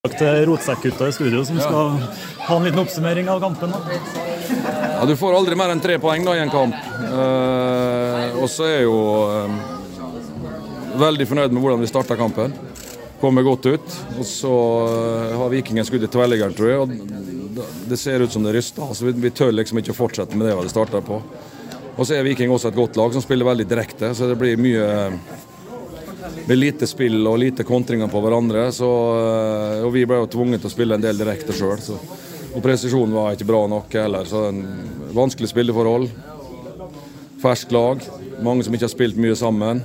Takk til rotsekkgutta i studio som skal ha en liten oppsummering av kampen. da. Ja, du får aldri mer enn tre poeng da, i en kamp. Eh, og så er jeg jo eh, veldig fornøyd med hvordan vi starta kampen. Kommer godt ut. Og så eh, har Vikingen skudd i tverrliggeren, tror jeg. Og da- det ser ut som det ryster. Altså, vi, vi tør liksom ikke å fortsette med det vi starta på. Og så er Viking også et godt lag som spiller veldig direkte, så det blir mye med lite spill og lite kontringer på hverandre. Så, eh, og vi ble jo tvunget til å spille en del direkte sjøl. Og presisjonen var ikke bra nok heller. Så en vanskelig spilleforhold. Ferskt lag. Mange som ikke har spilt mye sammen.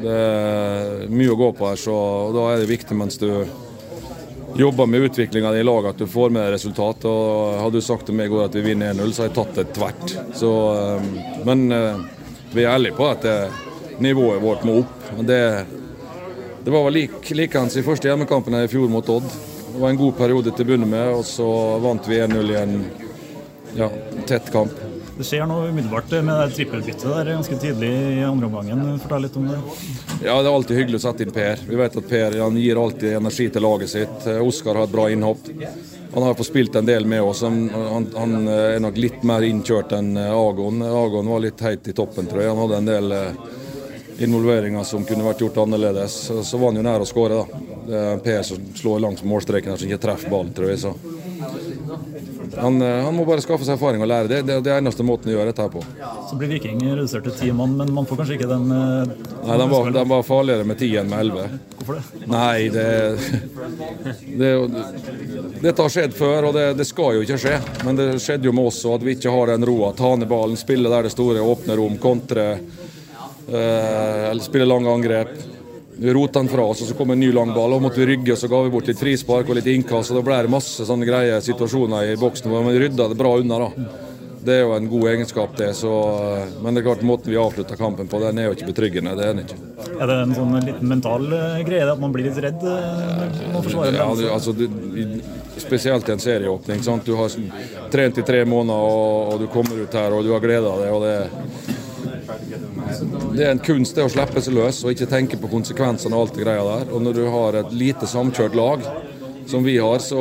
Det er mye å gå på her, så og da er det viktig mens du jobber med utviklinga i laget at du får med deg resultat. Og hadde du sagt til meg i går at vi vinner 1-0, så hadde jeg tatt det tvert. Så, eh, men eh, vi er ærlige på at eh, nivået vårt må opp. og det det var vel lik, likens i første hjemmekampen her i fjor mot Odd. Det var en god periode til å begynne med, og så vant vi 1-0 i en ja, tett kamp. Det skjer noe umiddelbart med det trippelbyttet der ganske tidlig i andre omgangen. Fortell litt om det. Ja, Det er alltid hyggelig å sette inn Per. Vi vet at Per han gir alltid energi til laget sitt. Eh, Oskar har et bra innhopp. Han har fått spilt en del med oss. Han, han, han eh, er nok litt mer innkjørt enn eh, Agon. Agon var litt heit i toppen, tror jeg. Han hadde en del eh, involveringer som kunne vært gjort annerledes. Så- Så var han jo nær å skåre, da. Det er Per som slår langs målstreken her, som ikke treffer ballen, tror jeg. Så. Han, eh, han må bare skaffe seg erfaring og lære. Det, det er det eneste måten å gjøre dette her på. Så blir Viking redusert til ti mann, men man får kanskje ikke den eh, Nei, den var, den var farligere med 10 enn med 11. Hvorfor det? Nei, det, det Dette har skjedd før, og det, det skal jo ikke skje. Men det skjedde jo med oss òg, at vi ikke har den roa. Ta ned ballen, spille der det store, åpne rom, kontre. Eh, eller spille lange angrep. Vi rota den fra oss, og så kom en ny lang ball. Og måtte vi rygge, og så ga vi bort litt frispark og litt innkast. Og da ble det masse sånne greie situasjoner i boksen. Men vi rydda det bra unna, da. Det er jo en god egenskap, det. Så, eh, men det er klart, måten vi avslutta kampen på, den er jo ikke betryggende. Det er den ikke. Er det en sånn liten mental eh, greie at man blir litt redd? eh, når forsvaret Ja, bremser? du, altså, du, i- spesielt i en serieåpning. Sant? Du har trent i tre måneder, og, og du kommer ut her og du har gleda deg. Og det, det er en kunst det å slippe seg løs og ikke tenke på konsekvensene og alt det greia der. Og når du har et lite samkjørt lag, som vi har, så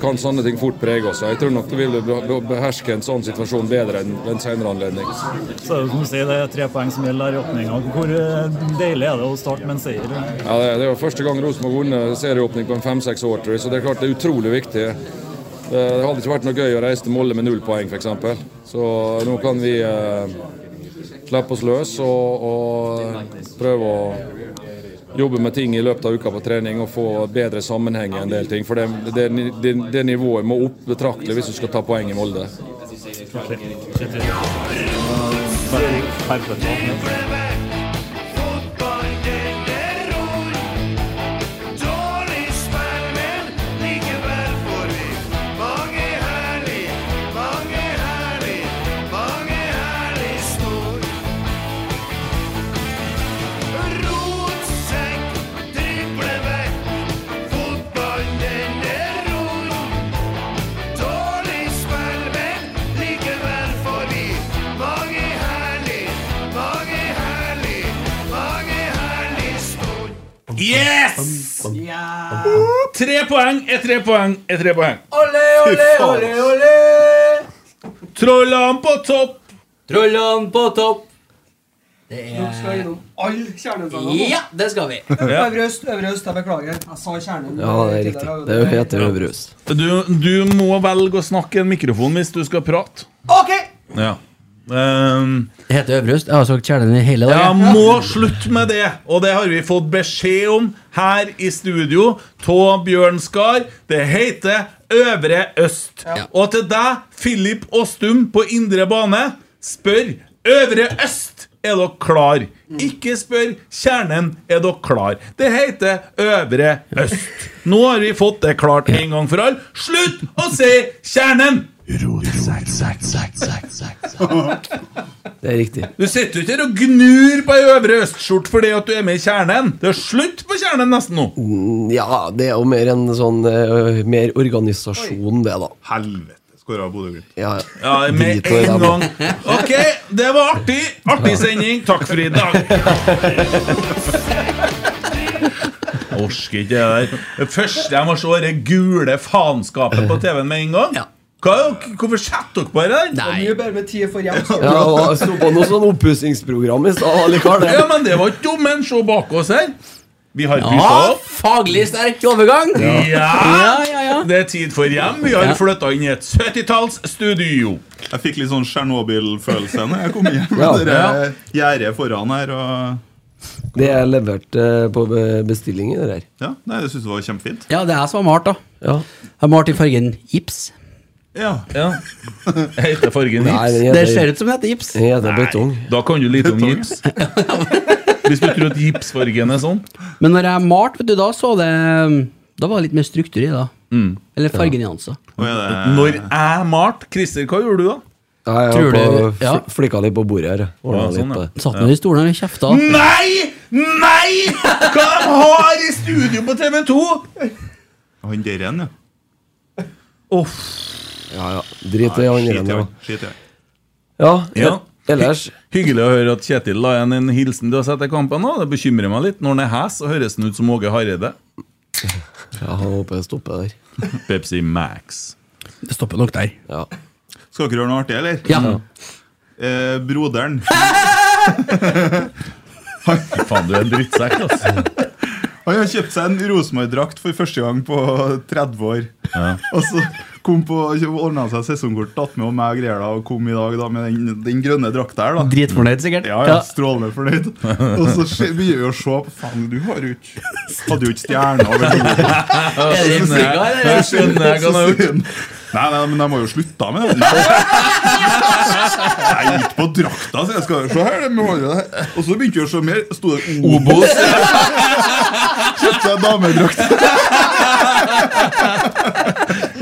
kan sånne ting fort prege oss. Jeg tror nok du vil be- be- beherske en sånn situasjon bedre enn en senere anledning. Så er det jo som du sier, det er tre poeng som gjelder her i åpninga. Hvor eh, deilig er det å starte med en seier? Ja, det, det er jo første gang Rosenborg har vunnet serieåpning på en fem-seks år, tror jeg. Så det er klart det er utrolig viktig. Eh, Det hadde ikke vært noe gøy å reise til Molde med null poeng, f.eks. Så nå kan vi eh, slippe oss løs og, og prøve å jobbe med ting i løpet av uka på trening og få bedre sammenheng i en del ting. For det, det, det, det nivået må opp betraktelig hvis du skal ta poeng i Molde. Dårlig spill, men likevel får vi mange herlige Yes! Tre poeng er tre poeng er tre poeng. Ole, ole, faen. ole, ole! Trollene på topp. Trollene på topp! Det er Skal gjennom alle kjerneutdanningene. Ja, det skal vi. Øvre øst, øvre øst, jeg beklager. Jeg sa kjernen. Ja, det er riktig. Det heter Øverhus. Du, du må velge å snakke i en mikrofon hvis du skal prate. OK! Ja. Ehm, Det heter Øverhus. Jeg har sagt kjernen i hele jeg dag. jeg. må slutte med det, og det har vi fått beskjed om her i studio av Bjørn Skar. Det heter Øvre Øst. Og til deg, Philip Åstum på indre bane, spør Øvre Øst. Er dere klar? Ikke spør kjernen. Er dere klar? Det heter Øvre Øst. Nå har vi fått det klart en gang for alle. Slutt å si kjernen! Det er riktig. Du sitter jo ikke her og gnur på ei øvre østskjort fordi at du er med i kjernen. Det er slutt på kjernen nesten nå. Ja, det er jo mer en sånn eh, Mer organisasjon, det, da. Helvete. Skåra Bodø-Glimt. Ja, Ja, med Drit i det, en da. gang. Ok, det var artig. Artig sending. Takk for i dag. Orsker ikke det der. Det første jeg må se, er det gule faenskapet på TV-en med en gang. Ja. Hva, hvorfor setter dere på det der? Nei. Mye bedre med tid for hjem. så- Ja, og jeg sto på noe sånn oppussingsprogram i stad allikevel. Ja, men det var ikke dumt, men se bak oss her. Vi har pussa Ja, opp. faglig sterk overgang! Ja! ja, ja. Det er tid for hjem. Vi har flytta inn i et 70-talls studio. Jeg fikk litt sånn Tsjernobyl-følelse når jeg kom hjem. Ja. Det er- der gjerdet foran her og Det er levert eh, på be- bestilling, det der. Ja, nei, jeg syns det var kjempefint. Ja, det er jeg som har malt, da. Ja. Jeg har malt i fargen gips. Ja. Ja. Heter fargen Nei, gips? den Det heter, ser ut som det heter gips. den heter betong. Da kan du lite om gips. Hvis du tror at gipsfargen er sånn. Men når jeg malte, vet du, da så det Da var det litt mer struktur i det. da. Mm. Eller fargenyanser. Og er Eh. det Når jeg malte Christer, hva gjorde du da? Ja, jeg Tror har på, du- ja. fl- flikka litt på bordet her. Ordna Ja, sånn, litt eh. på ja. det. Satt med de stolene og kjefta. Nei! Nei! Hva de har i studio på TV 2? han der igjen, ja? Uff. Ja, ja. eh, Drit i han Skit i igjen, da. han, Skit i han. Ja, Ja. ellers Hyggelig å høre at Kjetil la igjen en hilsen til oss etter kampen. nå. Det bekymrer meg litt. Når han er hes, så høres han ut som Åge Hareide. Ja, han håper jeg stopper der. Pepsi Max. Det stopper nok der. Ja. Skal dere gjøre noe artig, eller? Ja. Eh, broderen Fy faen, du er en drittsekk, altså. Han har kjøpt seg en Rosenborg-drakt for første gang på 30 år. Og så kom på, ordna seg sesongkort, tatt med og meg og greier da, og kom i dag da, med den, den grønne drakta her. da. Dritfornøyd, sikkert. Ja, ja, strålende fornøyd. Og så skje- begynner vi å se på Faen, du har jo ikke Hadde jo ikke stjerna over hodet. Er det replika, eller? Jeg skjønner jeg Så kan ha gjort. sier han, Nei, nei, men de har jo slutta med det. Nei, ikke på drakta, så jeg skal se her. det må jo det her. Og så begynte vi å se mer. Sto det Obos? Kjøpte jeg damedrakt.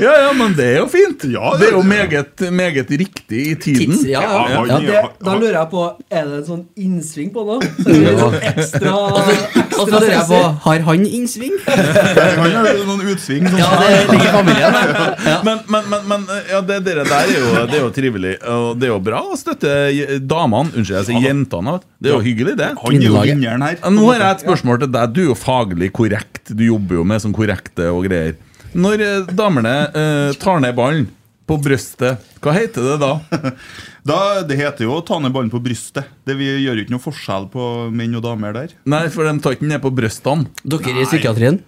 Ja, ja, men det er jo fint. Ja, det er jo det- meget, meget riktig i tiden. Tids, ja, ja. Ja, han- Det, da han- lurer jeg på Er det en sånn innsving på noe? Så det er litt sånn ekstra Og så lurer jeg på, har han innsving? Han har jo noen utsving. Sånn. Ja, det ligger i familien. da. Men, men, men, men ja, det dere der er jo, det er jo trivelig. Og det er jo bra å støtte je- damene. Unnskyld, jeg sier jentene. vet du. Det er jo hyggelig, det. Han er jo vinneren her. Nå har jeg et spørsmål til deg. Du er jo faglig korrekt. Du jobber jo med sånn korrekte og greier. Når eh, damene eh, tar ned ballen på brøstet, hva heter det da? Da, det heter jo å ta ned ballen på brystet. Det Vi gjør jo ikke noe forskjell på menn og damer der. Nei, for de tar ikke ned på brøstene. Dere i psykiatrien?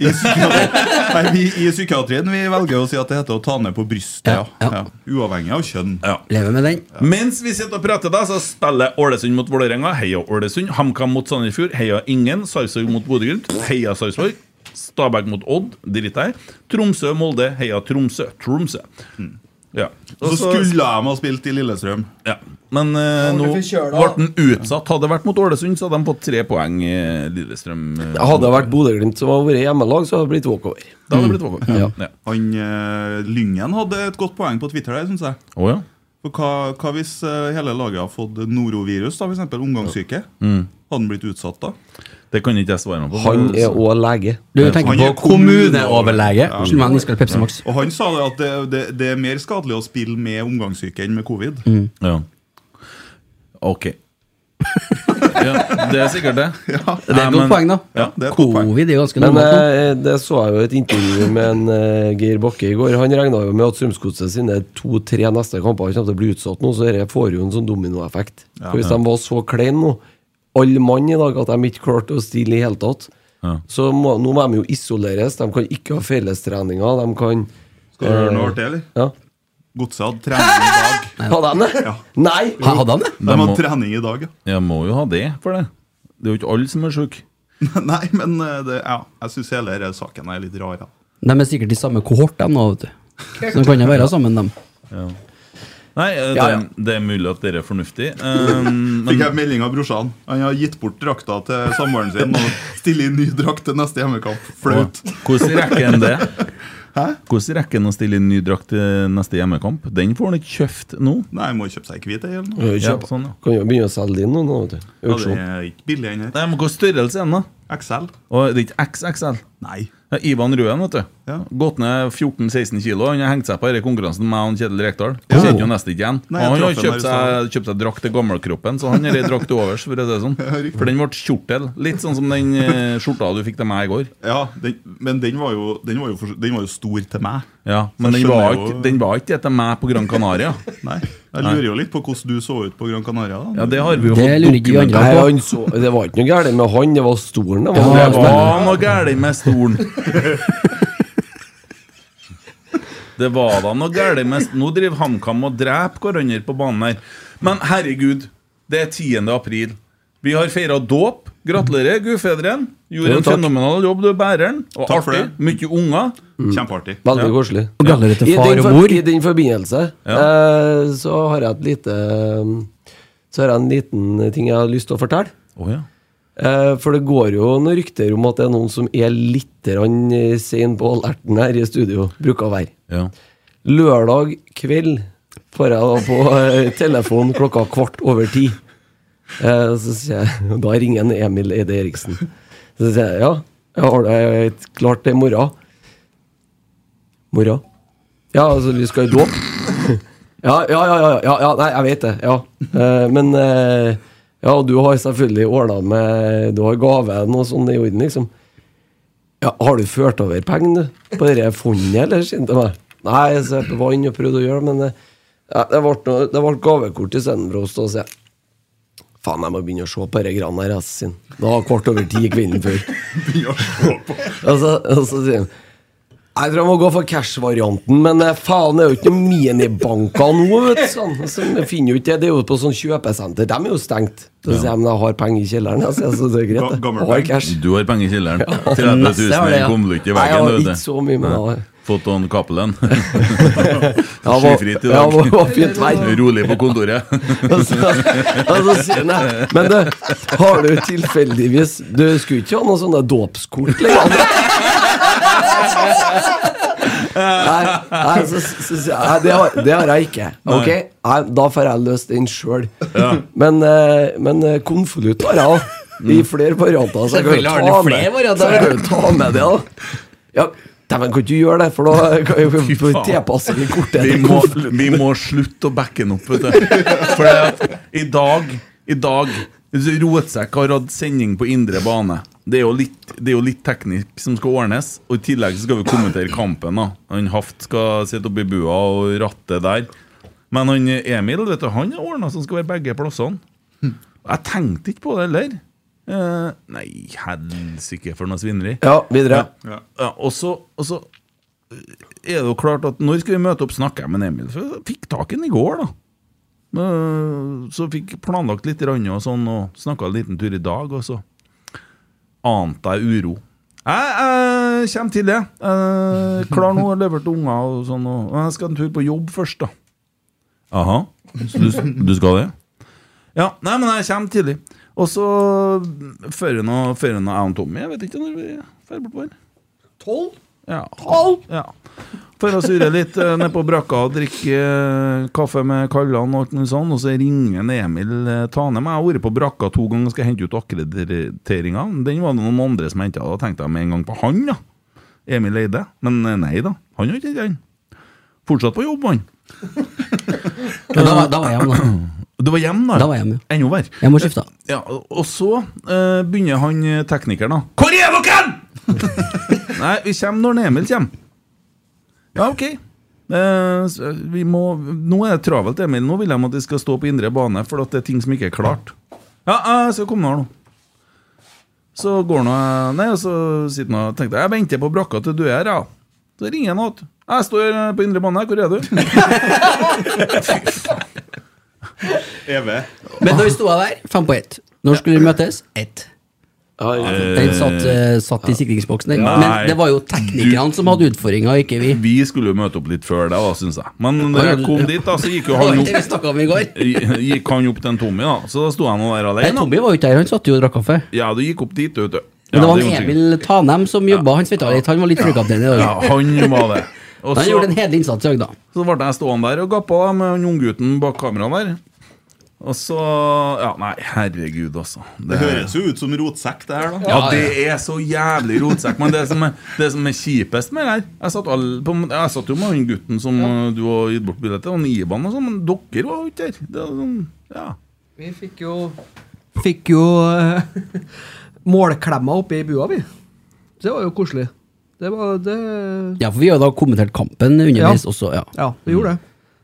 I, psykiatri- Nei, vi, I psykiatrien vi velger å si at det heter å ta ned på brystet. Ja. Ja, Ja. Uavhengig av kjønn. Lever med den. Mens vi sitter og prater, da, så spiller Ålesund mot Vålerenga. Heia Ålesund. HamKam mot Sandefjord. Heia ingen. Sarpsborg mot Bodø-Glimt. Heia Sarpsborg. Stabæk mot Odd. Drit der. Tromsø-Molde. Heia Tromsø. Tromsø. Ja. Og Så skulle de ha spilt i Lillestrøm. ja. Men eh, nå Ordentlig forkjøla. ble den utsatt. Hadde det vært mot Ålesund, så hadde de fått tre poeng. eh, Lillestrøm eh, Hadde det vært Bodø-Glimt som hadde vært hjemmelag, så hadde det blitt walkover. Da hadde det blitt våkent. Ja. Ja. Han eh, Lyngen hadde et godt poeng på Twitter der, syns jeg. Å, ja. For hva, hva hvis eh, hele laget har fått norovirus, da, f.eks. omgangssyke? Hadde han blitt utsatt da? Mm. Det kan ikke jeg svare meg på. Han er òg lege. Du tenker Han på er kommuneoverlege. Ja. Unnskyld meg, nå skal jeg Pepsi Max. Og han sa det at det, det, det er mer skadelig å spille Mm. med omgangssyke enn med covid. Ja. Ok. Ja, det er sikkert det. Det er et godt poeng, da. Covid er ganske Men normalt. nå. eh, det så jeg jo i et intervju med en eh, Geir Bakke i går. Han regna jo med at Strømsgodset sine to-tre neste kamper kommer til å bli utsatt nå, så dette får jo en sånn dominoeffekt. Ja. For hvis Ja. de var så kleine nå, alle mann i dag, at de ikke klarte å stille i hele tatt, så må, nå må de jo isoleres. De kan ikke ha fellestreninger. De kan Skal du høre noe artig, eller? Eh, Ja. Godset hadde trening i dag. Hadde han det? Nei! Hadde han det? De hadde trening i dag, ja. Jeg må jo ha det for det. Det er jo ikke alle som er sjuke. Nei, men eh, det, ja, jeg syns hele denne saken er litt rar. Ja. De er sikkert i samme kohort, de nå, vet du. Så de kan jo være sammen, dem. Nei, eh, det, Ja, ja. det er mulig at dere er fornuftig. Um, Fikk jeg melding av brorsan. Han har gitt bort drakta til samboeren sin og stiller i ny drakt til neste hjemmekamp. Flaut. Hvordan rekker han det? Hvordan rekker han å stille inn ny drakt til neste hjemmekamp? Den får han ikke kjøpt nå. Nei, må kjøpe seg hvit ei eller Kan noe. jo kjøpe- sånn, kan jo begynne å selge inn noen nå, vet du. Ja, det Auksjon. er ikke billig enn her. Nei, men Hva størrelse er den, da? XL. Og det er ikke XXL? Nei. Ja, Ivan Røen, vet du. Gått ned 14-16 kilo. Han har hengt seg på denne konkurransen med han Kjetil Rekdal. Ja. Kjenner jo nesten ikke igjen. Nei, jeg Og han har traff kjøpt han her seg, kjøpt seg drakt til gammelkroppen, så han har ei drakt til overs. For, å si det sånn. for den ble kjortel. Litt sånn som den eh, skjorta du fikk til meg i går. Ja, den, men den var, jo, den, var jo for, den var jo stor til meg. Ja, Så Men den skjønner var, jeg jo- ikke, den var ikke det til meg på Gran Canaria. Nei, Jeg Nei. lurer jo litt på hvordan du så ut på Gran Canaria. Da. Ja, det har vi jo Det fått lurer ikke vi andre dokumentert på. på. Nei, han så- det var ikke noe gærent med han, det var stolen. Det Ja, var, det var noe gærent med stolen. Det var da noe gærent med Nå driver HamKam og dreper hverandre på banen her. Men herregud, det er 10. april. Vi har feira dåp. Gratulerer, gudfedren. Jo, Gjorde en takk. fenomenal jobb, du er bæreren. Og Takk for artig. Mye unger. Kjempeartig. Veldig koselig. Og gratulerer til I far den og for- mor. I den forbindelse eh, så har jeg et lite eh, Så har jeg en liten ting jeg har lyst til å fortelle. Å, ja. Eh, For det går jo noen rykter om at det er noen som er litt grann, eh, sein på alerten her i studio. Bruker å være. Ja. Lørdag kveld får jeg da på eh, telefon klokka kvart over ti. Eh, Så sier jeg, Da ringer en Emil Eide Eriksen. Så sier jeg ja, jeg har det helt klart til i morgen. Mora? Ja, altså, vi skal i dåp. Ja, ja, ja, ja, ja, ja, nei, jeg vet det. Ja. Eh, Men eh, Ja, og du har selvfølgelig ordna med Du har gaven og sånn i orden, liksom. Ja, har du ført over penger, du? På det fondet, eller? sier han til meg. Nei, så jeg var inne og prøvde å gjøre det, men eh, ja, det ble, noe- det ble gavekort istedenfor oss, da, sier jeg. Faen, jeg må begynne å se på disse greiene her, ass, sier han. Det var kvart over ti kvelden før. og, så, og så sier han jeg tror jeg må gå for cash-varianten, men eh, faen, det er jo ikke noen minibanker nå, vet du. Sånn. Så jeg finner jo ikke det. Det er jo på sånn kjøpesenter. De er jo stengt. Så sier jeg, men jeg har penger i kjelleren, jeg, sier jeg, så det er greit. det. Jeg Har cash. Du har penger i kjelleren. Ja. 30 Neste 000 har det, i ja. konvolutt Nei, i jeg veggen. har vet du. ikke så mye, men jeg har- Fått av Cappelen. var- Skyfritt i ja, dag. det var fint vær. Rolig på kontoret. Og så sier han «Nei, Men du, har du tilfeldigvis Du skulle ikke ha noe sånne dåpskort lenger? Nei, nei, så, så, så, sier jeg, nei det, har, det har jeg ikke. Ok, Nei. nei, Da får jeg løst den sjøl. Ja. Men, eh, men eh, konvolutt har jeg òg. I flere varianter. Så jeg kan jo Selvfølgelig har ta den flere med, varianter. så jeg kan jo ta med det. da Ja, Dæven, kan ikke du gjøre det, for da kan jeg jo faen. tilpasse det kortet. Vi til må, konvolutt. vi må slutte å backe den opp, vet du. For det at i dag I dag Rotsekk har hatt sending på indre bane. Det er, jo litt, det er jo litt teknikk som skal ordnes. Og i tillegg så skal vi kommentere kampen. da Han Haft skal sitte oppe i bua og ratte der. Men han Emil vet du, han er ordna som skal være begge plassene. Jeg tenkte ikke på det heller. Eh, nei, helsike, for noe svineri. Ja, videre. Ja, ja, og så og så eh, er det jo klart at når skal vi møte opp, snakker jeg med Emil. For jeg fikk tak i han i går, da. Eh, Så fikk planlagt litt rann og sånn, og snakka en liten tur i dag, og så ante jeg uro. Jeg, jeg kommer til det. Eh, klar nå, har levert unger og sånn. Og og jeg skal en tur på jobb først, da. Aha. Så du, du skal det? Ja. Nei, men jeg kommer tidlig. Og så fører nå fører nå jeg og Tommy Jeg vet ikke når vi drar bortover. Tolv? Ja. ja. For å surre litt eh, ned på brakka og drikke eh, kaffe med Kallan og alt mulig sånn, og så ringer en Emil eh, Tanem. Jeg har vært på brakka to ganger og skal hente ut akkrediteringa. Den var det noen andre som henta, da tenkte jeg med en gang på han, da. Emil Eide. Men eh, nei da, han har ikke hentet den. Fortsatt på jobb, han. Ja, da var- da var jeg hjemme, da. Du var hjemme, da? Da var jeg hjemme. Enda verre. Jeg må skifte. Ja, og så eh, begynner han eh, teknikeren, da. Hvor er dere?! Nei, vi kommer når Emil kommer. Ja, ok. Eh, s- vi må, nå er det travelt, Emil. Nå vil de at de skal stå på indre bane, for at det er ting som ikke er klart. Ja, jeg skal komme her nå. Så går nå jeg- Nei, og så sitter han og tenker Jeg venter på brakka til du er her, ja. Så ringer han igjen. Jeg står eh, på indre bane, hvor er du? Eve. Men når vi sto der, fem på ett. Når skulle vi møtes? Ett. Den satt, eh, satt i sikringsboksen, den. Nei. Men det var jo teknikerne som hadde utfordringa, ikke vi. Vi skulle jo møte opp litt før deg, da, syns jeg. Men når jeg kom dit, da, så gikk jo Det var han ikke det vi opp snakket om i går. Gikk han opp til en Tommy, da. Så da sto han nå der Nei, alene. Tommy var jo ikke der, han satt jo og drakk kaffe. Ja, du gikk opp dit, vet du. Men Ja, det var er jo en sikkert. Emil Tanem som jobba, han svetta litt. Han var litt flykaptein i dag. Ja, han var det. Og han så- gjorde en hederlig innsats i dag, da. Så ble jeg stående der og gappa da, med han unggutten bak kameraet der. Og så Ja, nei, herregud, altså. Det høres jo ut som rotsekk, det her, da. Ja, det er så jævlig rotsekk. Men det som er, det som er kjipest med det her Jeg satt, all, på, jeg satt jo med han gutten som eh, du har gitt bort billett til, han Iban og sånn, men dere var jo ikke der. Det er sånn, ja. Vi fikk jo Fikk jo eh, målklemma oppi bua, vi. Så det var jo koselig. Det var det Ja, for vi har jo da kommentert kampen underveis Ja. også, ja. Ja, vi Mm. gjorde det.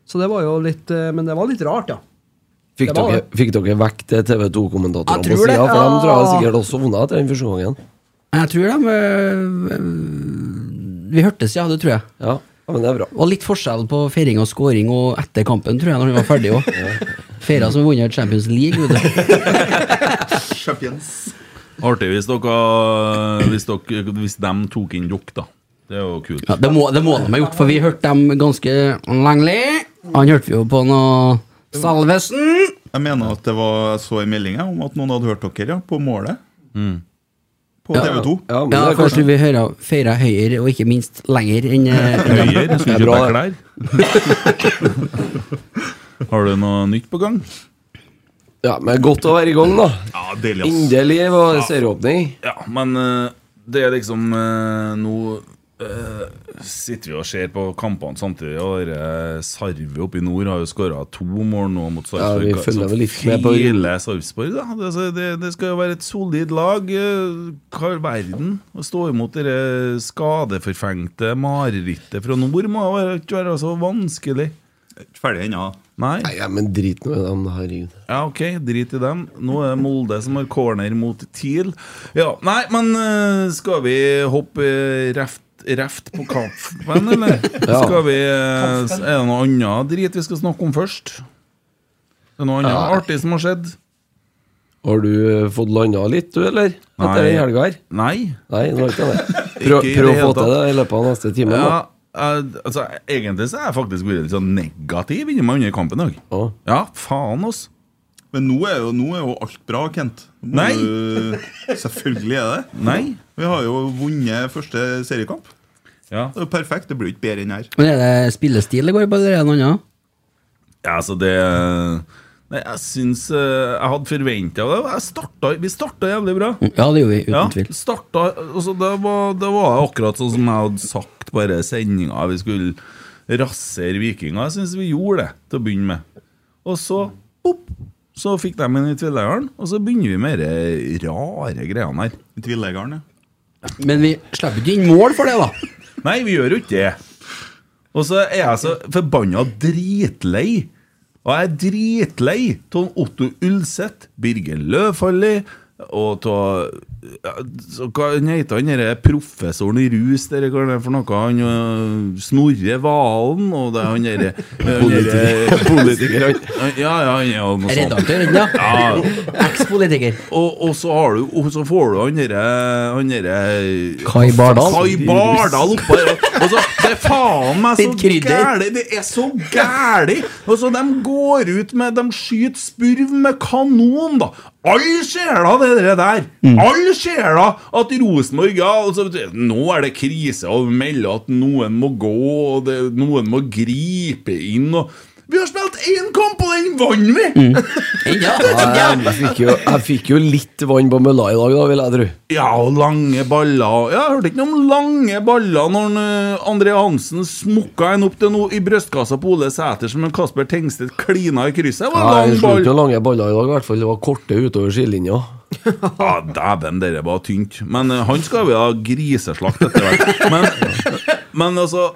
Så det var jo litt eh, Men det var litt rart, ja. Fikk Det var dere, det. fikk dere vekk det TV 2-kommentatorene Jeg på tror det, sida? For de tror jeg ja. sikkert også vunnet etter den første gangen. Jeg tror de øh, øh, Vi hørtes, ja. Det tror jeg. Ja, men det er bra. Og litt forskjell på feiring og scoring og etter kampen, tror jeg, når vi var ferdig òg. Feira som vunnet Champions League. Vet du. Artig hvis dere, hvis dere Hvis de tok inn dere, da. Det er jo kult. Ja, det, må, det må de ha gjort, for vi hørte dem ganske lengelig. Han hørte vi jo på noe Salvesen! Jeg mener at det var jeg så i meldinga om at noen hadde hørt dere, ja. På målet. Mm. På Ja. TV2. Ja, Ja, først vil vi høre feira høyere, og ikke minst lenger enn eh, enn dem. Høyere, skulle Det er kjøpe bra, klær. Har du noe nytt på gang? Ja, men godt å være i gang, da. Ja, deilig, Endelig var det serieåpning. Ja, men eh, det er liksom eh, Nå eh, sitter vi og ser på kampene samtidig, og dere Sarve oppe i nord har jo skåra to mål nå mot Sarpsborg. Ja, vi følger Så vel litt med på- Hele Sarpsborg, da. Det, altså, det, det skal jo være et solid lag. eh, Hva i verden? Å stå imot det skadeforfengte marerittet fra nord må jo være- ikke være så vanskelig. Ikke ferdig ennå. Nei? Nei, ja, men drit nå i dem, herregud. Ja, ok, drit i dem. Nå er det Molde som har corner mot TIL. Ja, nei, men eh, skal vi hoppe eh, reft, reft på kampen, eller? Ja. Skal vi, eh, s- er det noe annet drit vi skal snakke om først? Er det noe annet Nei. artig som har skjedd? Har du eh, fått landa litt, du, eller? Etter Nei. den helga her? Nei. Nei, nå har ikke jeg det. Prøv, Ikke i prøv å det få hele tatt. til det i løpet av neste time. Ja, da. eh, altså, egentlig så er jeg faktisk blitt litt sånn negativ inni meg under kampen i dag. Ja. Ja, faen, oss. Men nå er, jo, nå er jo alt bra, Kent. Nå Nei. er jo- Selvfølgelig er det. Nei. Vi har jo vunnet første seriekamp. Ja. Det er jo perfekt. Det blir jo ikke bedre enn her. Men er det spillestil det går på, eller er det noe annet? Ja, altså det Nei, jeg syns eh, Jeg hadde forventa det. Jeg starta, vi starta jævlig bra. Ja, det gjorde vi, uten Ja, tvil. starta, altså det, var, det var akkurat sånn som jeg hadde sagt Bare sendinga. Vi skulle rasere vikinger. Jeg syns vi gjorde det til å begynne med. Og så bopp, så fikk de en i tvillegeren, og så begynner vi med de rare greiene her. Tvillegeren, ja. Men vi slipper ikke inn mål for det, da. Nei, vi gjør jo ikke det. Og så er jeg så forbanna dritlei. Og jeg er dritlei av Otto Ulseth, Birger Løvfalli og av ja, så Hva han heter han derre professoren i rus, dere, hva er det for noe? Han øh, Snorre Valen, og det er han derre Politiker. Ja, ja, eh, han er jo noe sånt. Redaktør, ikke sant? Ja. Eks-politiker. Og, og så har du Og så får du han derre Han derre Kai Bardal. Kai Bardal oppå her. Og så, det er faen meg så Litt krydder. gæli! Det er så gæli! Og så de går ut med De skyter spurv med kanon, da. Alle ser da det der der. Mm. Alle ser da at Rosenborg ja, altså, Nå er det krise, og melder at noen må gå, og det, noen må gripe inn. og Vi har spilt én kamp, og den vant vi! Mm. Ja, jeg, fikk jo, jeg fikk jo litt vann på mølla i dag, da, vil jeg tro. Ja, og lange baller. Ja, Jeg hørte ikke noe om lange baller når han, eh, André Hansen smukka en opp til noe i brystkassa på Ole Sæter som en Kasper Tengstedt klina i krysset. Det var Nei, en jeg lang slo ball. ikke noen lange baller i dag, i hvert fall. Det var korte utover sidelinja. Ja, dæven, dere var tynt. Men eh, han skal vi ha griseslakt etter hvert. Men, men altså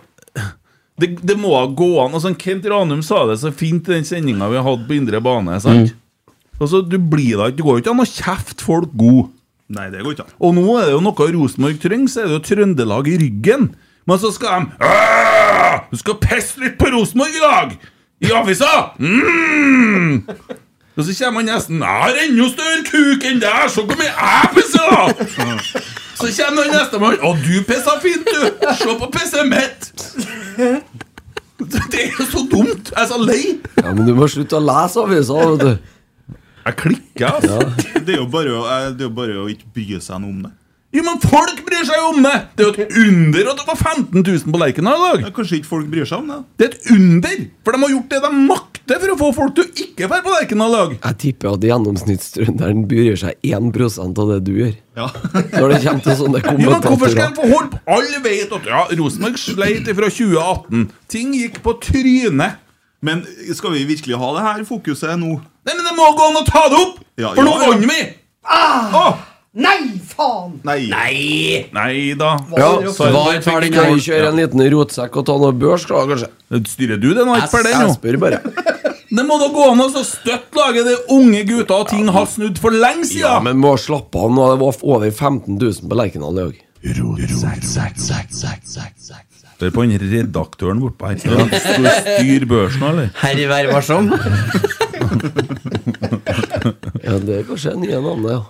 det, det må ha gå an. Altså, Kent Ranum sa det så fint i den sendinga vi hadde på Indre bane. Sant? Altså, du blir da ikke Det går jo ikke an å kjefte folk god. Nei, det går ikke an. Og nå er det jo noe Rosenborg trenger, så er det jo Trøndelag i ryggen. Men så skal de «Åh, Du skal pisse litt på Rosenborg i dag! I avisa! Mm! Og så kommer han nesten Jeg har enda større kuk enn deg! Se hvor mye jeg pisser, da! Så kommer han nestemann. Å, du pissa fint, du! Se på pisset mitt! Det er jo så dumt! Jeg er så lei! Ja, Men du må slutte å lese aviser, vet du. Jeg klikker, altså. Det er jo bare å- eh, det er jo bare å ikke bry seg noe om det. Jo, men folk bryr seg jo om det! Det er jo et under at det var 15 000 på Lerkendal i dag! kanskje ikke folk bryr seg om det? Det er et under! For de har gjort det de makter for å få folk til å ikke være på Lerkendal i dag! Jeg tipper at gjennomsnittstrønderen bryr seg 1 av det du gjør. Ja. Når det kommer til sånne Jo, men hvorfor skal kommentatorer. de få holde på? Alle vet at ja, Rosenborg sleit fra 2018. Ting gikk på trynet. Men skal vi virkelig ha det her fokuset nå? Nei, men Det må gå an å ta det opp! Ja, for nå ja, ja. vant vi! Ah! Nei, faen! Nei. Nei! Nei da. Ja, var tar den her kjøre en liten rotsekk og ta noe børs, da, kanskje? Styrer du det nå? Ikke for den, Jeg jo. spør bare. Det må da gå an å så støtte laget. Det er unge gutter, og ting har snudd for lenge siden! Ja, men må slappe av nå. Det var over 15 000 på Lerkendal i dag. Hør på den redaktøren bortpå her. Skal du- Skal du styre børsen, eller? Herre, vær varsom. Ja, det er kanskje nye navnet, ja.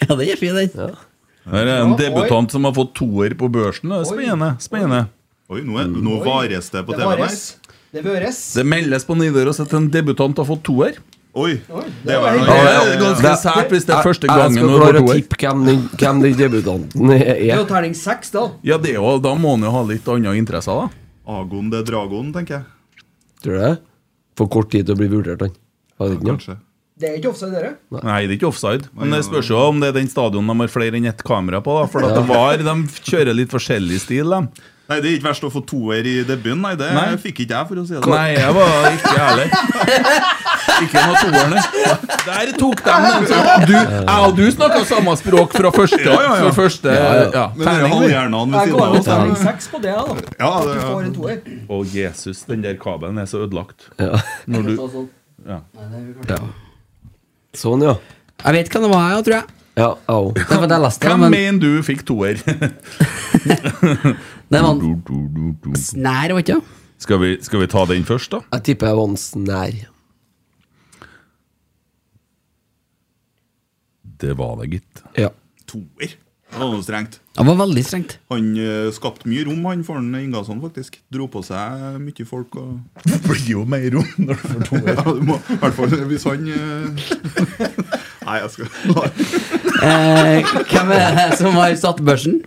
Ja, den er fin, den. Ja. Her er en debutant som har fått toer på børsen. Det er spennende. spennende. Oi, nå, er, nå vares det på Det TV-en her. vares. Det børes. Det meldes på Nidaros at en debutant har fått toer. Oi, det var noe. Det er ganske sært hvis det er første gangen Jeg du skal får klare å toer. tippe hvem den- hvem den debutanten Det er er. jo terning seks, da. Ja, det er jo, Da må han jo ha litt andre interesser, da. Agon det er dragon, tenker jeg. Tror du det? For kort tid til å bli vurdert, han. Har det ikke noe? Det er ikke offside, dere. Nei, det er ikke offside. Men det spørs jo om det er den stadion de har flere enn ett kamera på. da For at det var, De kjører litt forskjellig stil, de. Nei, Det er ikke verst å få toer i debuten. Nei, det Nei. fikk ikke jeg, for å si det Nei, jeg var ikke jeg heller. Ikke noe toer, nei. Der tok de den. så Du, jeg og du snakka samme språk fra første. sånn. Ja, ja, ja. Fra første eh, Ja, ja. ja, Men det er terning, du. halvhjernen ved Jeg siden går av jo oss. terning seks på det, da. Ja, det, Du ja. får en toer. Å, Jesus, den der kabelen er så ødelagt. Ja. Når du ja. Sånn, ja. Jeg vet hva det var, jeg, tror jeg. Ja, au. Det var det jeg leste, ja, Hvem men mener du fikk toer? det var en snær, var ikke det? skal, vi, skal vi ta den først, da? Jeg tipper jeg var en snær. Det var det, gitt. Ja. Toer. Det var noe strengt. Det var veldig strengt. Han eh, skapte mye rom, han for han Ingasson, faktisk. Dro på seg mye folk. og... Det blir jo mer rom når du får Ja, du må, I hvert fall hvis han eh, Nei, jeg skal Eh, hvem er det som har satt børsen?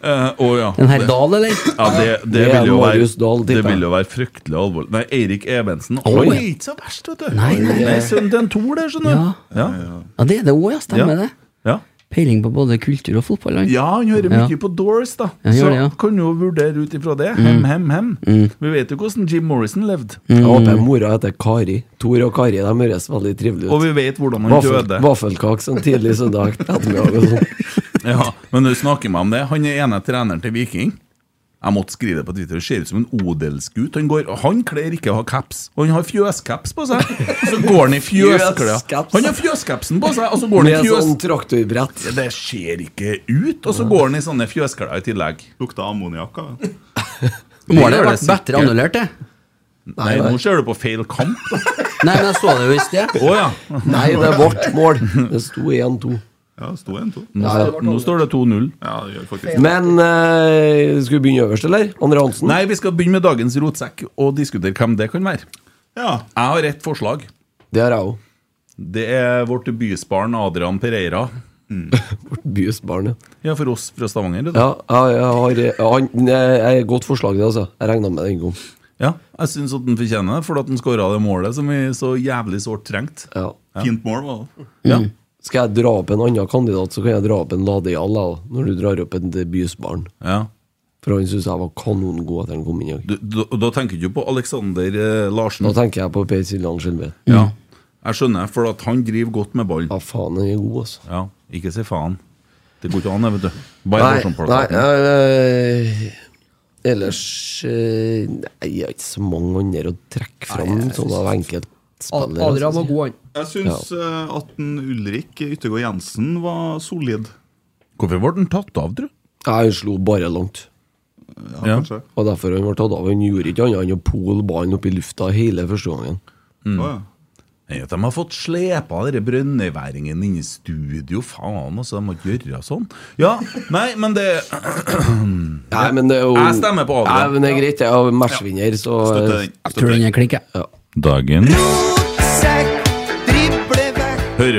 Eh, Å ja. En herr Det- Dahl, eller? Ja, det, det, Det er vil jo være, Marius Dahl, det tipper jeg. vil jo være fryktelig alvorlig. Nei, Eirik Evensen. Oi. Han er ikke så verst, vet du. Nei, nei, nei. Sønnen til en Tor der, skjønner Ja. du. Ja. ja, det er det òg, ja. Stemmer Ja. det. Ja. Peiling på både kultur og fotball. han. ja, han hører Ja. mye på Doors, da. Ja, så gjør det, ja. kan jo vurdere ut ifra det. Hem, hem, hem. Vi vet jo hvordan Jim Morrison levde. Jeg håper mora heter Kari. Tor og Kari de høres veldig trivelige Og ut. vi vet hvordan han Vaffel, døde. Vaffelkake sånn tidlig søndag ettermiddag. og sånn. Ja, men du snakker meg om det. Han er ene treneren til Viking. Jeg måtte skrive det på Twitter. Det ser ut som en odelsgutt. Han, går, og han kler ikke å ha caps. Og han har fjøscaps på seg. Og så går han i fjøsklær. Fjøscaps. Han har fjøscapsen på seg, og så går han i Med fjøs... sånn traktorbrett. Det ser ikke ut. Og så går han i sånne fjøsklær i tillegg. Lukta ammoniakk av det. Målet gjør har det vært bedre sikkert. annullert, det. Nei, nå ser du på feil kamp, da. Nei, men jeg så det jo i sted. Å ja. Nei, det er vårt mål. Det sto 1-2. Ja, det sto en to. Nå, nå står det 2-0. Ja, det gjør faktisk det. Men eh, skal vi begynne øverst, eller? Andre Hansen? Nei, vi skal begynne med dagens rotsekk og diskutere hvem det kan være. Ja. Jeg har ett forslag. Det har jeg òg. Det er vårt bysbarn Adrian Pereira. Bysbarnet. Ja, for oss fra Stavanger. det da. Ja, jeg, jeg har jeg, han, jeg, jeg, Godt forslag, det, altså. Jeg regna med det en gang. Ja, jeg syns at han fortjener det, for at han skåra det målet som vi så jævlig sårt trengte. Fint mål, var det. Mm. Skal jeg dra opp en annen kandidat, så kan jeg dra opp en Ladeal da, når du drar opp en debutbarn. Ja. For han syns jeg var kanongod etter han kom inn i dag. Du, da, da tenker du ikke på Alexander eh, Larsen. Da tenker jeg på Per Siljan Skjelbred. Ja, jeg skjønner, for at han driver godt med ballen. Ja, faen, han er god, altså. Ja, ikke si faen. Det går ikke an, det, vet du. Bare nei, Larsen på nei, det. eh, ellers eh, Nei, jeg har ikke så mange andre å trekke fram sånn av enkeltspillere. altså. Jeg syns eh, at en Ulrik Yttergård Jensen var solid. Hvorfor ble han tatt av, tror du? Ja, han slo bare langt. Ja, kanskje. Og derfor han ble tatt av. Han gjorde ikke annet enn å pole ballen opp i lufta hele første gangen. Mm. Nei, at de har fått slepa dere brønnøyværingen inn i studio, faen, altså. De må ikke gjøre sånn. Ja, nei, men det Nei, men det er jo Jeg stemmer på Adrian. Nei, men det er greit, jeg er matchvinner, så Støtter den. Jeg tror den er klink, jeg. Ja. Dagen Sekk, drible vekk. Hører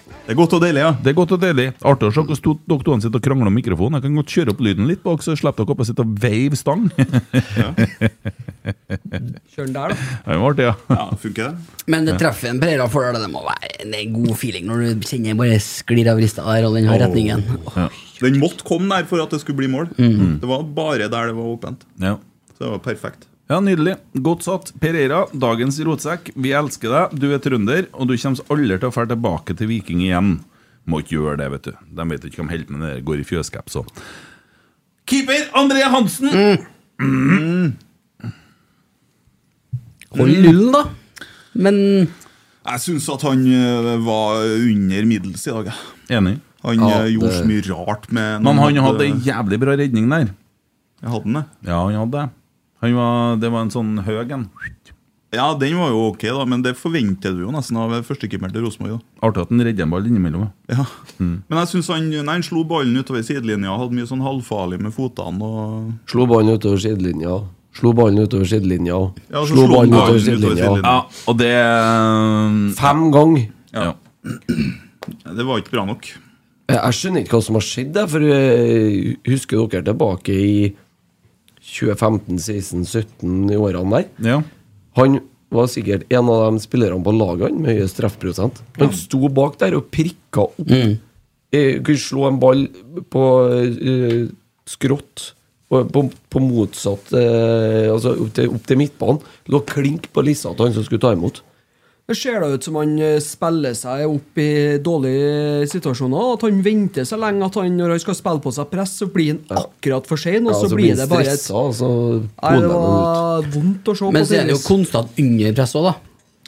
Det er godt og deilig, ja. Det er godt og deilig. Artig å se hvordan to- dere to sitter og krangler om mikrofonen. Jeg kan godt kjøre opp lyden litt bak, så slipper dere opp og sitte og veive stang. Kjør den der, da. Det var artig, ja. funker det? Men det Ja. treffer en Pereira for det, det må være en god feeling når du kjenner bare sklir av rista der, og den har retningen. Den måtte komme der for at det skulle bli mål. Mhm. Det var bare der det var åpent. Ja. Så det var perfekt. Ja, Nydelig. Godt satt. Per Eira, dagens rotsekk. Vi elsker deg. Du er trønder, og du kommer aldri til å dra tilbake til Viking igjen. Må ikke gjøre det, vet du. De vet ikke hva de holder på med når det går i fjøscaps og Keeper André Hansen! Mm. Mm. Hold nullen, da. Men Jeg syns at han eh, var under middels i dag. jeg. Enig. Han eh, gjorde så mye rart med Men Mm, han hadde en jævlig bra redning der. Jeg hadde den, jeg. Ja, han hadde det. Han var, det var en sånn høg en. Ja, den var jo ok, da, men det forventer du jo nesten av førstekeeperen til Rosenborg. da. Artig at han redder en ball innimellom. Ja. Mm. Men jeg syns han, nei, han slo ballen utover sidelinja, hadde mye sånn halvfarlig med fotene. og... Slo ballen utover sidelinja. Slo ballen utover sidelinja. Ja, så slo ballen utover Ja, sidelinja. og det eh, Fem ganger. Ja. Det var ikke bra nok. Jeg jeg skjønner ikke hva som har skjedd, jeg, for eh, husker dere tilbake i 2015, 16, 17 i årene der? Han var sikkert en av de spillerne på laget han, med høyest treffprosent. Han sto bak der og prikka opp. Mm. Eh, kunne slå en ball på eh, skrått. og På, på motsatt eh, Altså opp til, opp til midtbanen. Lå klink på lissa til han som skulle ta imot. Det ser da ut som han eh, spiller seg opp i dårlige situasjoner. At han venter så lenge at han, når han skal spille på seg press, så blir han akkurat for sein, og Ja, så, blir det bare et stressa, og så Nei, poler det han ut. var vondt å se på. Men så er det jo tidvis. konstant under press òg, da.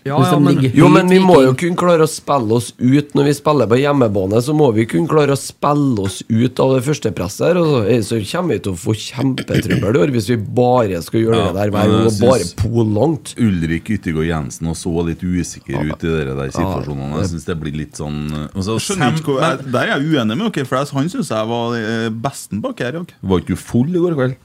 Ja, Hvis ja, de men- ligger Jo, høyt men vi må Viking. jo kunne klare å spille oss ut når vi spiller på hjemmebane. Så må vi kunne klare å spille oss ut av det første presset. her, Og så, så kommer vi til å få kjempetrøbbel i år hvis vi bare skal gjøre det der hver gang. og Bare pol langt. Ulrik Yttergård Jensen og så litt usikker ut i dere der situasjonene. Jeg syns det blir litt sånn og så- Jeg skjønner ikke hvor, Men- jeg, Der er jeg uenig med dere, for jeg- han syns jeg var eh, besten bak her i dag. Var ikke du full i går kveld?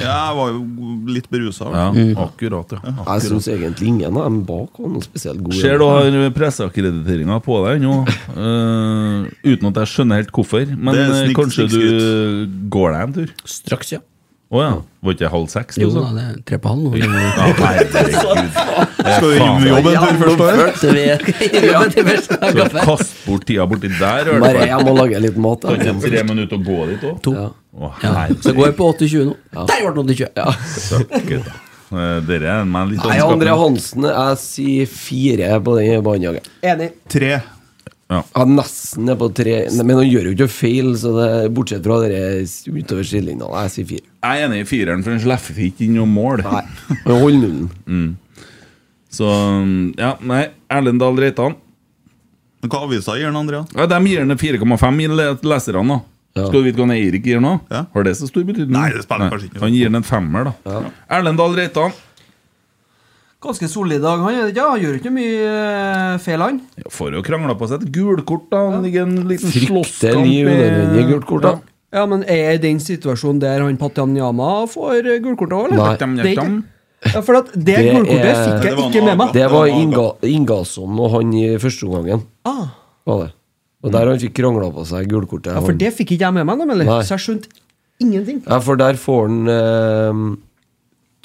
Ja, jeg var jo litt berusa. Ja, Mm. akkurat, ja. Jeg syns egentlig ingen av dem bak var noe spesielt gode. Ser du har presseakkrediteringa på deg nå, eh, uten at jeg skjønner helt hvorfor. Men Det er eh, snikk- kanskje du snikkskutt. går deg en tur? Straks, ja. Å ja. Var ikke det halv seks? du Jo sa? da, det er tre på halv nå. Det må- Ja, herregud. Skal vi rive jobben til først, da? Gjennomført, vi er- jobben til først, da, Skal kaffe. kaste bort tida borti der? hører du Bare på? jeg må lage litt mat. Kan da. ikke tre minutter å gå dit òg? To. Å, Ja, herregud. så går jeg på 80-20 nå. Der ble det 80-20! Ja. Søkker, da. Eh, Dere er meg litt sånn Nei, André Hansen, jeg sier fire på den banejagen. Enig. Tre. Ja, nesten ned på tre. Nei, Men han gjør jo ikke feil, så det, bortsett fra det utover sidelinja. Nei, Jeg sier fire. Jeg er enig i fireren, for han slipper ikke inn noe mål. Men Hold nullen. Så ja, nei, Erlend Dahl Reitan. Hva avisa gir den, Andrea? Ja, de gir den 4,5 i le- leserne, da. Skal du vite hva han Eirik gir nå? Har det så stor betydning? Nei, det spiller kanskje ikke. Han gir den en femmer, da. Erlend Dahl Reitan. Ganske solid i dag, han. er det ikke? Han gjør ikke mye eh, feil, han. Ja, Får jo krangla på seg et gulkort, da. Han ligger en liten slåsskamp Fryktelig unødvendig i- gult kort, da. Ja, men er jeg i den situasjonen der han Patanyama får eh, gult kort òg, eller? Nei. Det er ikke- Ja, for at det er- gult kortet fikk jeg ikke med meg. Det var Inga, Ingasson og han i første omgangen. Ah. Var det. Og der han fikk krangla på seg gulkortet. Ja, for det fikk ikke jeg med meg, da, men Nei. så jeg skjønte ingenting. Ja, for der får han eh,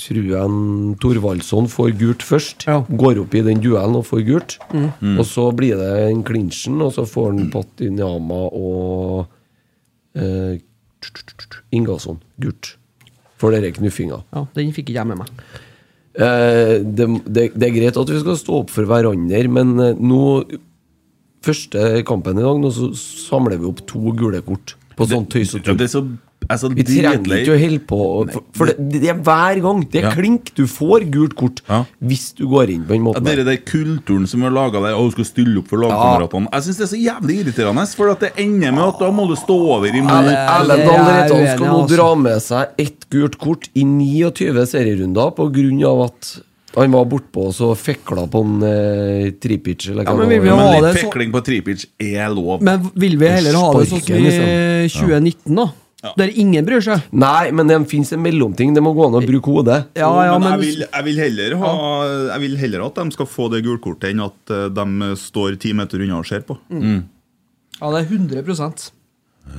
Tror jeg han Thorvaldsson får gult først. Går opp i den duellen og får gult. Mm. Mm. Og så blir det en klinsjen, og så får han Patinyama og eh, Ingasson gult. For denne knuffinga. Ja, Den fikk ikke jeg med meg. Eh, det, det, det er greit at vi skal stå opp for hverandre, men eh, nå Første kampen i dag, nå så samler vi opp to gule kort på sånn tøys og tull. vi trenger dritlei. ikke å holde på og- For, for det, det er hver gang. Det er klink. Du får gult kort hvis du går inn på den Ja, måten. Dere der kulturen som har laga deg, og du skal stille opp for lagkameratene Jeg syns det er så jævlig irriterende, for at det ender med at da må du stå over i Erlend Erlend Dahl Reitan skal nå altså. dra med seg ett gult kort i 29 serierunder pga. at han var bortpå og så fekla på en eh, tripic. Eller Ja, hva men det vil vi var. ha Men det litt så- fekling på tripic er lov. Men vil vi heller ha det sånn som Sparken, i liksom. 2019, da? Der ingen bryr seg. Nei, men det fins en mellomting. Det må gå an å bruke hodet. Jo, men jeg, vil, jeg, vil heller ha, jeg vil heller at de skal få det gulkortet enn at eh, de står ti meter unna og ser på. Mm. Ja, det er 100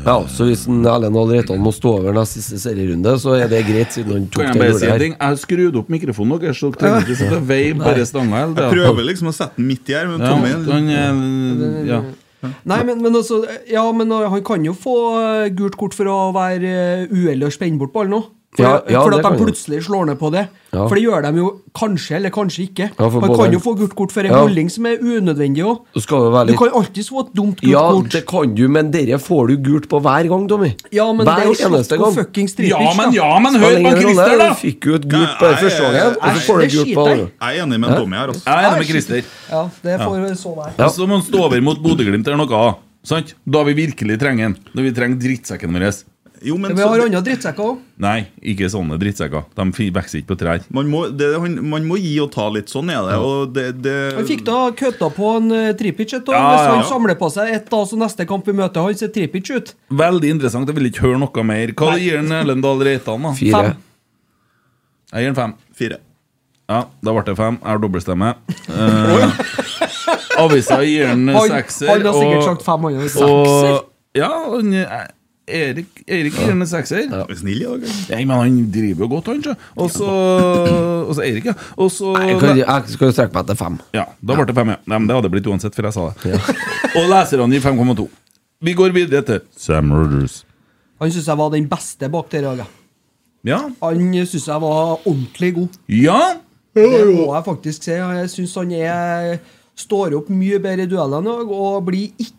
Ja, så hvis en Erlend Dahl Reitan må stå over den siste serierunde, så er det greit, siden han Kan tok jeg det bare si gule en her. ting? Jeg har skrudd opp mikrofonen deres, så dere trenger ikke sitte og veive bare stanga. eller det. Jeg prøver liksom å sette den midt i her, men Ja, Tommy han, eh, ja. Nei, men, men altså Ja, men uh, han kan jo få uh, gult kort for å være uh, uheldig og spenne bort ballen òg. For, Ja, ja, for det at kan de jo. plutselig slår ned på det. Ja. For det gjør de jo kanskje, eller kanskje ikke. Ja, for han både- kan jo få gult kort for en Ja. holdning som er unødvendig òg. Så skal det være Du litt- kan alltids få et dumt gult Ja, kort. det kan du, men dere får du gult på hver gang, Tommy. Ja, men det hver er jo slått på fucking stripers, Ja, men- da. ja, men Spiller hør på ingen rolle, Christer, da. Du fikk jo et gult på Nei, første gangen, og så jeg- får du det et gult skiter på jeg andre. i. Jeg er enig med Hæ? Tommy her, altså. Jeg er enig med Christer. Ja, det får Ja. så være. Og så må han stå over mot Bodø-Glimt eller noe annet. Sant? Da vi virkelig trenger han. Når vi trenger drittsekken vår. Men vi har andre drittsekker òg. Nei, ikke sånne drittsekker. De fi- vokser ikke på trær. Man må, det, han- man må gi og ta litt, sånn er det. Og det, det Han fikk da kødda på en uh, tripic et år. Ja, Hvis ja, ja. han samler på seg ett, da, så neste kamp vi møter han, ser tripic ut. Veldig interessant. Jeg vil ikke høre noe mer. Hva gir han Erlend Dahl Reitan, da? Fire. Fem. Jeg gir han fem. Ja, da ble det fem. Jeg har dobbeltstemme. Eh, Avisa gir han Han- sekser. han har sikkert og- sagt fem, han har. og- Ja, han, eh, Erik, Erik gir han en sekser. Snill i dag. Nei, men han driver jo godt, han, sjø. Og så Og så Eirik, ja. Og så Jeg, kan, jeg skal jo strekke meg til fem. Ja, da ble det fem, ja. Nei, men det hadde blitt uansett, for jeg sa det. Og leserne gir 5,2. Vi går videre til Sam Rogers. Han syns jeg var den beste bak der laget. Ja. Han syns jeg var ordentlig god. Ja! Det må jeg faktisk si. Jeg syns han er, står opp mye bedre i duellene i dag, og blir ikke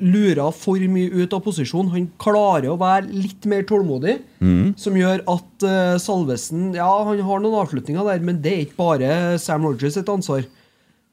lura Eh, for mye ut av posisjon. Han klarer å være litt mer tålmodig, Mm. Mhm. som gjør at eh, Salvesen Ja, han har noen avslutninger der, men det er ikke bare Sam Rogers sitt ansvar.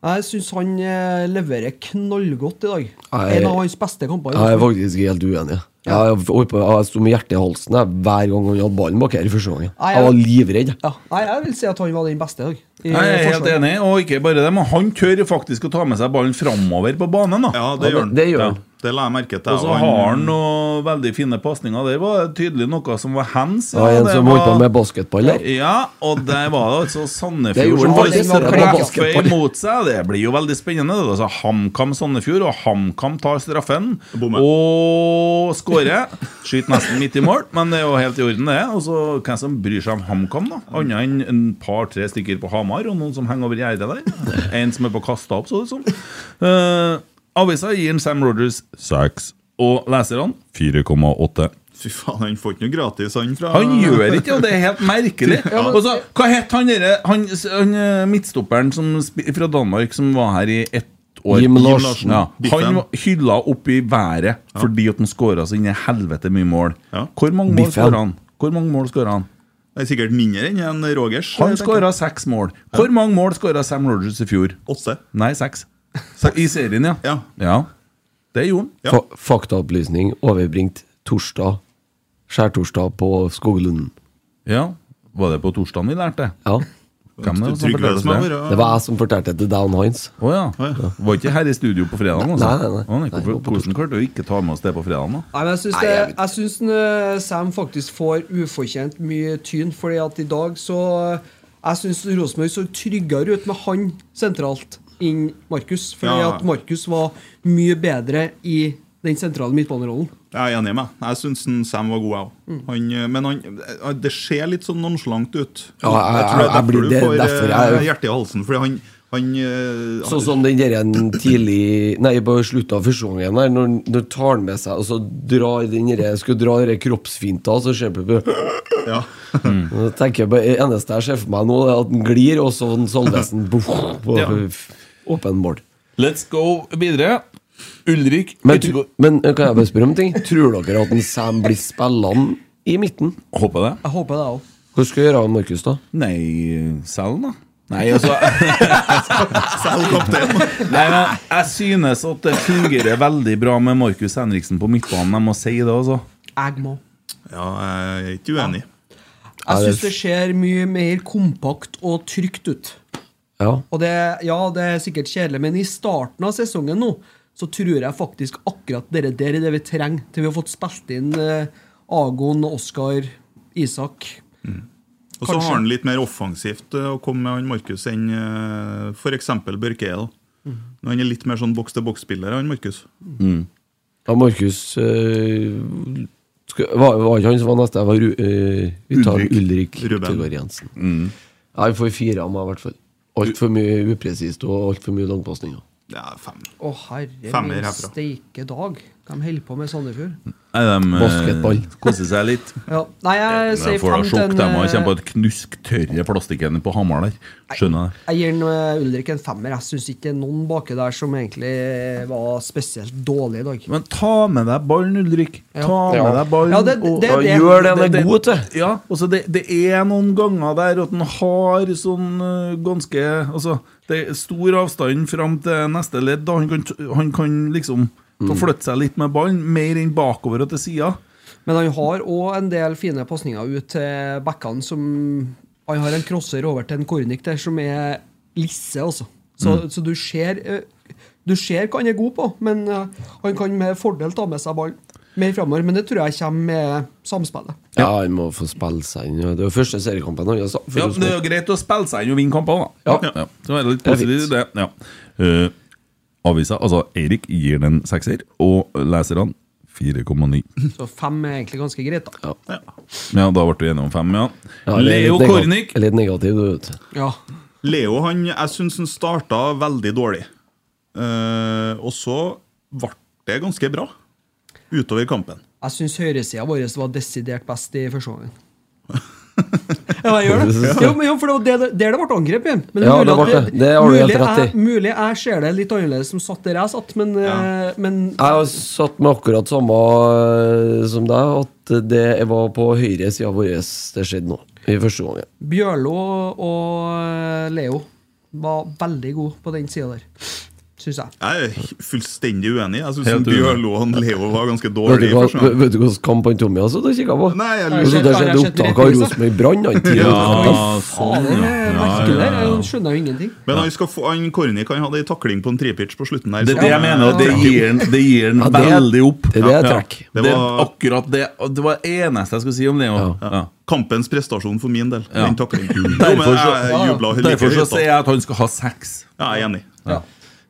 Jeg syns han eh, leverer knallgodt i dag. Jeg- en av hans beste kamper. Jeg er faktisk helt uenig. Jeg, jeg, holdt på- jeg sto med hjertet i halsen jeg, hver gang han hadde ballen bak her i første gangen. Nei, Jeg var jeg- livredd. Ja, nei, jeg vil si at han var den beste i dag. I Jeg er helt Eh, forsvaret. enig, og ikke bare det, men han tør faktisk å ta med seg ballen framover på banen. da Ja, det gjør han. Det, Ja, det la jeg merke til. Og så og har han noen veldig fine pasninger. Der var det tydelig noe som var hands. Det var en det som holdt på med basketball der. Ja, og der var det altså Det Sandefjord gjorde som han faktisk, faktisk det var klaffa basketball. imot seg. Det blir jo veldig spennende. Det er altså HamKam Sandefjord, og HamKam tar straffen og skårer. Skyter nesten midt i mål, men det er jo helt i orden, det. Og så hvem som bryr seg om HamKam, da? Annet enn en par-tre stykker på Hamar, og noen som henger over gjerdet der. En som er på kasta opp, så det som. Eh, avisa gir en Sam Rogers seks, og leserne 4,8. Fy faen, han får ikke noe gratis, han fra Han gjør ikke, og det er helt merkelig. Ja, men- Og så, hva het han derre han, han eh, midtstopperen som, spi- fra Danmark som var her i ett år? Jim Larsen. Ja. Han Biffen. var- hylla opp i været fordi at han skåra så inn i helvete mye mål. Hvor mange mål Biffen. skåra han? Hvor mange mål skåra han? Det er sikkert mindre enn en Rogers. tenker Han jeg. skåra seks mål. Hvor mange mål skåra Sam Rogers i fjor? Åtte. Nei, seks. I serien, ja. ja. Det gjorde han. Fa faktaopplysning overbringt torsdag. Skjærtorsdag på Skoglunden. Ja, Var det på torsdagen vi lærte det? Ja. Hvem er det som Trygve fortalte som har det? vært- Det var jeg som fortalte det til Dan Hines. Å ja. Var ikke her i studio på fredagen? Altså. Nei, nei, nei. Å, nei, hvorfor- Hvordan klarte du ikke ta med oss det på fredagen? da? Nei, men jeg syns, det, jeg syns den, eh, Sam faktisk får ufortjent mye tyn, fordi at i dag så eh, Jeg syns Rosenborg så tryggere ut med han sentralt enn Markus. Fordi Ja. at Markus var mye bedre i den sentrale midtbanerollen. Jeg er enig med deg. Jeg syns han Sam var god, jeg òg. Men han, eh, det ser litt sånn nonsjalant ut. Ja, jeg- tror det er jeg blir- derfor du det er får derfor eh, jeg- hjertet i halsen. Fordi han, han eh, Sånn som den der en tidlig Nei, på slutten av første gangen her, når når han tar den med seg og så drar den der, skal dra den der kroppsfinta, så ser jeg på Ja. Da tenker jeg på Det eneste jeg ser for meg nå, er at den glir, og så en Salvesen boff, på Ja. åpen mål. Let's go videre. Ulrik Men, tr- men eh, kan jeg bare spørre om en ting? Tror dere at en Sam blir spillende i midten? Håper det. Jeg håper det òg. Hva skal jeg gjøre med Markus, da? Nei, selg den, da. Nei, altså Selg kapteinen! Nei, men jeg synes at det fungerer veldig bra med Markus Henriksen på midtbanen. Jeg må si det, altså. Jeg må. Ja, jeg er ikke uenig. Jeg syns det ser mye mer kompakt og trygt ut. Ja. Og det, ja, det er sikkert kjedelig, men i starten av sesongen nå så tror jeg faktisk akkurat dere der er det vi trenger til vi har fått spilt inn eh, Agon, Oskar, Isak. Og så Kanskje. har han litt mer offensivt eh, å komme med han Markus enn eh, for eksempel Børkeie. da. Mhm. Men Han er litt mer sånn boks-til-boks-spiller, han Markus. Ja, Markus øh, skal- var, var ikke han som var neste? Jeg var Ru, øh, vi tar Ulrik. Ulrik Ruben. Tøgaard Jensen. Ja, Han får fire av meg, i hvert fall. Altfor mye upresist og altfor mye langpasninger. Ja, fem. Å, herre Femmer min herfra. steike dag. De holder på med Sandefjord. Nei, de eh, Basketball. koser seg litt. Ja. Nei, jeg De sier får da fem sjokk, til de en, òg. Kommer på eh, et knusktørre plastikken på Hamar der. Skjønner jeg. Jeg gir en, eh, Ulrik en femmer. Jeg syns ikke det er noen baki der som egentlig var spesielt dårlig i dag. Men ta med deg ballen, Ulrik. Ja. Ta med Ja. deg ballen. Ja, det- og- det- og det- det- det- til. Ja, og så det, det er noen ganger der at en har sånn eh, ganske Altså, det er stor avstand fram til neste ledd. Da han kan, t- han kan liksom få flytte seg litt med ballen, mer enn bakover og til sida. Men han har òg en del fine pasninger ut til backene som Han har en crosser over til en Kornik der som er lisse, altså. Så, Mm. så du ser eh, Du ser hva han er god på, men eh, han kan med fordel ta med seg ballen mer framover. Men det tror jeg kommer med samspillet. Ja, han må få spille seg inn. Det var første seriekampen hans. altså, for Ja, Rosenborg. men det er jo greit å spille seg inn og vinne kamper, da. Ja. Så er det litt Det er positivt, det. Ja. Eh, avisa, altså Eirik gir den sekser, og leserne 4,9. Så fem er egentlig ganske greit, da. Ja, da ble du enig om fem, ja. Ja, eller Leo litt nega- Kornik. eller Litt negativ, du vet. Ja. Leo han, jeg syns han starta veldig dårlig. Eh, og så ble det ganske bra utover kampen. Jeg syns høyresida vår var desidert best i første gangen. ja, jeg gjør det. Jo, men jo, for det var det- der det ble angrep igjen. Men Ja, mulig det at ble det. Det har du mulig helt rett jeg- Mulig jeg ser det litt annerledes som satt der jeg satt, men, eh, men Jeg har satt med akkurat samme øh, som deg, at det var på høyre sida vår det skjedde nå. I første gangen. Bjørlo og eh, Leo var veldig gode på den sida der, syns jeg. Jeg er fullstendig uenig. Jeg Helt syns uenig. Bjørlo og Leo var ganske Vet du dårlig. i hva- første omgang. vet du hvilken kamp han Tommy har sittet og kikka på? Nei, jeg Og lurer. så der skjedde Jeg har sett opptak av reprisen. Rosenborg Brann. han tidligere. Ja, sånn, Det ja. er merkelig der. Jeg skjønner jo ingenting. Men han, skal få, han Kornik han hadde en takling på en trepitch på slutten der. Det som- er det jeg mener, og det gir den, det gir den Ja, det er- veldig opp. det er det jeg Ja. trakk. Det var akkurat det og Det var det eneste jeg skulle si om Leo. Ja. Kampens prestasjon for min del. Ja. Den taklingen. Jo, men Derfor så, jeg jublet like derfor så høyt, da. sier jeg at han skal ha seks. Ja, jeg er enig.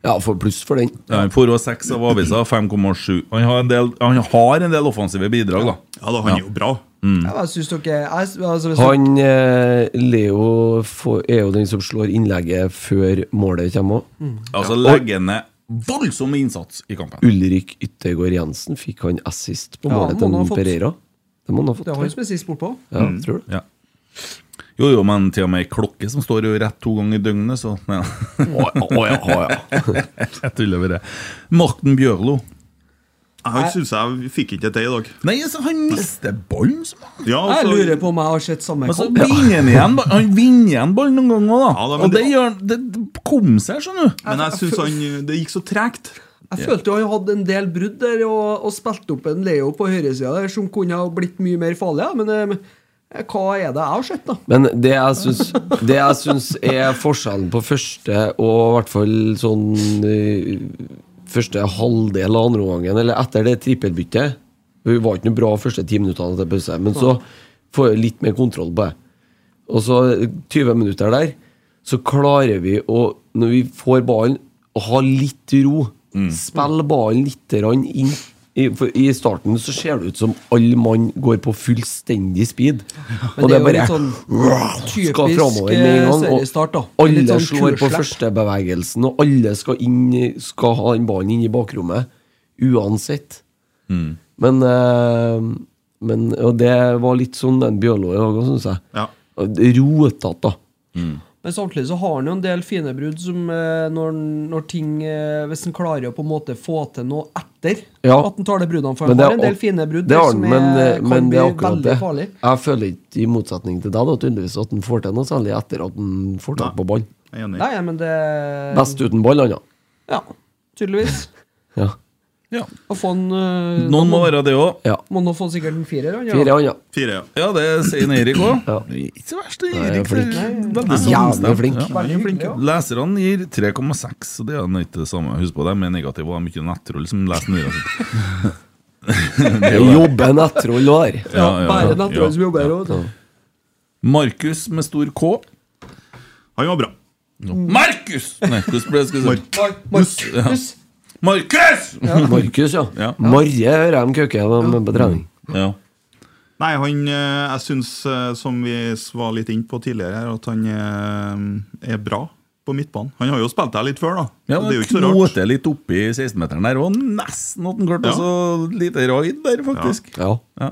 Ja, får pluss for den. Ja, Han får også seks av avisa, 5,7. Han, har en del- han har en del offensive bidrag, da. Ja, da, han er jo bra. Jeg syns dere jeg, altså, hvis dere- Han eh, Leo eh, får, er jo den som slår innlegget før målet kommer òg. Altså legger ned voldsom innsats i kampen. Ulrik Yttergård Jensen fikk han assist på Ja, målet det må til han ha Mon fått. Pereira. Det må han ha fått. Det er tror han jeg. som er sist bortpå. Ja, Mm. tror du? Ja. Jo, jo, men til og med ei klokke som står jo rett to ganger i døgnet, så Å ja, å ja. Jeg tuller med det. Morten Bjørlo. Han syns jeg fikk ikke til i dag. Nei, altså, han mister ballen som Ja, Jeg altså, lurer på om jeg har sett samme Men så kamp. Altså, vinner han igjen. ba- Han vinner igjen ballen noen ganger òg, da. Ja, da, men og det, det- gjør han Det det kom seg, skjønner du. men jeg syns han Det gikk så tregt. Jeg følte jo han hadde en del brudd der og, og spilte opp en Leo på høyresida der som kunne ha blitt mye mer farlig. ja, Men eh, Hva er det jeg har sett, da? Men det jeg syns, det jeg syns er forskjellen på første og i hvert fall sånn eh, Første halvdel av andre omgangen, eller etter det trippelbyttet Hun var ikke noe bra første ti minuttene etter pause, men så får jeg litt mer kontroll på det. Og så 20 minutter der, så klarer vi å, når vi får ballen, å ha litt ro. Mm. Spille ballen litt grann inn. I, for I starten så ser det ut som alle mann går på fullstendig speed. Men og det det er er jo bare litt sånn skal typisk, fremover med en gang. eh, seriestart, da. Og Litt alle sånn slår på kuleslepp. førstebevegelsen, og alle skal, inn, skal ha den ballen inn i bakrommet. Uansett. Mm. Men, eh, men Og det var litt sånn den Bjørlo i dag òg, syns jeg. Rotete, da. Mm. Men samtidig så har han jo en del fine brudd som eh, når, når ting eh, Hvis han klarer å på en måte få til noe etter Ja. at han tar det bruddene Men for han det har er en del ak- fine brudd det har som han, er- men, eh, kan men det er bli akkurat veldig det. farlig. Jeg føler ikke, i motsetning til deg, da, tydeligvis at han får til noe særlig etter at han får tak på ball. Nei, nei, men det Best uten ball, han, da. Ja, tydeligvis. Ja. Og få han eh, Noen må være det òg. Ja. Må nå få sikkert en firer, han. ja. Fire, ja. ja, det sier Eirik òg. Ikke så verst, det Nei, jeg er Eirik. flink. det er Nei, veldig ja. sånn Jævlig stemt. flink. Ja, Veldig flink, ja. Leserne gir 3,6, så det er jo ikke det samme. Husk på, de er negative, og det er mye nettroll som leser nyhetene. Jobber nettroll der. ja, ja. Markus med stor K. Han var bra. Mm. Markus! Nei, hvordan ble det skal jeg si? Markus! Ja. Markus! Markus, ja. Marje hører jeg om køker de er på trening. Nei, han, eh, jeg syns, som vi s- var litt inne på tidligere, her, at han eh, er bra på midtbanen. Han har jo spilt der litt før, da. Ja, Så det er jo ikke så rart. Knote litt oppi 16-meteren der, og nesten at han klarte Ja. ja. så lite raid der, faktisk. Ja. Ja.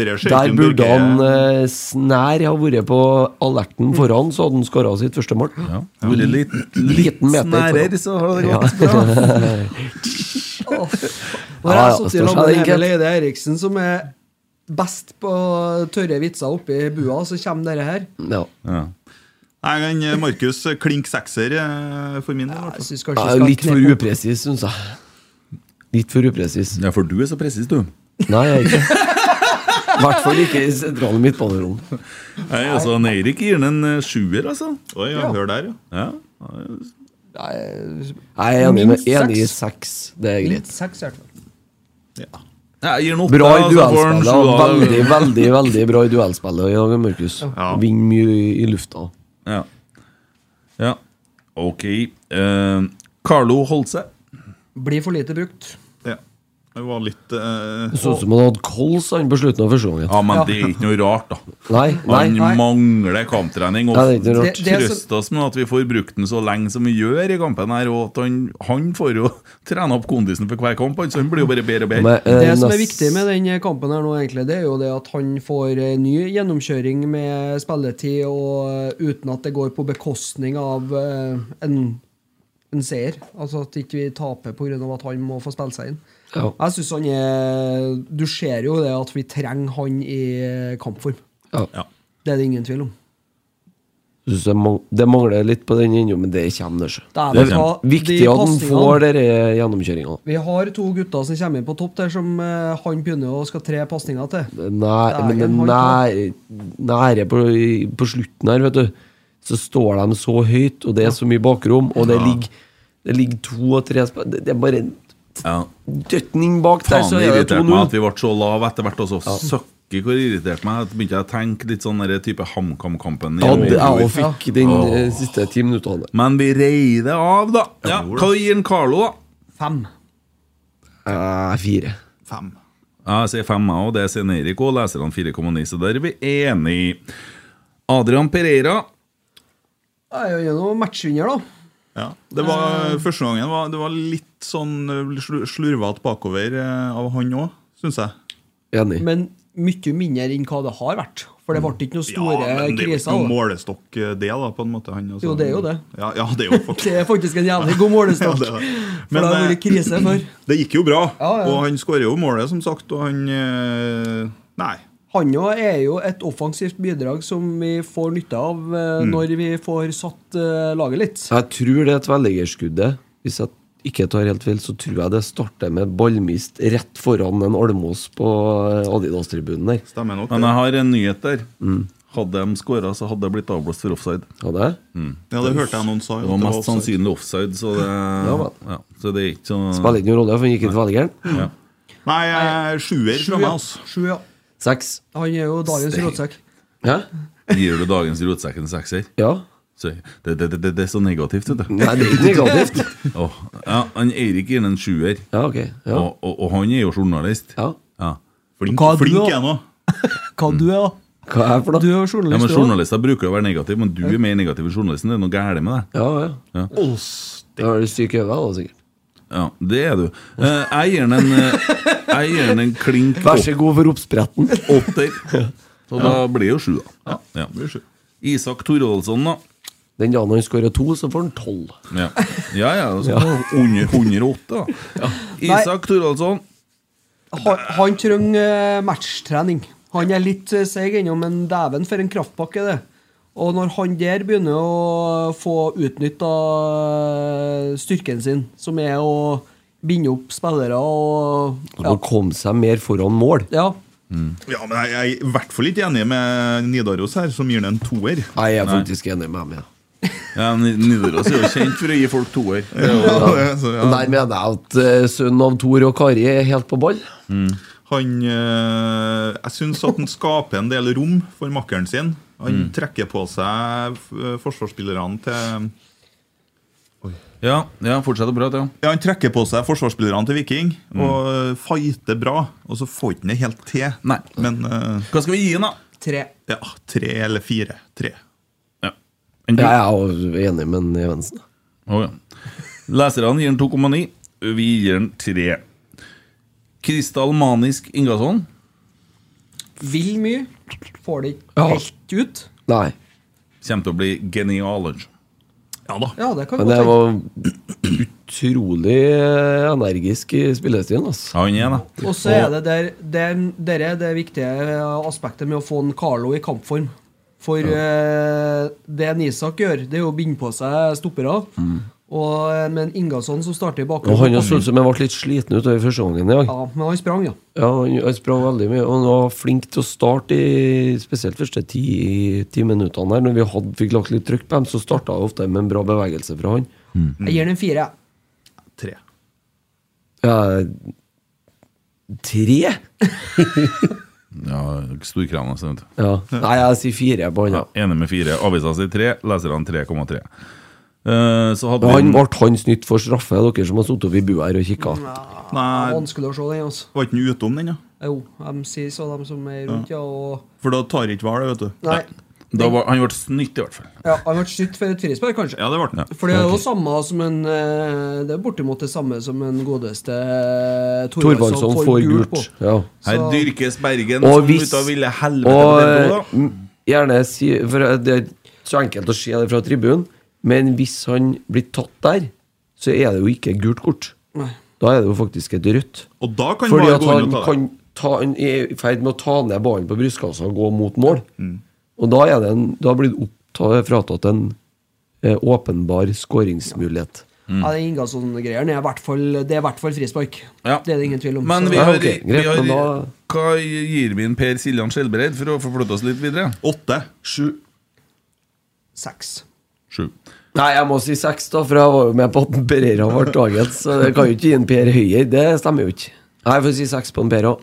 Der burde han eh, snær ha vært på Mm. alerten foran, så hadde han skåra sitt første mål. Mm. Ja. Vært litt, litt snærer, så hadde det gått ja. Nå har Ja, jeg ja, står sittet sammen med seg enkelt. Emil Eide Eriksen, som er best på tørre vitser oppi bua, så kommer dette her. Nei, han, eh, Markus eh, klink sekser eh, for min del. i hvert fall. Ja, litt for upresis, syns jeg. Litt for upresis. Ja, for du er så presis, du. Nei, jeg er ikke I hvert fall ikke i sentrale midtbanerom. Nei, altså, han Eirik gir den en eh, sjuer, altså. Oi, ja, Ja. hør der, ja. Jeg er enig, med, Minst seks. enig i seks. Det er greit. Seks, i hvert fall. Jeg gir den åtte. Bra i altså, får han duellspillet. sjua, da. Veldig, veldig veldig bra i duellspillet i dag, Markus. Vinner mye i, i lufta. Ja. ja. Ok. eh, Carlo Holse. Blir for lite brukt. Ja. Det var litt eh, Det så ut som han hadde kols han på slutten av første gangen. Ja, men det er ikke noe rart, da. Nei, nei. Han mangler kamptrening. Og Ja, det er ikke noe rart. Det- det er så- trøst oss med at vi får brukt den så lenge som vi gjør i kampen. her Og at han, han får jo trene opp kondisen for hver kamp, altså. han, så han blir jo bare bedre og bedre. Eh, Det som er viktig med den kampen her nå, egentlig, det er jo det at han får eh, ny gjennomkjøring med spilletid, og eh, uten at det går på bekostning av eh, en, en seier. Altså at ikke vi taper pga. at han må få spille seg inn. Ja. Jeg synes han er Du ser jo det at vi trenger han i eh, kampform. Ja. Det er det ingen tvil om. Jeg synes Det, mang- det mangler litt på den ennå, men det kommer. Det, Da er det det er bra. viktig De at han pasningene. får denne gjennomkjøringa. Vi har to gutter som kommer inn på topp der, som eh, han begynner å skal tre pasninger til. Nær, men det Dægen, nære, nære på, i- på slutten her, vet du, så står de så høyt, og det er så mye bakrom, og det Ja. ligger, det ligger to og tre sp- Det, det er bare Ja. døtning bak der, Faen, så det er det irriterte meg at 2-0. vi ble så lave etter hvert. Altså. Søkke hvor irriterte meg. Da begynte jeg å tenke litt sånn der type HamKam-kampen. i Ja, det- jeg Rosenborg. også fikk den Åh. eh, siste ti minuttene. Men vi reier det av, da. Ja, hva gir en Carlo, da? Fem. Eh, fire. Fem. Ja, jeg sier fem, jeg òg. Det sier Eirik òg. Leserne 4,9, så der er vi enige. Adrian Pereira. Det er jo noen matchvinner, da. Ja, det var Første gangen var det var litt sånn slurvete bakover eh, av han òg, syns jeg. Enig. Men mye mindre enn hva det har vært. For det ble ikke noen store ja, men det er jo ikke kriser. noe da. målestokk, eh, det, da, på en måte. Han, altså. Jo, det er jo det. Ja, ja det er jo faktisk Det er faktisk en jævlig god målestokk. Ja, det er. for det har eh, vært krise før. Det gikk jo bra, Ja, ja. og han skårer jo målet, som sagt, og han eh, Nei. Han jo er jo et offensivt bidrag som vi får nytte av eh, Mm. når vi får satt eh, laget litt. Så jeg tror det er tverrliggerskuddet. Hvis jeg ikke tar helt feil, så tror jeg det starter med ballmist rett foran en Almås på eh, Adidas-tribunen der. Stemmer nok. Men jeg har en nyhet der. Mm. Hadde de skåra, så hadde det blitt avblåst for offside. Hadde mm. Ja, det hørte jeg noen sa, at Det var det var mest offside. sannsynlig offside, så det, Ja, ja, vel. så det er ikke så Spiller ikke noen rolle, for han gikk inn veldig gæren. Ja. Nei, eh, sjuer fra meg, ja. altså. Sju, ja. Seks. Han er jo dagens Steg. rotsekk. Gir du dagens rotsekk en sekser? Ja. Så, det, det, det, det er så negativt, vet du. Nei, det er ikke negativt. Åh, ja, han Eirik gir den en sjuer, ja. og, og, og han er jo journalist. Ja. Flink, flink jeg nå. Hva du er, da? Hva er for noe? Du er Ja, jo men journalist, du også. Journalister bruker jo å være negative, men du er mer negativ enn journalisten. Det er noe gærent med deg. Ja, ja. Ja. Da har du syk øve, da, sikkert. Ja, det er du. Eh, Jeg gir den en, eh, jeg gir den en klink Vær så god for oppspretten. åtter. Så da blir det jo sju, da. Ja. Isak Thorvaldsson, da. Den dagen han skårer to, så får han tolv. Ja, ja. ja så, Under, 108, da. Isak Thorvaldsson. Han, han trenger eh, matchtrening. Han er litt eh, seig ennå, men dæven for en kraftpakke, det. Og når han der begynner å få utnytta styrken sin, som er å binde opp spillere og Han kom seg mer foran mål. Ja. Ja, men jeg, jeg er i hvert fall ikke enig med Nidaros her, som gir den en toer. Nei, jeg er Nei. faktisk enig med ham, ja. Ja, Nidaros er jo kjent for å gi folk toer. Ja, det, så, ja. Og Der mener jeg at eh, sønnen av Tor og Kari er helt på ball. Han eh, Jeg syns at han skaper en del rom for makkeren sin. Han Mm. trekker på seg eh, forsvarsspillerne til Ja, ja fortsett å prate, ja. Ja, Han trekker på seg forsvarsspillerne til Viking Mm. og eh, fighter bra. Og så får han ikke det helt til. Men eh, Hva skal vi gi han, da? Tre. Ja, tre eller fire. Tre. Enn du? Jeg er jo enig eh, med Evensen. Å, ja. Leserne gir den 2,9. Vi gir den 3. Kristal Manisk Ingasson. Vil mye. Får det ikke Ja. helt ut. Nei. Kommer til å bli genial. Ja da. Ja, det kan Men godt det hende. var utrolig eh, energisk i spillestilen. Altså. Ja, han er det. Og så er det der, der, der er det viktige eh, aspektet med å få en Carlo i kampform. For eh, det en Isak gjør, det er jo å binde på seg stoppere. Og, eh, men Ingasson som starter i Mm. Og han bakgrunnen så ut som han ble litt sliten utover første gangen i dag. Ja, men han sprang, ja. Ja, han, han sprang veldig mye, og han var flink til å starte i spesielt første ti, ti minuttene. her Når vi hadde, fikk lagt litt trykk på dem, så starta det ofte med en bra bevegelse fra han. Jeg gir den en fire. jeg. Tre. Ja, tre? Ja, Storkrana. sånn at- Ja. Nei, jeg sier fire på han. Ja. Enig med 4. Avisa sier 3, leserne 3,3. Eh, Så hadde Men Han vi ble hans nytt for straffe, dere som har sittet oppi bua her og kikka. Det er Nei, Vanskelig å se den, altså. var ikke han utom den, da? Jo, de sier så, de som er rundt, ja. Og For da tar ikke VAR det, vet du. Nei. da var, Han ble snytt, i hvert fall. Ja, han ble snytt for et frispark, kanskje. Ja, det ble den. For det er jo samme som en eh, Det er bortimot det samme som en godeste eh, Thorvaldsson får gult gult. på. Ja. Her Så- dyrkes Bergen Og som hvis ut av ville helvete. Og med blod, da. eh, m- gjerne si For eh, det er så enkelt å se det fra tribunen, men hvis han blir tatt der, så er det jo ikke gult kort. Nei. Da er det jo faktisk et rødt. Og da kan Fordi VAR at gå inn han, og ta det. kan ta, han er i ferd med å ta ned ballen på brystkassa og gå mot mål. Mm. Og da, er det en, da blir det oppta- fratatt en eh, åpenbar skåringsmulighet. Mm. Ja, det Ingasson-greiene er i hvert fall Det er i hvert fall frispark. Ja. Det er det ingen tvil om. Men Så- vi Ja, har, ok, greit, vi har men da- Hva gir vi en Per Siljan Skjelbreid for å forflytte oss litt videre? Åtte. Sju. Seks. Sju. Nei, jeg må si seks, da, for jeg var jo med på at Pereira ble dagens. Så jeg kan jo ikke gi en Per høyere. Det stemmer jo ikke. Nei, jeg får si seks på en Per òg.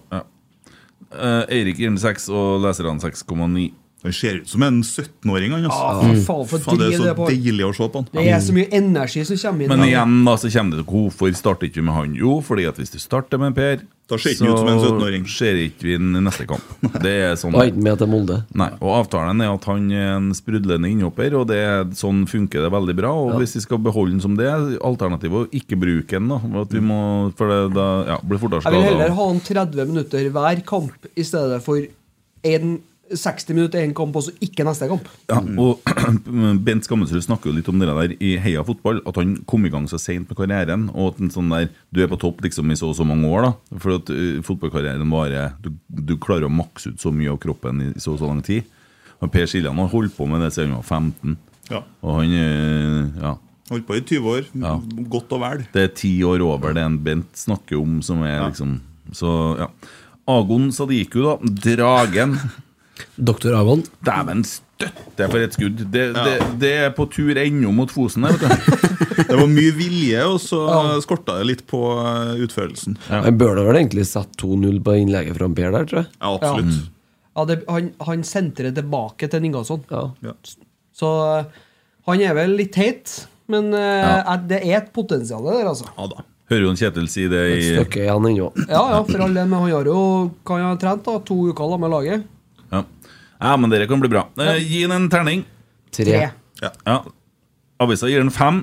Eh, Eirik gir den 6, og leserne 6,9. Han ser ut som en 17-åring, han. Ah, Altså. fy faen, for Faen, det er driv så det på. deilig å se på han. Det er så mye energi som kommer inn. Men igjen da, så kommer det til hvorfor starter ikke vi med han? Jo, fordi at hvis du starter med Per, Da ser ikke han ut som en 17-åring. ser ikke vi han i neste kamp. Det er sånn Da er ikke med til Molde. Nei, og Avtalen er at han er en sprudlende innhopper, og det, er- sånn funker det veldig bra. Og Hvis vi skal beholde den som det, er alternativet å ikke bruke den. da at vi må, For det da, ja, blir fortere Jeg vil heller skada. ha en 30 minutter hver kamp i stedet for en 60 minutter én kamp, og så ikke neste kamp. Ja, og Bent Skammelsrud snakker jo litt om det der i Heia fotball, at han kom i gang så seint med karrieren. Og at en sånn der, du er på topp liksom i så og så mange år. da For at eh, fotballkarrieren varer du, du klarer å makse ut så mye av kroppen i så og så lang tid. Og Per Siljan har holdt på med det siden han var 15. Ja. Og han eh, ja, Holdt på i 20 år. Godt og vel. Det er ti år over det en Bent snakker om, som er liksom Så, ja. Agon Sadiku, da. Dragen. Doktor Agon. Dæven støtte for et skudd! Det, det, det er på tur ennå mot Fosen der, vet du. Det var mye vilje, og så skorta det litt på eh, utførelsen. Men bør da vel egentlig sette 2-0 på innlegget fra Per der, tror jeg? Ja, absolutt. Ja, det, han, han sentrer tilbake til Ningasson. Så eh, han er vel litt teit, men eh, eh, det er et potensial der, altså. Ja da. Hører jo en Kjetil si det i Et stykke igjen ennå. Ja, ja, for all del, men han har jo kan ha trent da, to uker da med laget. Ja, ja men dere kan bli bra. Eh, gi den en terning. Tre. Ja. ja. Avisa gir den fem.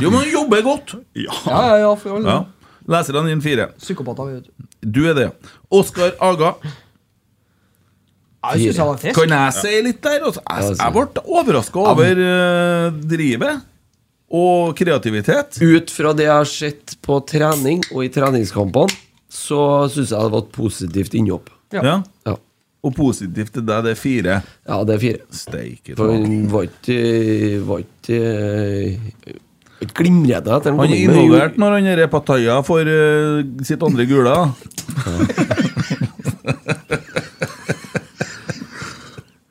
Jo, men han jobber godt! Ja, ja, ja, for all del. Ja. Leserne gir den fire. Psykopater, vet du. Du er det. Oskar Aga. Ja, jeg synes jeg var frisk. Kan jeg si litt der? Altså, jeg, jeg ble overraska over eh, drivet og kreativitet. Ut fra det jeg har sett på trening og i treningskampene, så syns jeg det var et positivt innhopp. Ja. Og positivt til deg, det er fire. Ja, det er fire. Steike For han var ikke Var ikke eh, ikke glimrende etter han Han kom er inn, men gjorde- involvert når han er Pataya for eh, sitt andre gule.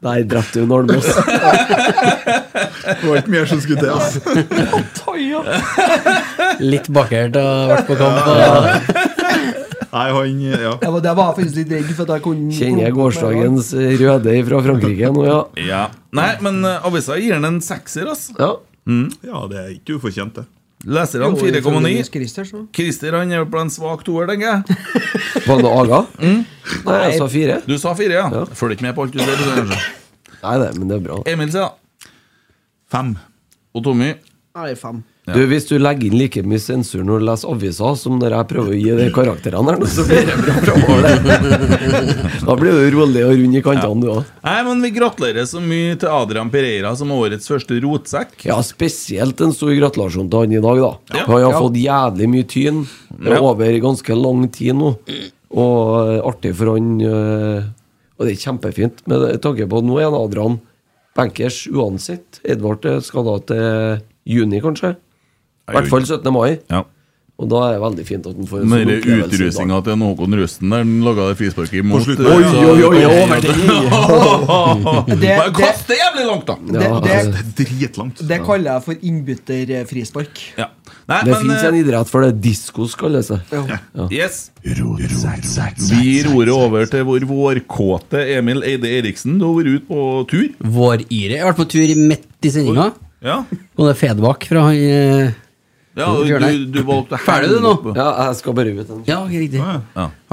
Nei, drepte jo Nordmås. Det var ikke mer som skulle til. ass. Litt bakert og vært på kamp. Og... Nei, han eh, Ja. Jeg var, der var jeg faktisk litt redd for at jeg kunne Kjenner jeg gårsdagens røde fra Frankrike nå, ja. Ja. Nei, men eh, avisa gir han en sekser, ass. Ja. Ja, det er ikke ufortjent, det. Leserne Jo, ifølge 4,9. Nils Christer, så. Christer han er på en svak toer, tenker jeg. Var det noe Aga? Nei, jeg sa fire. Du sa fire, ja. Følger ikke med på alt du ser. du ser kanskje. Nei, det, men det er bra. Emil sier da. Fem. Og Tommy. Nei, fem. Du, Hvis du legger inn like mye sensur når du leser aviser som når jeg prøver å gi de karakterene her, nå, så blir det bra framover. det. Da blir du rolig og rund i kantene, du òg. Nei, men Vi gratulerer så mye til Adrian Pereira som årets første rotsekk. Ja, spesielt en stor gratulasjon til han i dag, da. Ja. Han har Ja. fått jævlig mye tyn eh, Ja. over ganske lang tid nå. Og eh, artig for han eh, Og det er kjempefint, med tanke på at nå er han Adrian bankers uansett. Edvard eh, skal da til juni, kanskje? I hvert fall 17. mai. Ja. Og da er det veldig fint at han får sånn Med opplevelse i dag. utrusninga til Håkon Rusten der han laga det frisparket På imot slutten. eh, Oi, så- oi, oi, oi, over til- Det- Bare Kast det- det jævlig langt, da! Det, det, Det er dritlangt. det kaller jeg for innbytterfrispark. Ja. Nei, Det men, fins eh, en idrett for det. Disko skal det seg. Ja. Yes. Vi gir ordet over til vår vårkåte Emil Eide Eriksen. Du har vært ute på tur. Vår Ire. Jeg har vært på tur midt i sendinga. Ja, Og det er Fedbakk fra han eh, ja du, du valgte å Ferdig du henge nå? opp- Ja, jeg skal bare ut. en- Ja, ok, riktig. Ja.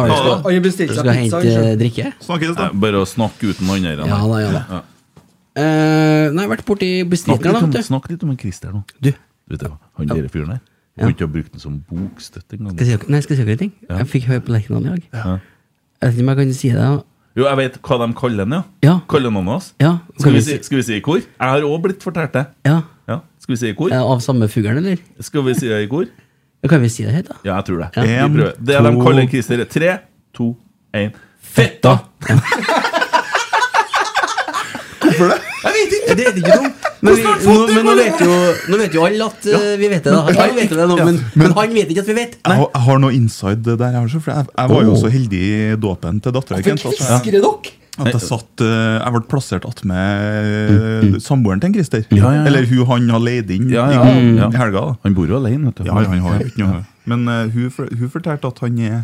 Har du skal, Han har bestilt du seg skal pizza. hente han eh, selv. drikke? Snakkes, Nei, da. Bare å snakke uten han der. Ja han. da, ja da. Ja. Eh, nei, jeg har vært borti Snakk litt, bestillingen, da, om, vet du. snakk litt om en Christer nå. Du, Du vet, det, han der fyren der. Du kunne ikke ha brukt den som bokstøtte skal engang. jeg si, nei, skal jeg si dere en ting? Jeg fikk høre på Lerkendal i dag. Jeg vet ikke om jeg kan si det. da. Jo, jeg vet hva de kaller den, ja. Ja. Kaller noen av oss. Ja, Skal kan vi vi si, skal vi si i kor? Jeg har òg blitt fortalt det. ja. Ja. Skal vi si i kor? Eh, Av samme fuglen, eller? Skal vi si det i kor? Ja, Kan vi si det helt, da? Ja, jeg tror det. Ja. Vi prøver. Det de En, kaller to- Christer. Tre, to, én Fetta! Jeg vet ikke! Det er ikke dumt. Men, vi, nå, men nå, vet jo, nå vet jo alle at eh, vi vet det. da Alle vet det nå, men, men han vet ikke at vi vet. Jeg har, jeg har noe inside det der. Jeg, har så, for jeg, jeg var jo så heldig i dåpen til dattera. Hvorfor kvisker det dere? At jeg satt eh, Jeg ble plassert attmed samboeren til en Christer. Mm, ja, ja. Eller hun han har leid inn Ja, ja, Mm. i ja. i helga. da Han bor jo alene, vet du. Ja, han har jo ikke noe Men eh, hun, for- hun fortalte at han er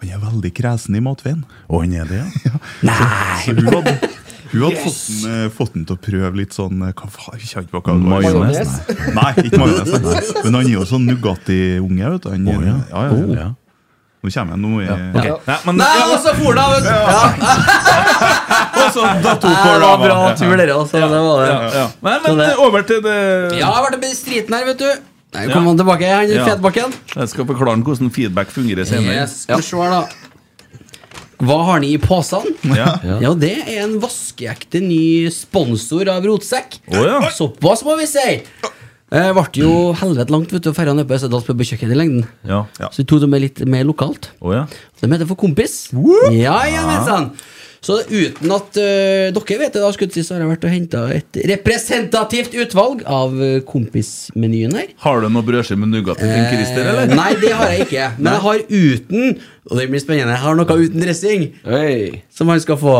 Han er veldig kresen i matveien. Og han er det, ja. Så hun hadde, hun hadde fått, den, eh, fått den til å prøve litt sånn eh, Hva faen, jeg kjenner ikke på hva det var. Majones. Nei, Nei, ikke majones. nei. Men han er jo sånn Nugatti-unge, vet du. Han, er- ja. Ja, ja, Oh. ja. Nå kommer jeg nå er- Ok. Nei, men Nei, altså, Fola! vet du. Og så dato Nei, Det var bra tur, dere. altså Det var det. Ja, ja. Nei, Så men eh, det- over til det Ja, jeg ble bestriten her, vet du. Nei, kom han tilbake, han Ja. fedbakken. Jeg skal forklare den hvordan feedback fungerer senere. Yes, skal vi se her, da. Hva har ni i posen? Ja. Ja, det er en vaskeekte ny sponsor av Rotsekk. Å, ja. Såpass må vi si! Eh, ble jo helvete langt vet du, å ferde ned på Østerdals pub og kjøkken i lengden. Ja. Ja. Så vi tok det med litt mer lokalt. Å, ja. De heter for Kompis. Ja, ja, men sånn. Så uten at eh, dere vet det, da, skulle jeg til å si, så har jeg vært og henta et representativt utvalg av eh, kompismenyen her. Har du noe brødskive med nougat til Finn Christer, eller? Eh, Nei, det har jeg ikke. Men jeg har uten Og det blir spennende. Jeg har noe uten dressing som han skal få.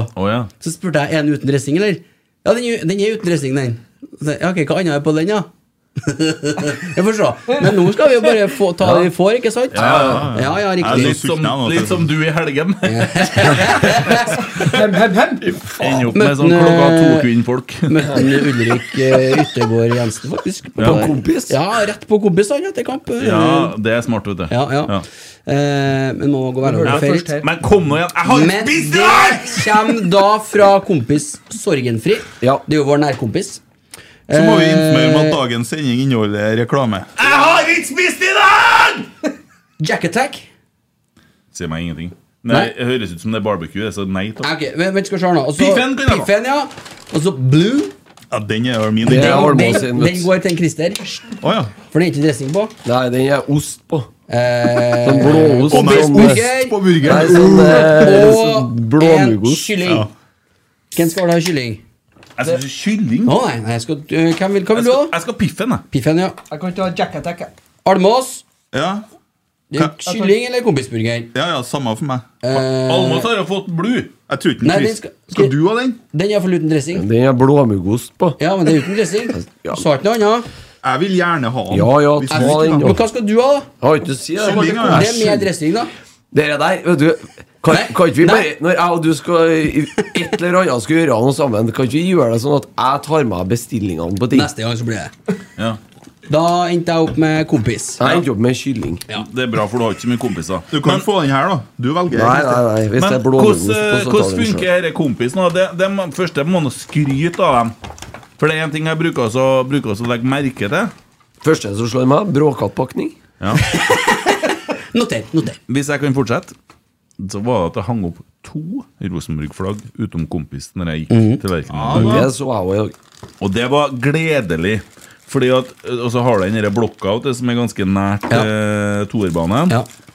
Så spurte jeg er den uten dressing, eller? Ja, den, er- den er uten dressing, den. Så, ja, ok, Hva annet er på den, da? jeg får se. Men nå skal vi jo bare få, ta det vi får, ikke sant? ja, ja, riktig. Litt som, litt som du i helgen. Ender opp med Møtte sånn han, klokka to eh, kvinnfolk. Møtte han Ulrik eh, Yttergård Jensen, faktisk. Ja. På kompis? Ja, rett på kompis han etter kamp. Ja, det er smart, vet du. Ja, ja. Eh, men må gå være Ja, over på først her. ferie. Men kom nå igjen! Jeg har Men det kommer da fra kompis Sorgenfri. Det er jo vår nærkompis. Så må vi informere om at Eh, dagens sending inneholder reklame. Jeg har ikke spist i dag! Jack Attack. Sier meg ingenting. Nei, Nei. Det høres ut som det er barbecue. Så nei takk. Ok, vent, vent, skal vi se her nå. Og så- Piffen kan jeg ha. Piffen, ja. Og så Blue. Ja, den er min. Den, Det er Almås den, sin, den vet du. går til en Christer. For den er ikke dressing på. Nei, den er ost på. Eh, Sånn blåost. Og sånn, burger. eh, Nei, sånn, eh, sånn og en blåmuggost. kylling. Ja. Hvem skal ha kylling? Jeg skal ikke kylling. Å, nei, nei, jeg skal, øh, hvem vil, hva vil du ha? Jeg skal piffen, jeg. Piffen, ja. Jeg kan ta Jack Attack. jeg. Almås. Ja. Kylling eller kompisburger? Ja, ja, samme for meg. Eh, Almås har jo fått blod. Jeg tror ikke Nei, den den skal, skal- skal du ha den? Den er for uten dressing. Den er blåmuggost på. Ja, men det er uten dressing. Sa ikke noe annet. Jeg vil gjerne ha den. Ja, ja, Hvis ta du ikke den, har da. Men hva skal du ha, da? Jeg har ikke å si det. Det er med dressing, da. Dere der, vet du kan, kan ikke vi nei. bare, Når jeg og du skal i- et eller annet skal gjøre noe sammen, kan ikke vi gjøre det sånn at jeg tar med bestillingene på ting? Neste gang så blir det. Ja. Da endte jeg opp med kompis. Jeg endte opp med kylling. Det er bra, for du har ikke så mye kompiser. Du kan få den her, da. Du velger. Nei, nei, nei. Hvis det Men er blåmuggost på, så tar hvordan jeg den selv. funker dette kompisen? da? Det, det må, først jeg må nå skryte av dem. For det er en ting jeg bruker også, bruker også å legge merke til. Første som slår meg, bråkattpakning. Ja. noter, noter. Hvis jeg kan fortsette, så var det at jeg hang opp to Rosenborg-flagg utom kompis når jeg gikk Mhm. til verken. i dag. Det så jeg òg. Og det var gledelig. Fordi at, eh, Og så har du den derre blokka vet du, som er ganske nært eh, toerbanen.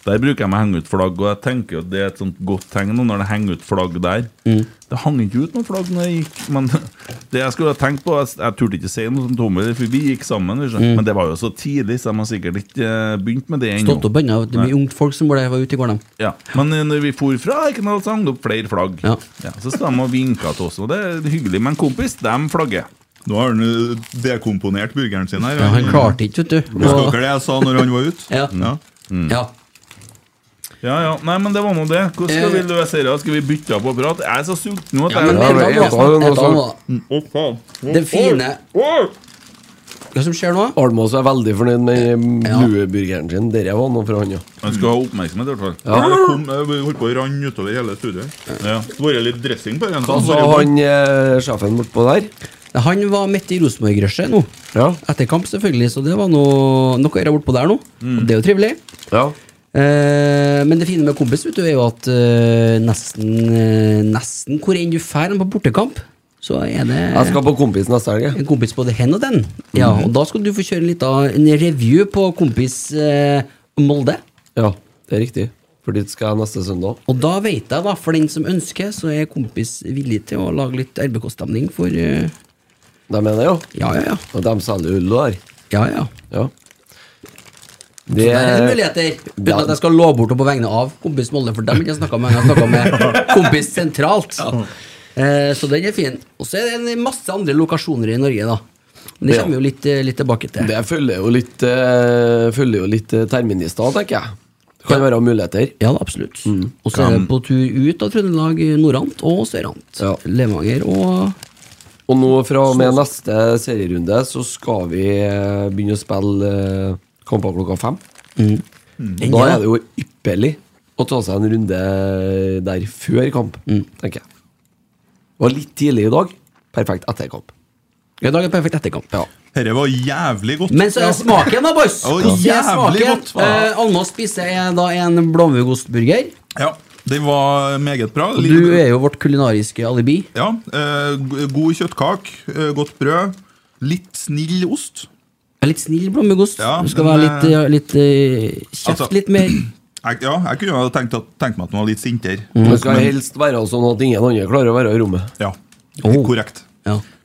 Der bruker jeg meg henge ut flagg, og jeg tenker at det er et sånt godt tegn nå, når det henger ut flagg der. Mhm. Det hang ikke ut noe flagg når jeg gikk, men det jeg skulle ha tenkt på Jeg, jeg turte ikke si noe som Tommy, for vi gikk sammen, ikke sant? Mm. men det var jo så tidlig, så de har sikkert ikke eh, begynt med det ennå. Stått opp ennå. Det er Nei. mye ungt folk som var der, var ute i går, dem. Ja, Men eh, når vi for fra Erkendal, så hang det opp flere flagg. Ja. så sto de og vinka til oss, og det er hyggelig med en kompis. De flagger. Nå har han ø, dekomponert burgeren sin her. Ja, han klarte ikke, vet du. Husker dere det jeg sa når han var ute? Ja. Ja. Ja, ja. Nei, men det var nå det. Hvordan skal vi løse det? Skal vi bytte opp og prate? Jeg er så sulten nå at Eh. Ja, men jeg et av dem, da. Et av dem, da. Mm. Det fine- Hva som skjer nå? Almås er veldig fornøyd med blueburgeren sin. Dere var noe fra han, ja. Han skal ha oppmerksomhet, i hvert Ja. fall. Det kom, ø, holdt på å ranne utover hele studioet. Ja. Det var litt dressing på den. Hva sa han eh, sjefen bortpå der? Han var midt i Rosenborg-rushet nå. Etter kamp, selvfølgelig, så det var noe, noe å gjøre bortpå der nå. Mm. Og det er jo trivelig. Eh, men det fine med kompis vet du, er jo at eh, nesten, eh, nesten hvor enn du drar på bortekamp, så er det Jeg skal Mhm. på kompis neste helg. En kompis både hen og den. Ja, og da skal du få kjøre litt av en review på kompis eh, Molde. Ja, det er riktig. For dit skal jeg neste søndag. Og da vet jeg, da, for den som ønsker, så er kompis villig til å lage litt RBK-stemning for eh, De mener jo. Ja, ja, ja. Og de selger ull der. Ja, ja. Det Så der er det muligheter. Uten at jeg skal love bort og på vegne av kompis Molde, for dem har jeg ikke snakka med. Jeg har snakket med kompis sentralt. Eh, så den er fin. Og så er det en masse andre lokasjoner i Norge, da. Men det Ja. kommer vi jo litt, eh, litt tilbake til. Det følger jo litt, eh, følger jo litt eh, terminlista, tenker jeg. Det kan være muligheter. Ja, absolutt. Mm. Og så er det på tur ut av Trøndelag, nordant og sørant. Levanger og Og nå fra og med neste serierunde så skal vi eh, begynne å spille eh, kamper klokka fem. Mhm. Da er det jo ypperlig å ta seg en runde der før kamp, Mm. tenker jeg. Det var litt tidlig i dag. Perfekt etter kamp. I dag er perfekt etterkamp. Ja. Dette var jævlig godt. Men så er smaken, da, boys! Ja, Så er jævlig smaken. godt. faen. Eh, Almås spiser jeg da en blåmuggostburger. Ja, den var meget bra. Og du er jo vårt kulinariske alibi. Ja, eh, go- god kjøttkak, eh, godt brød, litt snill ost. Jeg er litt snill blåmuggost. Ja, du skal men, være litt, eh, ja, litt eh, Kjeft altså- litt mer. Jeg, ja, jeg kunne jo tenkt, at, tenkt meg at han var litt sintere. Mm. Det skal Men- helst være sånn at ingen andre klarer å være i rommet. Ja, Oh. korrekt.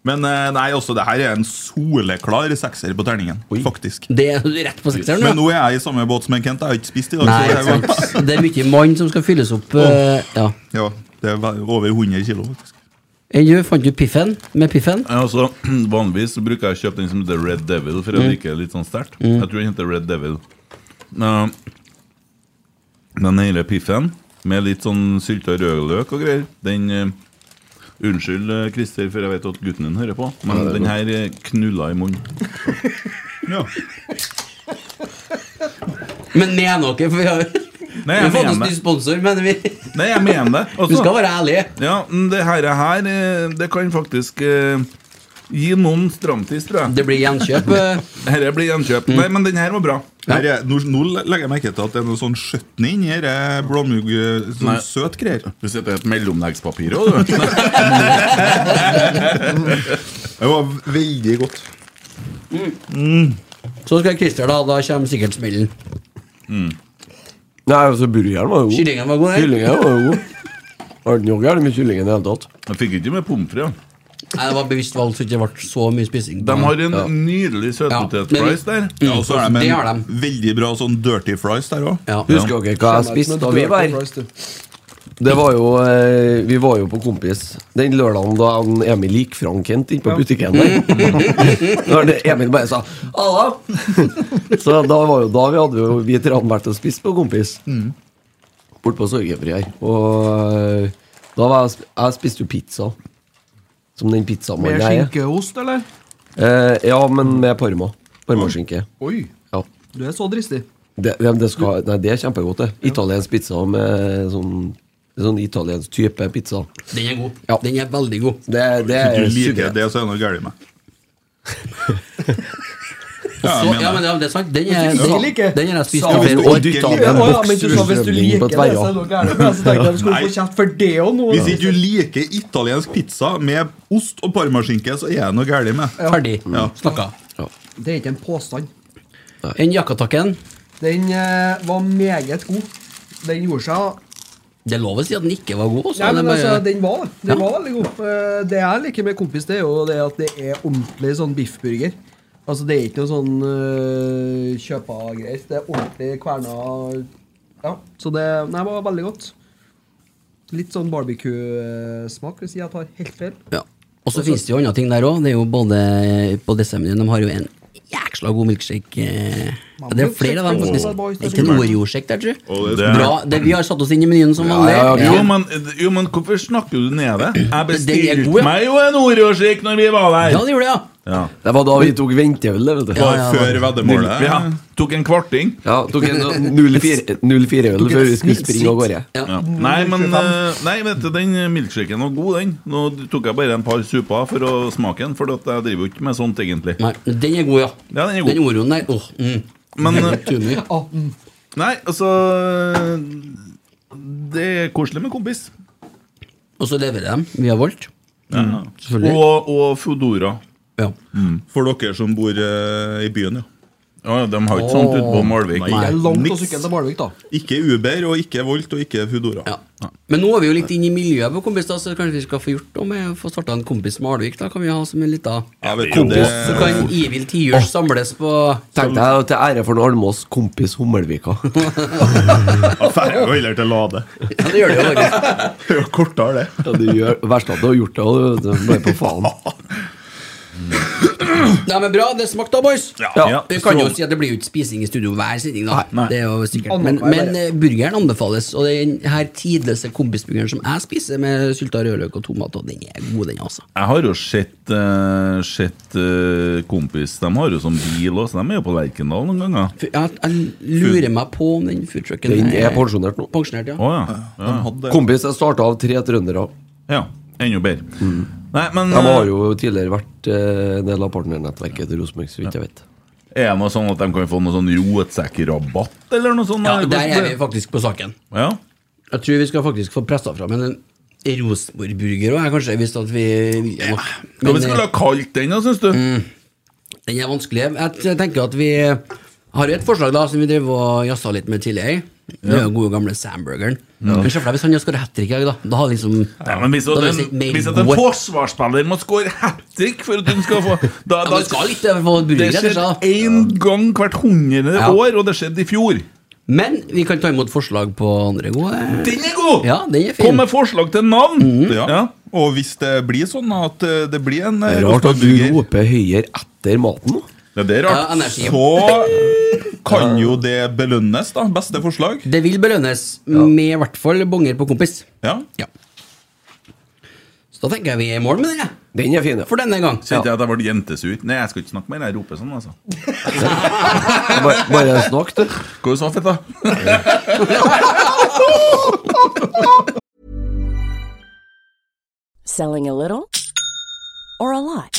Men eh, nei, også det her er en soleklar sekser på terningen, faktisk. Det er du rett på sekseren, Men da. nå er jeg i samme båt som en Kent. Jeg har ikke spist i dag. Nei, så det, ikke sant. Det er mye mann som skal fylles opp. eh, ja. ja, det er ve- over 100 kilo, faktisk. Enn du, fant du piffen med piffen? Ja, altså, Vanligvis så bruker jeg å kjøpe den som heter Red Devil, for jeg Mm. liker det litt sånn sterkt. Mm. Jeg tror den heter Red Devil. Uh, den hele piffen med litt sånn sylta rødløk og greier, den eh, Unnskyld, eh, Christer, for jeg vet at gutten din hører på, men Ja, det er den godt. her eh, knulla i munnen. Ja. Men mener dere, for vi har Nei, vi jeg har fått mener oss det. ny sponsor, mener vi. Nei, jeg mener det. Altså, Vi skal være ærlige. Ja, men det her, her eh, Det kan faktisk eh, gi noen stramtiss, tror jeg. Det blir gjenkjøp. eh. Dette blir gjenkjøp. Nei, men den her var bra. Her er, nå, nå legger jeg merke til at det er noe sånn skjøtten inni her. er Blåmugg eh, Nei. sånn søt greier. Du sitter i et mellomleggspapir òg, du. Det var veldig godt. Mm. Så skal Christer, da. Da kommer sikkert smellen. Nei, altså, burgeren var jo god. Kyllingen var god, den. Kyllingen var jo god. Var det noe gærent med kyllingen i det hele tatt? Jeg fikk ikke med pommes frites. Nei, Det var bevisst valg, så det ikke ble så mye spising. De har en Ja. nydelig søtpotet-fries Ja, men- der. Ja, og så er det Det med har en veldig bra sånn dirty fries der òg. Husker dere hva jeg spiste da vi var Det var jo eh, Vi var jo på Kompis den lørdagen da han Emil gikk fra han Kent inn på butikken Mm. der. Når det- Emil bare sa 'halla'. Så da var jo da vi hadde jo vi tre hadde vært og spist på Kompis. Mm. Bort på Sorgenfri her. Og eh, da var jeg sp- Jeg spiste jo pizza. Som den pizzamannen Med jeg er. skinkeost, eller? Eh, ja, men med parma. Parmaskinke. Oi, Ja. du er så dristig. Det, det, det, skal, nei, det er kjempegodt, det. Italiensk pizza med sånn, sånn italiensk type pizza. Den er god. Ja. Den er veldig god. Det, det Hvis er du liker suveren. det, så er det noe galt med Ja, så, jeg mener ja, det. men ja, det er sant. Den Hvis er, du ikke liker- den, den er jeg spist Sa over vi flere og år. dyttet Ikke av med en liker- boks Ja, men du sa hvis du rusleblink på Ikke et det, så er verre. det noe gærent altså, med, så tenkte jeg vi skulle få kjeft for det og nå. Altså, Hvis ikke du liker italiensk pizza med ost og parmaskinke, så er det noe galt med. Ferdig. Ja. Snakka. Det er ikke en påstand. Den jakkatakken Den eh, var meget god. Oh, Den gjorde seg Det er lov å si at den ikke var god. Også. Nei, men Den bare- altså, den var, den Ja. var veldig god. Eh, Det jeg liker med Kompis, det er jo det at det er ordentlig sånn biffburger. Altså, det er ikke noe sånn uh, kjøpa-greier. Det er ordentlig kverna Ja, så det Nei, det var veldig godt. Litt sånn barbecue-smak, hvis jeg tar helt feil. Ja. Og så finnes det jo andre ting der òg. Det er jo både på Desember De har jo en jæksla god milkshake. eh, Ja, det er flere av dem, faktisk. Det er ikke nordjordshake der, tror Å, jeg. det er- Bra. Det, vi har satt oss inn i menyen som vanlig. Jo, men, jo, men hvorfor snakker du ned det? Jeg Den er bestilte god, ja. meg jo en Oreo-shake når vi var der. Ja, det gjorde det, ja. Det var da vi tok venteøl, det, vet du. Bare før veddemålet. Ja. Tok en kvarting. Ja, tok en sånn 04-øl før vi skulle springe av gårde. Ja. Nei, men eh, nei, vet du, den milkshaken var god, den. Nå tok jeg bare en par supper for å smake den, for at jeg driver jo ikke med sånt, egentlig. Nei, men Den er god, ja. Ja, den er god. Den Oroen der. Åh, mm. Men, Den er eh, tumi. Å, mm. Nei, altså Det er koselig med kompis. Og så leverer de. Vi har valgt. Ja. Mm. Selvfølgelig. Og, og Foodora. Ja. Mm. For dere som bor eh, i byen, ja. Ja, ja, De har ikke sånt ute på Malvik. Det er langt å niks. sykle til Malvik, da. Ikke Uber, og ikke Volt, og ikke Foodora. Men nå er vi jo litt inn i miljøet på kompis, da, så kanskje vi skal få gjort noe med å få starta en kompis med Alvik. Da kan vi ha som en liten Ja, vet du, kompis. det- Så kan Ivil Tiurs samles på Tenkte jeg til ære for den Almås kompis Hummelvika. Ja, Drar jo heller til Lade. Ja, det gjør det jo faktisk. Det er jo kortere, det. Ja, du gjør verst at du har gjort det, og du- du- bare på faen. Nei, men bra. Det smakte da, boys. Ja. Vi kan jo si at det blir jo ikke spising i studio hver sending, da. Nei. Det er jo sikkert. Annet Men, hver, men eh, burgeren anbefales, og den her tidløse kompisburgeren som jeg spiser med sylta rødløk og tomat, og den er god, den, altså. Jeg har jo sett, eh, sett eh, kompis De har jo sånn bil også, så de er jo på Lerkendal noen ganger. For Jeg, jeg lurer meg på om den foodtrucken Den er pensjonert nå. Pensjonert, ja. Å ja. ja. Kompis jeg starta av tre trøndere. ja. Enda bedre. Nei, men De har eh, jo tidligere vært eh, en del av partnernettverket til Rosenborg, så vidt jeg vet. er det noe sånn at de kan få noe sånn rotsekkerabatt eller noe sånt? ja. eller Der hvordan er det- vi faktisk på saken. Ja. Jeg tror vi skal faktisk få pressa fram en Rosenborg-burger òg, kanskje, hvis at vi vil nok. Hva Men, vi skulle eh, ha kalt den, da, syns du? Den er vanskelig. Jeg t- tenker at vi Har jo et forslag da som vi drev og jazza litt med tidligere. Det er jo gode gamle Samburgeren. Ja. Men se for deg hvis han hadde skåret hat trick i dag, da. Da hadde liksom Ja, men hvis, da at hadde vi sett en, mer hvis at en gode- forsvarsspiller må score hat trick for at hun skal få da, Ja, men skal litt eh, få brygge, Det rett og skjer slett, én gang hvert hundrede Ja. år, og det skjedde i fjor. Men vi kan ta imot forslag på andre gode. Den er god! Ja, den er fin. Mm. Kom med forslag til navn! Ja. Og hvis det blir sånn at eh, det blir en Det er rart at du roper høyere etter maten. Ja, det er Ja, rart. energi. Så kan jo det belønnes, da. Beste forslag. Det vil belønnes med i hvert fall bonger på kompis. Ja. Så da tenker jeg vi er i mål med den, jeg. Den er fin, For denne gang. Kjente jeg at jeg ble jentesur. Nei, jeg skal ikke snakke mer. Jeg roper sånn, altså. Bare, bare snakk, du. Går det så fett, da? Selling a little or a lot?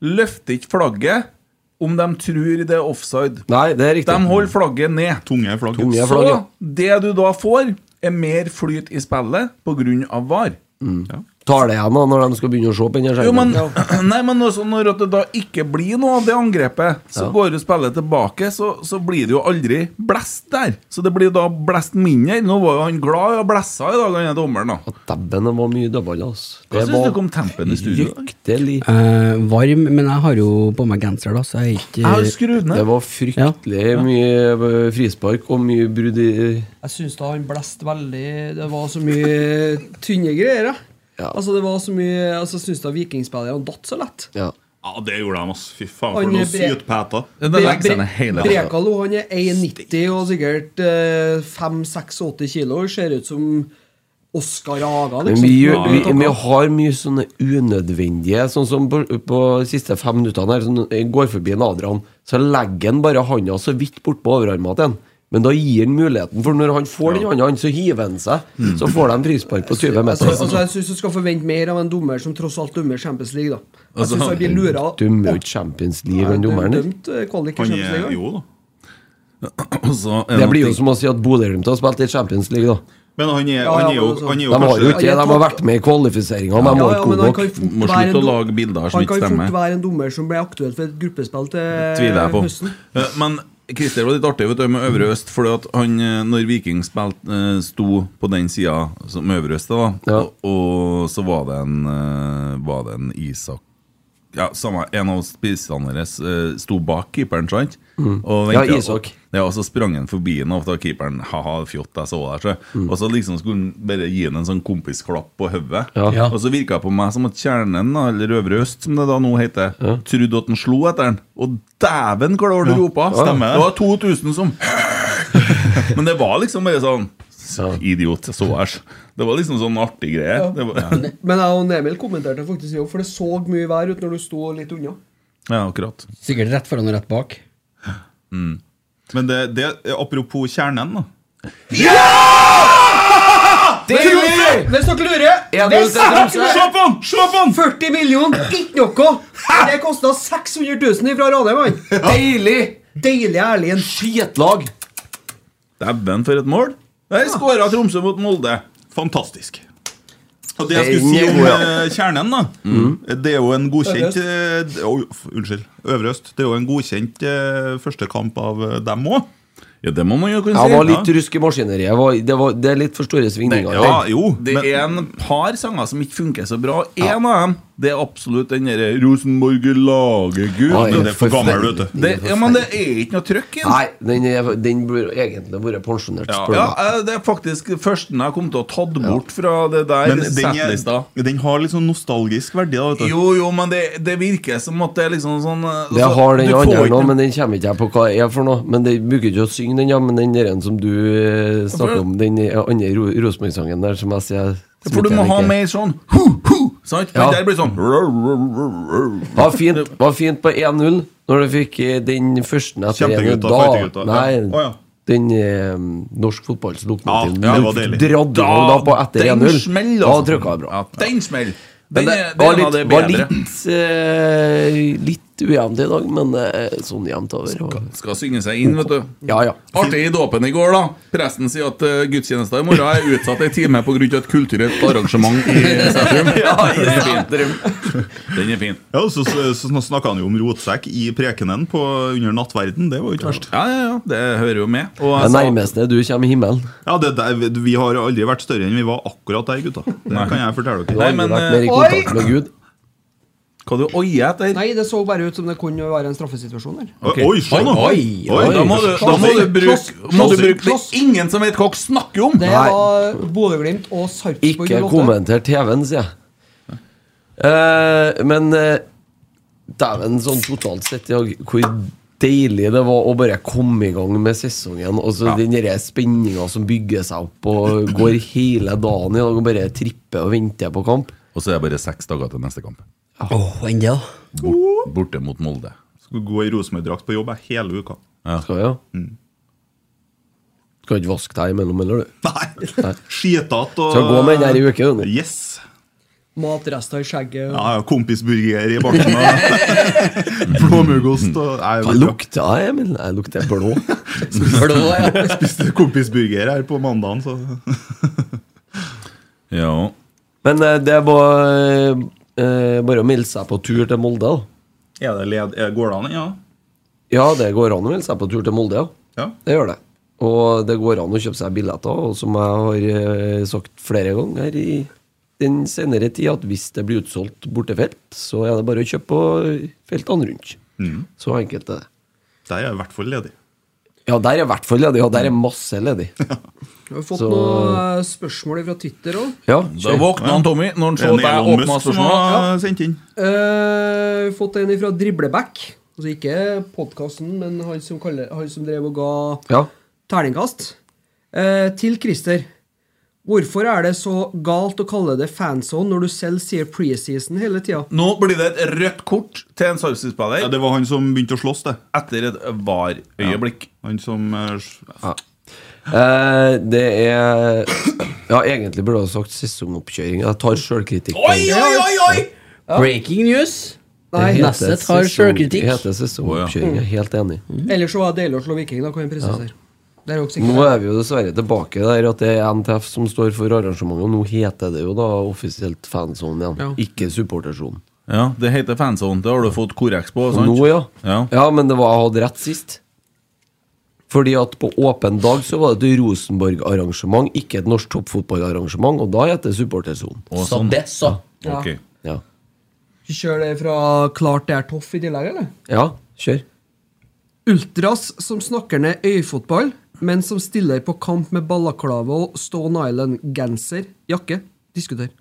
løfter ikke flagget om de tror det er offside. Nei, det er riktig. De holder flagget ned. Tunge er flagget. Tunge er Så flagget. det du da får, er mer flyt i spillet pga. var. Tar det igjen da når de skal begynne å se på den her Jo, men, skjermen? nei, men også når at det da ikke blir noe av det angrepet, så Ja. går jo spillet tilbake, så, så blir det jo aldri blest der. Så det blir da blest mindre. Nå var jo han glad i å blessa i dag, han er dommeren, da. Dæven, det var mye dødball, altså. Hva syns dere om tempen i studio? fryktelig Eh, varm, men jeg har jo på meg genser, da, så jeg er ikke Det var fryktelig mye eh, frispark og mye brudd i Jeg syns da han blåste veldig Det var så mye tynne greier. da. Altså, det var så mye altså, Jeg syns da vikingspillerne datt så lett. Ja. det gjorde de, ass. Fy faen, Han for noen bre- sytpeter. Bre- Bre- Brekalo han er 1,90 og sikkert eh, 5-86 kilo. Ser ut som Oskar Haga, Men liksom. vi, gjør- vi, vi har mye sånne unødvendige Sånn som på, på siste fem minuttene her, sånn, jeg går forbi en Adrian, så legger han bare handa så vidt bortpå overarmen til han. Men da gir han muligheten, for når han får den andre, hånden, så hiver han seg. Så får de frispark på 20 Altså, meter. altså, jeg syns du skal forvente mer av en dommer som tross alt dømmer Champions League. da Altså, Jeg syns han blir lura. Dømmer jo ikke Champions League, han dommeren. der. Dømt eh, kvalik i Champions League. da. Det blir jo som å si at Bodø-Glimt har spilt i Champions League, da. Men han er, Ja, han ja, er jo, men altså, så- han er jo De har jo kanskje- ikke det, de har vært med i kvalifiseringa, de Ja, har ja, ikke men god han nok. kan fort Må være en slutte å dom- lage bilder som Han ikke kan stemmer. fort være en dommer som ble aktuell for et gruppespill til tviler jeg på. høsten. Eh, Men Christer var litt artig vet du, med Øvre Øst. Fordi at han, eh, når Viking spilt, eh, sto på den sida som Øvre Øst, da, og, og så var det en, eh, var det en Isak ja, samme, En av spissene deres eh, sto bak keeperen, sant? Mm. Og Ja, ventet- Isak. Ja, og så sprang han forbi den, og da keeperen Haha, fjott, jeg så deg. Mm. sjø." Og så liksom skulle han bare gi han en sånn kompisklapp på hodet. Ja. Ja. Og så virka det på meg som at kjernen, da, eller Øvre Øst, som det da nå heter, trodde at han slo etter den. Og dæven, hvor det var det Ja. ropa! Stemmer. Det var 2000 som Men det var liksom bare sånn Idiot, jeg så æsj. Det var liksom sånn artig greie. Det var, Men jeg og Emil kommenterte faktisk i år, for det så mye vær ut når du sto litt unna. ja, akkurat. Sikkert rett foran og rett bak. Men det, det apropos kjernen, da. Det er lurer! Hvis dere lurer hvis- Se på han! Se på han! 40 millioner, ikke noe! Det kosta 600 000 fra Ranheim, han. Deilig! Deilig Erlend. Skitlag. Dæven, for et mål. Der skåra Tromsø mot Molde. Fantastisk. Og det jeg skulle si om eh, kjernen, da Mm. Det er jo en godkjent Øverøst. eh, d- oi, f- Unnskyld. Øvre øst. Det er jo en godkjent eh, første kamp av eh, dem òg. Ja, det må man jo Jeg var litt rusk i maskineriet. Jeg var- Det, var- det er litt for store svingninger. Ja, her. jo, det er en par sanger som ikke funker så bra. En av dem det er absolutt den derre 'Rosenborg lager gull'. Ja, det er for gammel, vet du. Det, ja, men det er ikke noe trøkk i den. Nei, den, er, den burde egentlig vært pensjonert, Ja, spør du meg. eh, det er faktisk førsten jeg kom til å ha tatt bort fra det der Men den, settlista. er, den har litt sånn nostalgisk verdi. da vet du. Jo, jo, men det, det virker som at det er liksom sånn eh, Det altså, har den du får andre ikke nå, noe- men den kommer ikke jeg på hva er for noe. Men det bruker ikke å synge den, ja, men den der en som du eh, snakker om, den eh, andre Ro- Rosenborg-sangen der, som jeg sier som For du ikke må jeg ha liker. mer sånn hu, hu, sant? Ja. Men der blir det sånn Var fint, var fint på 1-0 når du fikk eh, den første etter 1-0. Kjempegutta, Da, fightegutta, ja. nei, Å, ja. den eh, norsk fotballs lokomotiv Ja, det var den deilig. Dradde Da- jo da på etter den 1-0. smell, Da altså. trykka det bra. Den smell! Men Den det er, var den av litt, det var bedre. litt, eh, litt ujevnt i dag, men eh, sånn jevnt over. og- Skal synge seg inn, vet du. Ja, ja. Artig i dåpen i går, da. Presten sier at uh, gudstjenesten i morgen er utsatt en time pga. et kulturelt arrangement i sentrum. Ja, i Den er fin. Den er fin. Ja, og så, så, så snakka han jo om rotsekk i prekenen på, under nattverden. Det var jo ikke verst. Ja, ja, ja, det hører jo med. Og Det jeg sa- nærmeste du kommer i himmelen. ja, det der, vi- Vi har aldri vært større enn vi var akkurat der, gutta. Det kan jeg fortelle dere. Du har aldri vært mer i kontakt med Gud. Hva du oier etter? Nei, det så bare ut som det kunne være en straffesituasjon der. Ok. Oi, se nå. Oi, sånn, oi, Da må du, da må du bruke må du bruke Det er ingen som vet hva dere snakker om! Det var Bodø-Glimt og Sarpsborg Ikke 08. kommenter TV-en, sier jeg. Eh, men eh, dæven, sånn totalt sett i dag, hvor deilig det var å bare komme i gang med sesongen. Og så den derre spenninga som bygger seg opp og går hele dagen i dag og bare tripper og venter på kamp. Og så er det bare seks dager til neste kamp. Åh, enda. Bort, borte mot Molde. Skal gå i Rosenborg-drakt på jobb jeg, hele uka. Mm. Skal jo. Skal ikke vaske deg imellom, eller du? Nei. Skitete og Skal gå med den her i uke, du. nå. Yes. Matrester i skjegget. Ja, ja, Kompisburger i bakken og blåmuggost og Nei, Hva lukta jeg, Emil? Jeg lukter blå. Blå, ja. Spiste kompisburger her på mandagen, så Ja. Men eh, det var eh, bare å melde seg på tur til Molde, da. Er det led... er- Går det an, ja? Ja, det går an å melde seg på tur til Molde, ja. Det gjør det. Og det går an å kjøpe seg billetter, og som jeg har eh, sagt flere ganger her i den senere tid, at hvis det blir utsolgt bortefelt, så er det bare å kjøpe på feltene rundt. Så enkelt er det. Der er jeg i hvert fall ledig. Ja, der er i hvert fall ledig, og der er masse ledig. Vi har fått Så- noen eh, spørsmål fra Twitter òg. Ja, Da våkna han Tommy når han så En deg Elon åpna Musk som spørsmålet. har sendt inn. Eh, fått en fra Dribleback. Altså ikke podkasten, men han som, kaller, han som drev og ga Ja. terningkast. Eh, til Christer. Hvorfor er det så galt å kalle det fanzone når du selv sier preseason hele tida? Nå blir det et rødt kort til en sarpsborg Ja, det var han som begynte å slåss, det. Etter et var-øyeblikk. Han som eh, s- Eh, det er Ja, egentlig burde jeg ha sagt sesongoppkjøring. Jeg tar sjølkritikk. på Oi, den. oi, oi, oi! Breaking news. Nei. Det heter Nesset sesong- har selvkritikk. Det heter sånn- sesongoppkjøring. Jeg er helt enig. Ellers så var det deilig å slå Viking. da kan jeg presisere. Det er jo Nå sikkert. er vi jo dessverre tilbake der at det er NTF som står for arrangementet, og nå heter det jo da offisielt fansonen igjen, ikke supportersonen. Ja, det heter fanzone. Det har du fått korreks på. sant? Nå, ja. ja. men det var jeg hadde rett sist. Fordi at på åpen dag så var det et Rosenborg-arrangement, ikke et norsk toppfotballarrangement, og da heter det supportersonen. Så det, så. Ja. Ok. Ja. Kjør det fra Klart det er toff i tillegg, eller? ja, kjør. Ultras som snakker ned øyfotball, men som stiller på kamp med ballaklava og Stone Island-genser, jakke. Diskuter.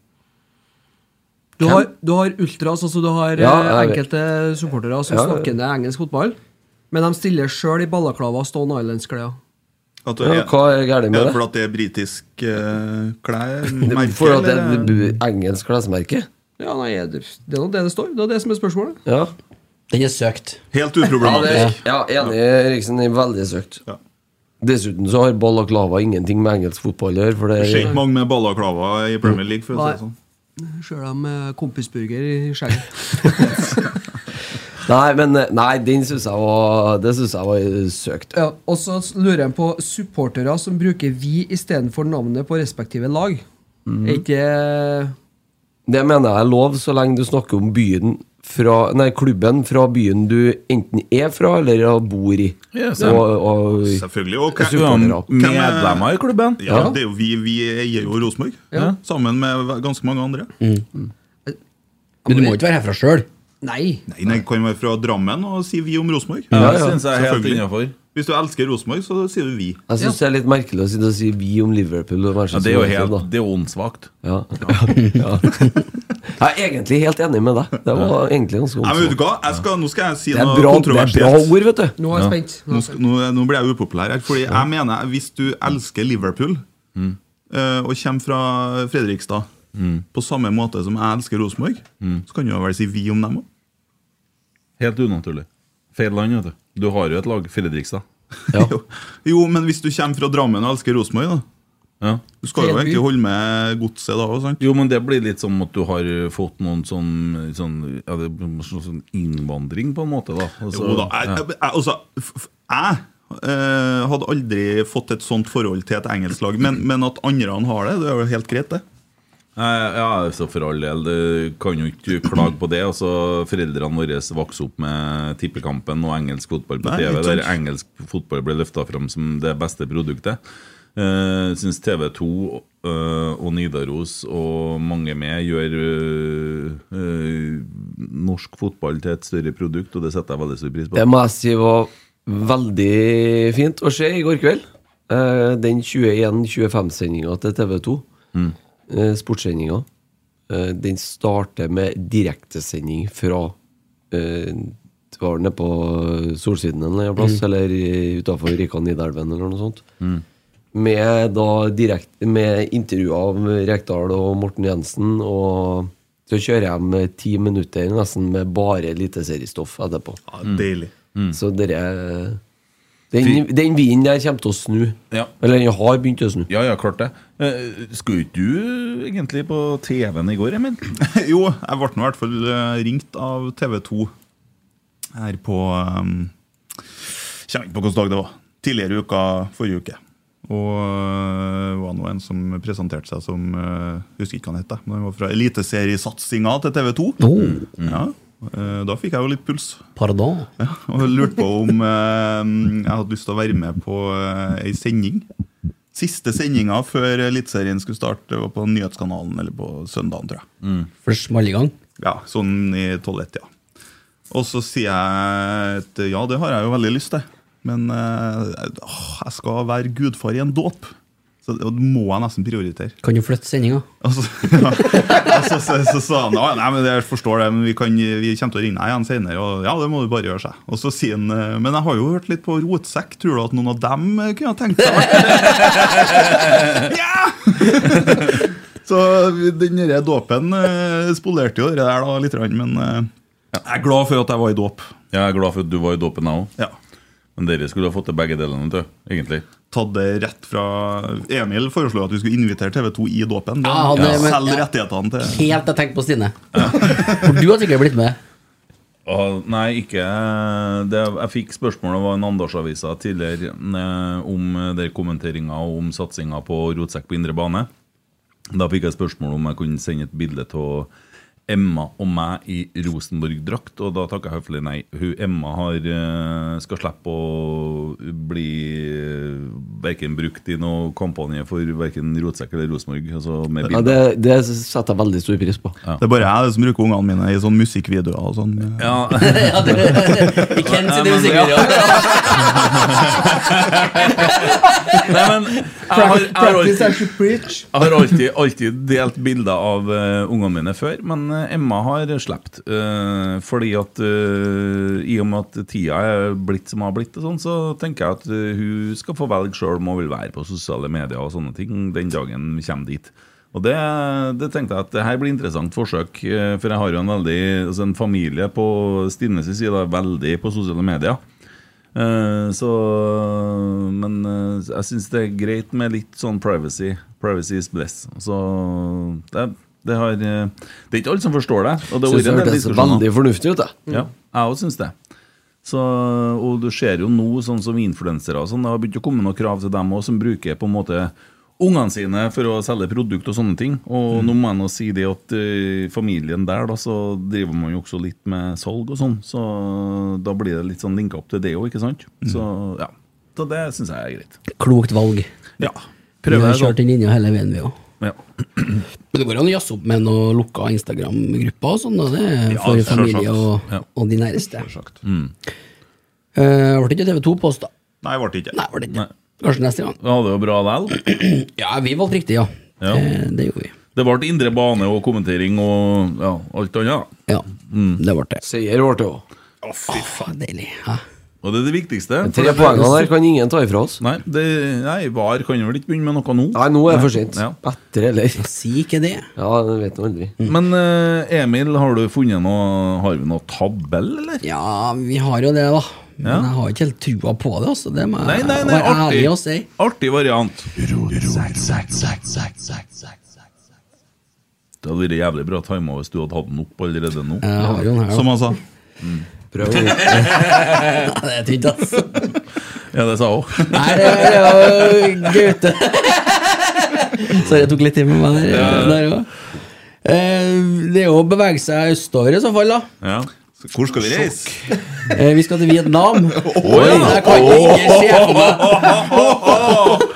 Du Hvem? har, du har ultras, altså du har Ja, eh, jeg vet. enkelte supportere som Ja, ja. snakker ned engelsk fotball, men de stiller sjøl i ballaklava og Stone Islands-klær. at det Ja, hva er gærent med det? Er det fordi at det er britisk eh, klær? Det- merke, For at det eller? er bu- engelsk klesmerke? Ja, nei, det det er nå det det står. Det er det som er spørsmålet. Ja. Den er søkt. Helt uproblematisk. Ja, det- ja enig, Eriksen. er Veldig søkt. Dessuten så har balaklava ingenting med engelsk fotball å gjøre. For det Det skjer ikke mange med ballaklava i Premier League. For å si det sånn Sjøl om kompisburger i skjegget. Nei, men eh, Nei, den syns jeg var Det syns jeg var eh, søkt. Ja, og så lurer jeg på supportere som bruker 'vi' istedenfor navnet på respektive lag. Mhm. Er ikke Det mener jeg er lov så lenge du snakker om byen fra, nei, klubben fra byen du enten er fra eller bor i. Yes, og, og, Selvfølgelig. Og hvem- supportere. hvem er- Ja, Ja. det er jo vi, vi eier jo Rosenborg, Ja. sammen med ganske mange andre. Men du må ikke være herfra sjøl. Nei. Nei, nei, kan være fra Drammen og si vi om Rosenborg. Ja, Ja, det ja. synes jeg er helt Selvfølgelig. innenfor. Hvis du elsker Rosenborg, så sier du vi. Jeg syns det er litt merkelig å sitte og si vi om Liverpool. Og Ja, det er jo helt- Det er åndssvakt. Ja. Ja. Jeg er egentlig helt enig med deg. Det var egentlig ganske Nei, men vet du åndssvakt. hva? Jeg skal, nå skal jeg si Det er noe bra- det er bra kontroversielt. ord, vet du. Nå er jeg Ja. spent. Nå er jeg Nå, skal- nå, nå blir jeg upopulær her. Fordi jeg mener hvis du elsker Liverpool Mm. eh, og kommer fra Fredrikstad på samme måte som jeg elsker Rosenborg, Mm. så kan du jo vel si vi om dem òg. Helt unaturlig. Feil land, vet du. Du har jo et lag, Fredrikstad. jo, jo, men hvis du kommer fra Drammen og elsker Rosenborg, da Du skal jo Feil by. egentlig holde med godset da sånn. òg, sant? Jo, men det blir litt som at du har fått noen sånn, sånn, ja, det blir sånn, sånn innvandring, på en måte. da. Altså, Jo da, jeg, ja. jeg, jeg, altså, f- f- jeg eh, hadde aldri fått et sånt forhold til et engelsk lag, men, men at andre har det, det er jo helt greit, det. Nei, Ja, altså for all del, du kan jo ikke klage på det. Altså, Foreldrene våre vokste opp med tippekampen og engelsk fotball på Nei, TV, ikke sant. der engelsk fotball ble løfta fram som det beste produktet. Uh, Syns TV 2 eh, og Nidaros og mange med gjør eh, eh, norsk fotball til et større produkt, og det setter jeg veldig stor pris på. Det må jeg si var veldig fint å se i går kveld. Eh, Den 21-25-sendinga til TV2. Mm. eh, Sportssendinga. eh, Den starter med direktesending fra eh, det Var nede på Solsiden en eller annen plass, Mm. eller utafor Rikkan Nidelven, eller noe sånt. Mm. Med, da direkt, med intervju av Rekdal og Morten Jensen. Og så kjører jeg med ti minutter nesten med bare eliteseriestoff etterpå. deilig. Så dere eh, den, den vinen der kommer til å snu. Eller den har begynt å snu. Ja, ja, klart det. Uh, Skulle ikke du egentlig på TV-en i går, Emil? jo, jeg ble nå i hvert fall eh, ringt av TV 2 her på um, Kjenner ikke på hvilken dag det var. Tidligere i uka, forrige uke. Og eh, det var nå en som presenterte seg som eh, Husker ikke hva han het, jeg, men han var fra eliteseriesatsinga til TV 2. Ja, eh, da fikk jeg jo litt puls. Pardon? Ja, og jeg lurte på om eh, jeg hadde lyst til å være med på eh, ei sending. Siste sendinga før Eliteserien skulle starte, var på Nyhetskanalen eller på søndagen, tror jeg. For det small i gang. Ja, sånn i toalett, ja. Og så sier jeg at ja, det har jeg jo veldig lyst til, men eh, åh, jeg skal være gudfar i en dåp. Så det det må jeg nesten prioritere. Kan jo flytte sendinga. Altså, ja. altså, så, så sa han «Ja, nei, men jeg forstår det, men vi, kan, vi kommer til å ringe deg igjen senere. Og ja, det må du bare gjøre seg. Og så sier han «Eh, men jeg har jo hørt litt på rotsekk, tror du at noen av dem eh, kunne ha tenkt seg det?» Ja! Så vi- den der dåpen eh, spolerte jo det der da litt, grann, men eh, jeg er glad for at jeg var i dåp. Ja, jeg er glad for at du var i dåpen, jeg òg. Ja. Men dere skulle ha fått til begge delene, vet du, egentlig. Tatt det rett fra Emil foreslo at vi skulle invitere TV2 i dåpen. Da Ja, det- men- Selg ja. rettighetene til Helt jeg tenkte på Stine. For du hadde sikkert blitt med. Å, nei, ikke det, Jeg fikk spørsmål det var en Andalsavisa tidligere eh, om der kommenteringa og om satsinga på rotsekk på indre bane. Da fikk jeg spørsmål om jeg kunne sende et bilde av Emma og meg i Rosenborg-drakt, og da takka jeg høflig nei. Hun Emma har, eh, skal slippe å bli eh, verken brukt i noen kampanje for verken rotsekk eller Rosenborg. Altså med Ja, bilder. det, det setter jeg veldig stor pris på. Det er bare jeg som bruker ungene mine i sånn musikkvideoer og sånn. Ja. I Ken sine musikkvideoer. Nei, men jeg har, jeg har Practice as alltid, you preach. jeg har alltid, alltid delt bilder av eh, ungene mine før, men eh, Emma har sluppet. eh, fordi at eh, i og med at tida er blitt som har blitt, og sånn, så tenker jeg at eh, hun skal få velge sjøl om hun vil være på sosiale medier og sånne ting den dagen vi kommer dit. Og det, det tenkte jeg at det her blir interessant forsøk, eh, for jeg har jo en veldig altså en familie på Stines side er veldig på sosiale medier. Eh, Så Men eh, jeg syns det er greit med litt sånn privacy. Privacy is bliss. Så det, er- Det, har, eh, det er ikke alle som forstår det. Og det Synes har vært en det del hørtes diskusjoner. veldig fornuftig ut, da. Ja, jeg òg syns det. Så, og du ser jo nå, sånn som influensere og sånn, det har begynt å komme noen krav til dem òg, som bruker på en måte ungene sine for å selge produkt og sånne ting. Og nå må jeg nå si det at eh, familien der, da, så driver man jo også litt med salg og sånn. Så da blir det litt sånn linka opp til det òg, ikke sant? Så ja. Så det syns jeg er greit. Klokt valg. Ja. Vi Prøver har jeg sånn. kjørt den linja hele veien, vi òg. Ja. Men det går an å jazze opp med noen lukka Instagram-grupper og sånn, da. Det er Ja, for selvsagt. familie og, Ja. og de nærmeste. Mm. Eh, ble det ikke TV2-post, da? Nei, ble det ikke. Nei, ble det ikke. Kanskje neste gang. Vi hadde jo bra likevel. ja, vi valgte riktig, ja. Eh, ja. Det, gjorde vi. Det ble indre bane og kommentering og ja, alt annet. Ja, Mm. det ble det. Seier ble det òg. Å, fy faen. Deilig. Og det er det viktigste. De tre poengene der kan ingen ta ifra oss. Nei, det, nei VAR kan vel ikke begynne med noe nå? Nei, nå er det for sent. Ja. Etter eller Si ikke det. Ja, det vet man aldri. Men eh, Emil, har du funnet noe Har vi noe tabell, eller? Ja, vi har jo det, da. Men Ja. jeg har ikke helt trua på det, altså. Det må jeg Nei, nei, nei, være artig, ærlig og si. artig variant. Det hadde vært jævlig bra tima hvis du hadde hatt den opp allerede nå. Jeg har jo den her, da. Som han sa. Mm. Prøv å- Det er tynt, altså. Ja, det sa hun. Nei, det er jo Gaute. Sorry, jeg tok litt tid med meg der. der også. Eh, Det er jo å bevege seg østover i så fall, da. Ja. Så hvor skal vi reise? Eh, Vi skal til Vietnam. Oi, Oi, jeg kan ikke se for meg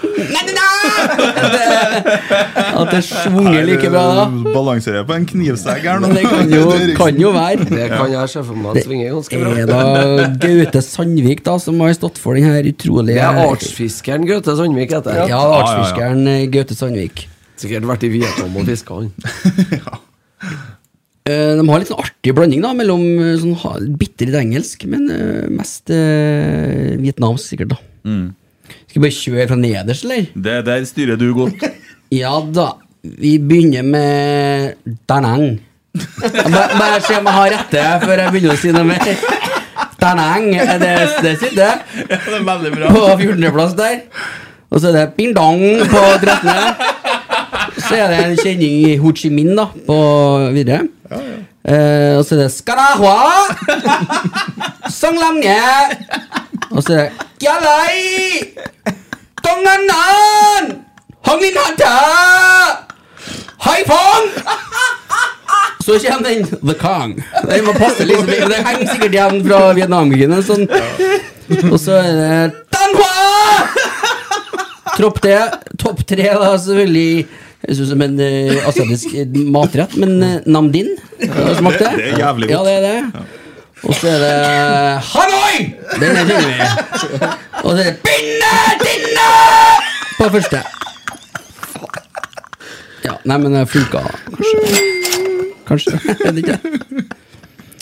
at det svunger like bra da. Eh, Balanserer jeg på en knivsegg her nå. Men det kan jo, er kan jo være. Det kan jeg se for meg at svinger ganske bra. Det er da Gaute Sandvik da som har stått for den her utrolige Det er artsfiskeren Gaute Sandvik heter. Ja, artsfiskeren eh, Gaute Sandvik. Sikkert vært i Vietnam og fiska, han. Eh, De har litt sånn artig blanding da mellom eh, sånn ha- bitte litt engelsk, men eh, mest eh, vietnamsk, sikkert. da Mm. Skal vi bare kjøre fra nederst, eller? Det der styrer du godt. Ja da. Vi begynner med Danang. Jeg må- Bare se om jeg har rette før jeg begynner å si noe mer. Danang, det, det sitter. Ja, det er veldig bra. På 14.-plass der. Og så er det Ping Dong på 13. Så er det en kjenning i Ho Chi Minh da, på videre. Eh, og så er det Skarahua, Song Lange, og så er det Gyalai, Dong Annan, Hong Lin Hata, Haifong. Så kommer den The Kong. Den må passe liksom, men den henger sikkert igjen fra Vietnamkrigen. og Sånn. Og så er det Dan Hua! Tropp tre, topp tre da, selvfølgelig Høres ut som en eh, asiatisk eh, matrett, men eh, namdin. Har du smakt det? Det er jævlig godt. Ja, det er det. Og så er det eh, Hanoi! Den er kjenner vi. Og så er det Binne Dinne! På første. Ja, nei, men det funka, kanskje. Kanskje. Jeg vet ikke.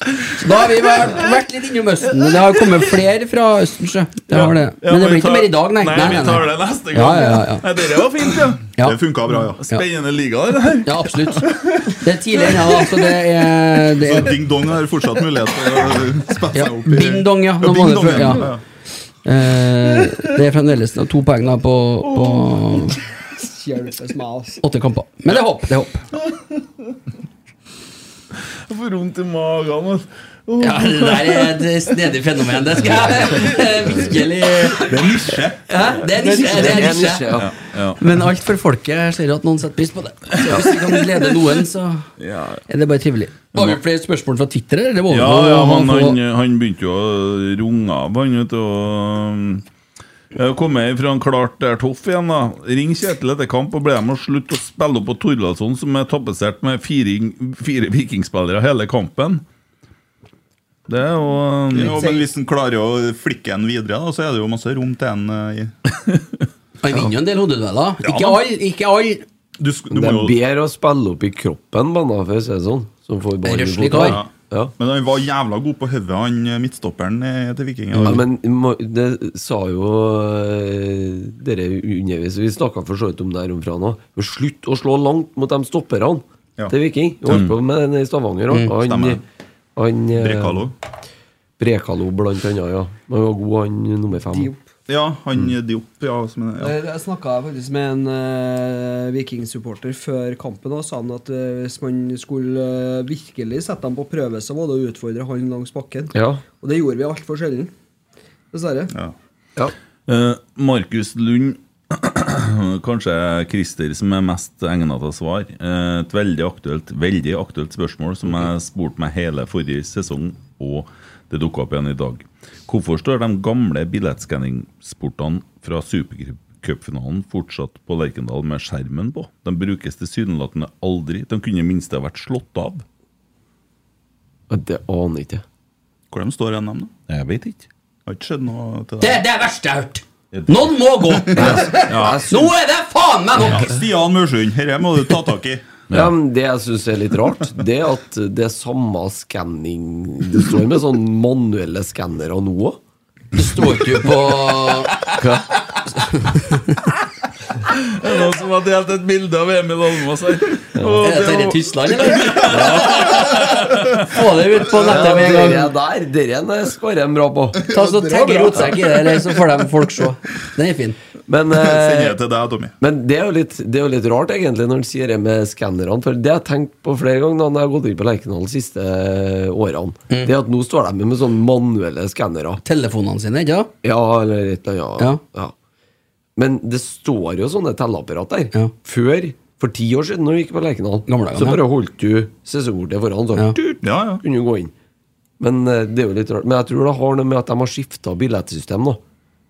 Så Da har vi vært, vært litt innom Østen, men det har kommet flere fra Østen. sjø. Det har det. Ja, Men vi det blir ikke tar- mer i dag, nei. Nei, vi tar det neste gang. Ja, ja, ja. Nei, dere var fint, ja. Ja. Det funka bra, ja. Spennende liga, det her. Ja, absolutt. Det er tidligere, ja. da, Så det er, det Så er ding dong har fortsatt mulighet til å spenne seg opp i Ding dong, ja. Nå Ding må det Dong, før, ja. ja. Eh, det er fremdeles da to poeng da på, på åtte kamper. Men det er håp. Det er håp. Jeg får vondt i magen. altså. Åh. Ja, det der er et snedig fenomen. Det skal jeg virkelig Det er nisje. Hæ? Det er nisje. Det er nisje. Ja, ja. Men alt for folket jeg ser jo at noen setter pris på det. Så hvis vi kan glede noen, så Ja, er det bare trivelig. Var det flere spørsmål fra Twitter? Eller? Det var Ja, ja men få- han, han begynte jo å runge av, han, vet du. og, um, Jeg kom med fra en klart der Toff igjen, da. Ring Kjetil etter kamp og ble dem å slutte å spille opp på Torvaldsson, som er tapetsert med fire, fire vikingspillere hele kampen. Det er jo um, Jo, men hvis han klarer å flikke en videre, da, så er det jo masse rom til en eh, i- Han vinner jo en del hodedueller. Ja, Ikke men- alle. Ikke all. Du, sk- Det du må er jo bedre å spille opp i kroppen, banna, for å si det sånn. Som får ballen i Røslig foten. kar. Ja. Men han var jævla god på hodet, han eh, midtstopperen eh, til Viking. Mm. Ja, men må- det sa jo eh, dere underveis Vi snakka for så vidt om det her om fra nå. Men slutt å slå langt mot de stopperne Ja. til Viking. Vi holdt på med den i Stavanger òg. Mm, stemmer. han, han eh, Brekalo. Brekalo, blant annet. Ja. Han var god, han nummer fem. Diop. Ja, han Diop, ja. Som, en- ja. Eh, Jeg snakka faktisk med en eh, vikingsupporter før kampen og sa han at eh, hvis man skulle eh, virkelig sette dem på prøve, så var det å utfordre han langs bakken. Ja. Og det gjorde vi altfor sjelden. Dessverre. Eh, Markus Lund, kanskje Christer som er mest egnet til å svare. Eh, et veldig aktuelt, veldig aktuelt spørsmål som jeg spurte meg hele forrige sesong, og det dukka opp igjen i dag. Hvorfor står de gamle billettskanningsportene fra supercupfinalen fortsatt på Lerkendal med skjermen på? De brukes tilsynelatende aldri. De kunne i det minste ha vært slått av. Det aner ikke Hvor de står igjen, dem, da? Jeg vet ikke. Har ikke skjedd noe til Det er det verste jeg har hørt! Noen må gå! Nå er det faen meg nok! Stian Mursund, dette må du ta tak i. Ja, men Det jeg syns er litt rart, det er at det er samme skanning Det står med sånn manuelle skannere nå òg. Det står ikke på Hva? Det er noen som har delt et bilde av Emil Almås her. Er dette i Tyskland, eller? Få det ut på nettet med en gang. Der, Dere eh, skårer de bra på. Ta så tagg rotsekk i det, eller så får de folk se. Den er fin. Men, eh, eh, Send det til deg, Tommy. Men det er jo litt, det er jo litt rart, egentlig, når han sier det med skannerne. For det har jeg tenkt på flere ganger når jeg har gått inn på Lerkendal de siste eh, årene. Mm. Det er at nå står de med sånne manuelle skannere. Telefonene sine, ikke sant? Ja, eller et eller annet. Ja. Men det står jo sånne telleapparat der. Før, for ti år siden, når du gikk på Lerkendal, Gamle dager, så ja. bare holdt du sesongkortet foran, så tut, kunne du gå inn. Men eh, det er jo litt rart. Men jeg tror det har noe med at de har skifta billettsystem nå.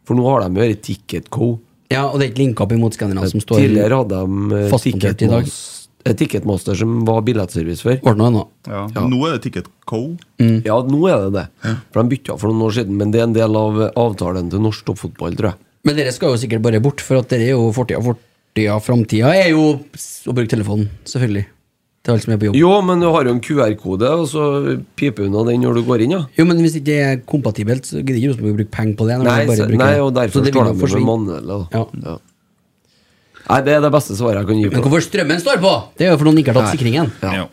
For nå har de jo dette Ticket Co. Ja, og det er ikke linka opp imot skannerne som står Tidligere hadde de eh, fastmontert i dag. Ticketmas- eh, Ticketmaster som var billettservice før. Ja. Nå er det Ticket Co. Ja, nå er det det. For de bytta for noen år siden, men det er en del av eh, avtalen til norsk toppfotball, tror jeg. Men dere skal jo sikkert bare bort, for at dere er jo fortida. Fortida, framtida er jo s- å bruke telefonen, selvfølgelig. Til alle som er på jobb. Jo, men du har jo en QR-kode, og så piper unna den når du går inn, ja. Jo, men hvis ikke det er kompatibelt, så gidder ikke Rosenborg å bruke penger på det. når Nei, de bare så, bruker nei det. og Så derfor det vil står jo de med forsvinne. manuelle, da. Ja. Nei, det er det beste svaret jeg kan gi på Men hvorfor strømmen står på? Det er jo fordi noen ikke har tatt sikringen. Ja.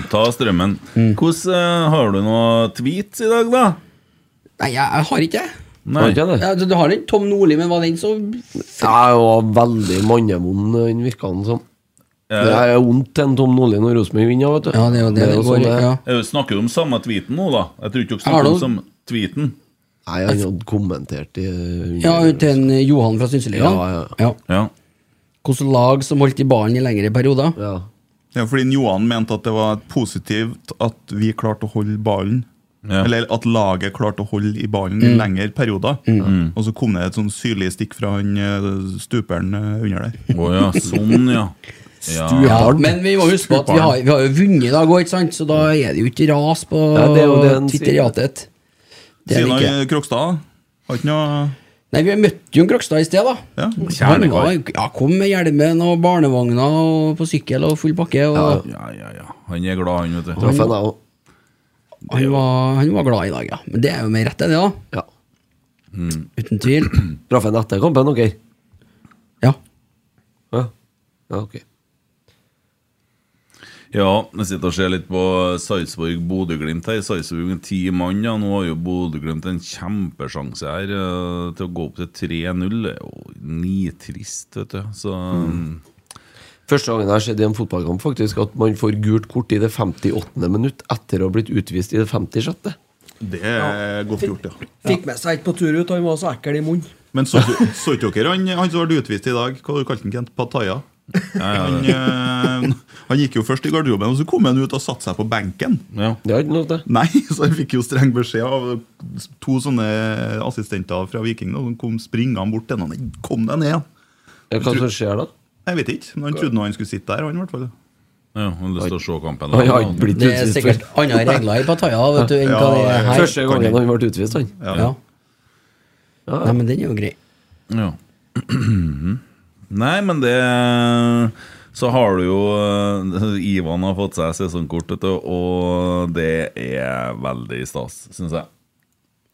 Ta strømmen. Hvordan eh, Har du noe tweets i dag, da? Nei, jeg, jeg har ikke det. Nei. Har ikke det? Ja, du, du har den Tom Nordli, men var den så Jeg var veldig mannevond, den virka han som. Ja. Det er vondt til en Tom Nordli når Rosenborg vinner, vet du. Ja, det er jo sånn det er. Jeg Eh, snakker du om samme tweeten nå, da? Jeg tror ikke dere Har snakker du- om samme tweeten. Nei, han hadde kommentert i Ja, til en Johan fra Synseligaen. Ja, ja. Ja. Hvilke lag som holdt i ballen i lengre perioder. Ja. Ja, fordi Johan mente at det var positivt at vi klarte å holde ballen. Ja. Eller at laget klarte å holde i ballen i Mm. lengre perioder. Mm. Og så kom det et sånn syrlig stikk fra han eh, stuperen eh, under der. Å ja, sånn, ja. Ja. Ja, men vi må huske på at vi har, vi har jo vunnet i dag òg, ikke sant? Så da er det jo ikke ras på Ja, det er jo det en sier. twitteriatet. Det er det ikke. Siden Krokstad har ikke noe Nei, vi møtte jo en Krokstad i sted, da. Ja, Han kjernekar. var, ja, kom med hjelmen og barnevogna og på sykkel og full pakke. Og Ja, ja, ja. Han er glad, han, vet du. Traff en, jeg han, var, han var glad i dag, ja. Men det er jo med rette, det, da. Uten tvil. Traff han etter kampen, dere? Ja. ja. Ja, ok. Ja, jeg sitter og ser litt på Sarpsborg-Bodø-Glimt her. Sarpsborg er ti mann, ja. Nå har jo Bodø-Glimt en kjempesjanse her eh, til å gå opp til 3-0. Det er jo nitrist, vet du. Så Mm. Første gangen jeg har sett i en fotballkamp faktisk at man får gult kort i det 58. minutt etter å ha blitt utvist i det 56. Det er godt gjort, ja. Fikk med seg ikke på tur ut, han var så ekkel i munnen. Men så så ikke dere han, han som ble utvist i dag? Hva du kalte han, Kent? Pattaya? Han, eh, han gikk jo først i garderoben, og så kom han ut og satte seg på benken. Det er ikke noe, det. Nei, så han fikk jo streng beskjed av to sånne assistenter fra Viking. da, som kom springende bort til han. Nei, Kom deg ned! Hva som skjer da? Jeg vet ikke, men han trodde nå han skulle sitte der. Han, i hvert fall. ja, har lyst til å se kampen. Han har ikke blitt Det er sikkert andre regler i Pattaya vet du, enn hva det er her. Første gangen han ble utvist, han. Ja. Ja. Nei, men den er jo grei. Ja. Nei, men det Så har du jo eh, Ivan har fått seg sesongkort, vet du, og det er veldig stas, syns jeg.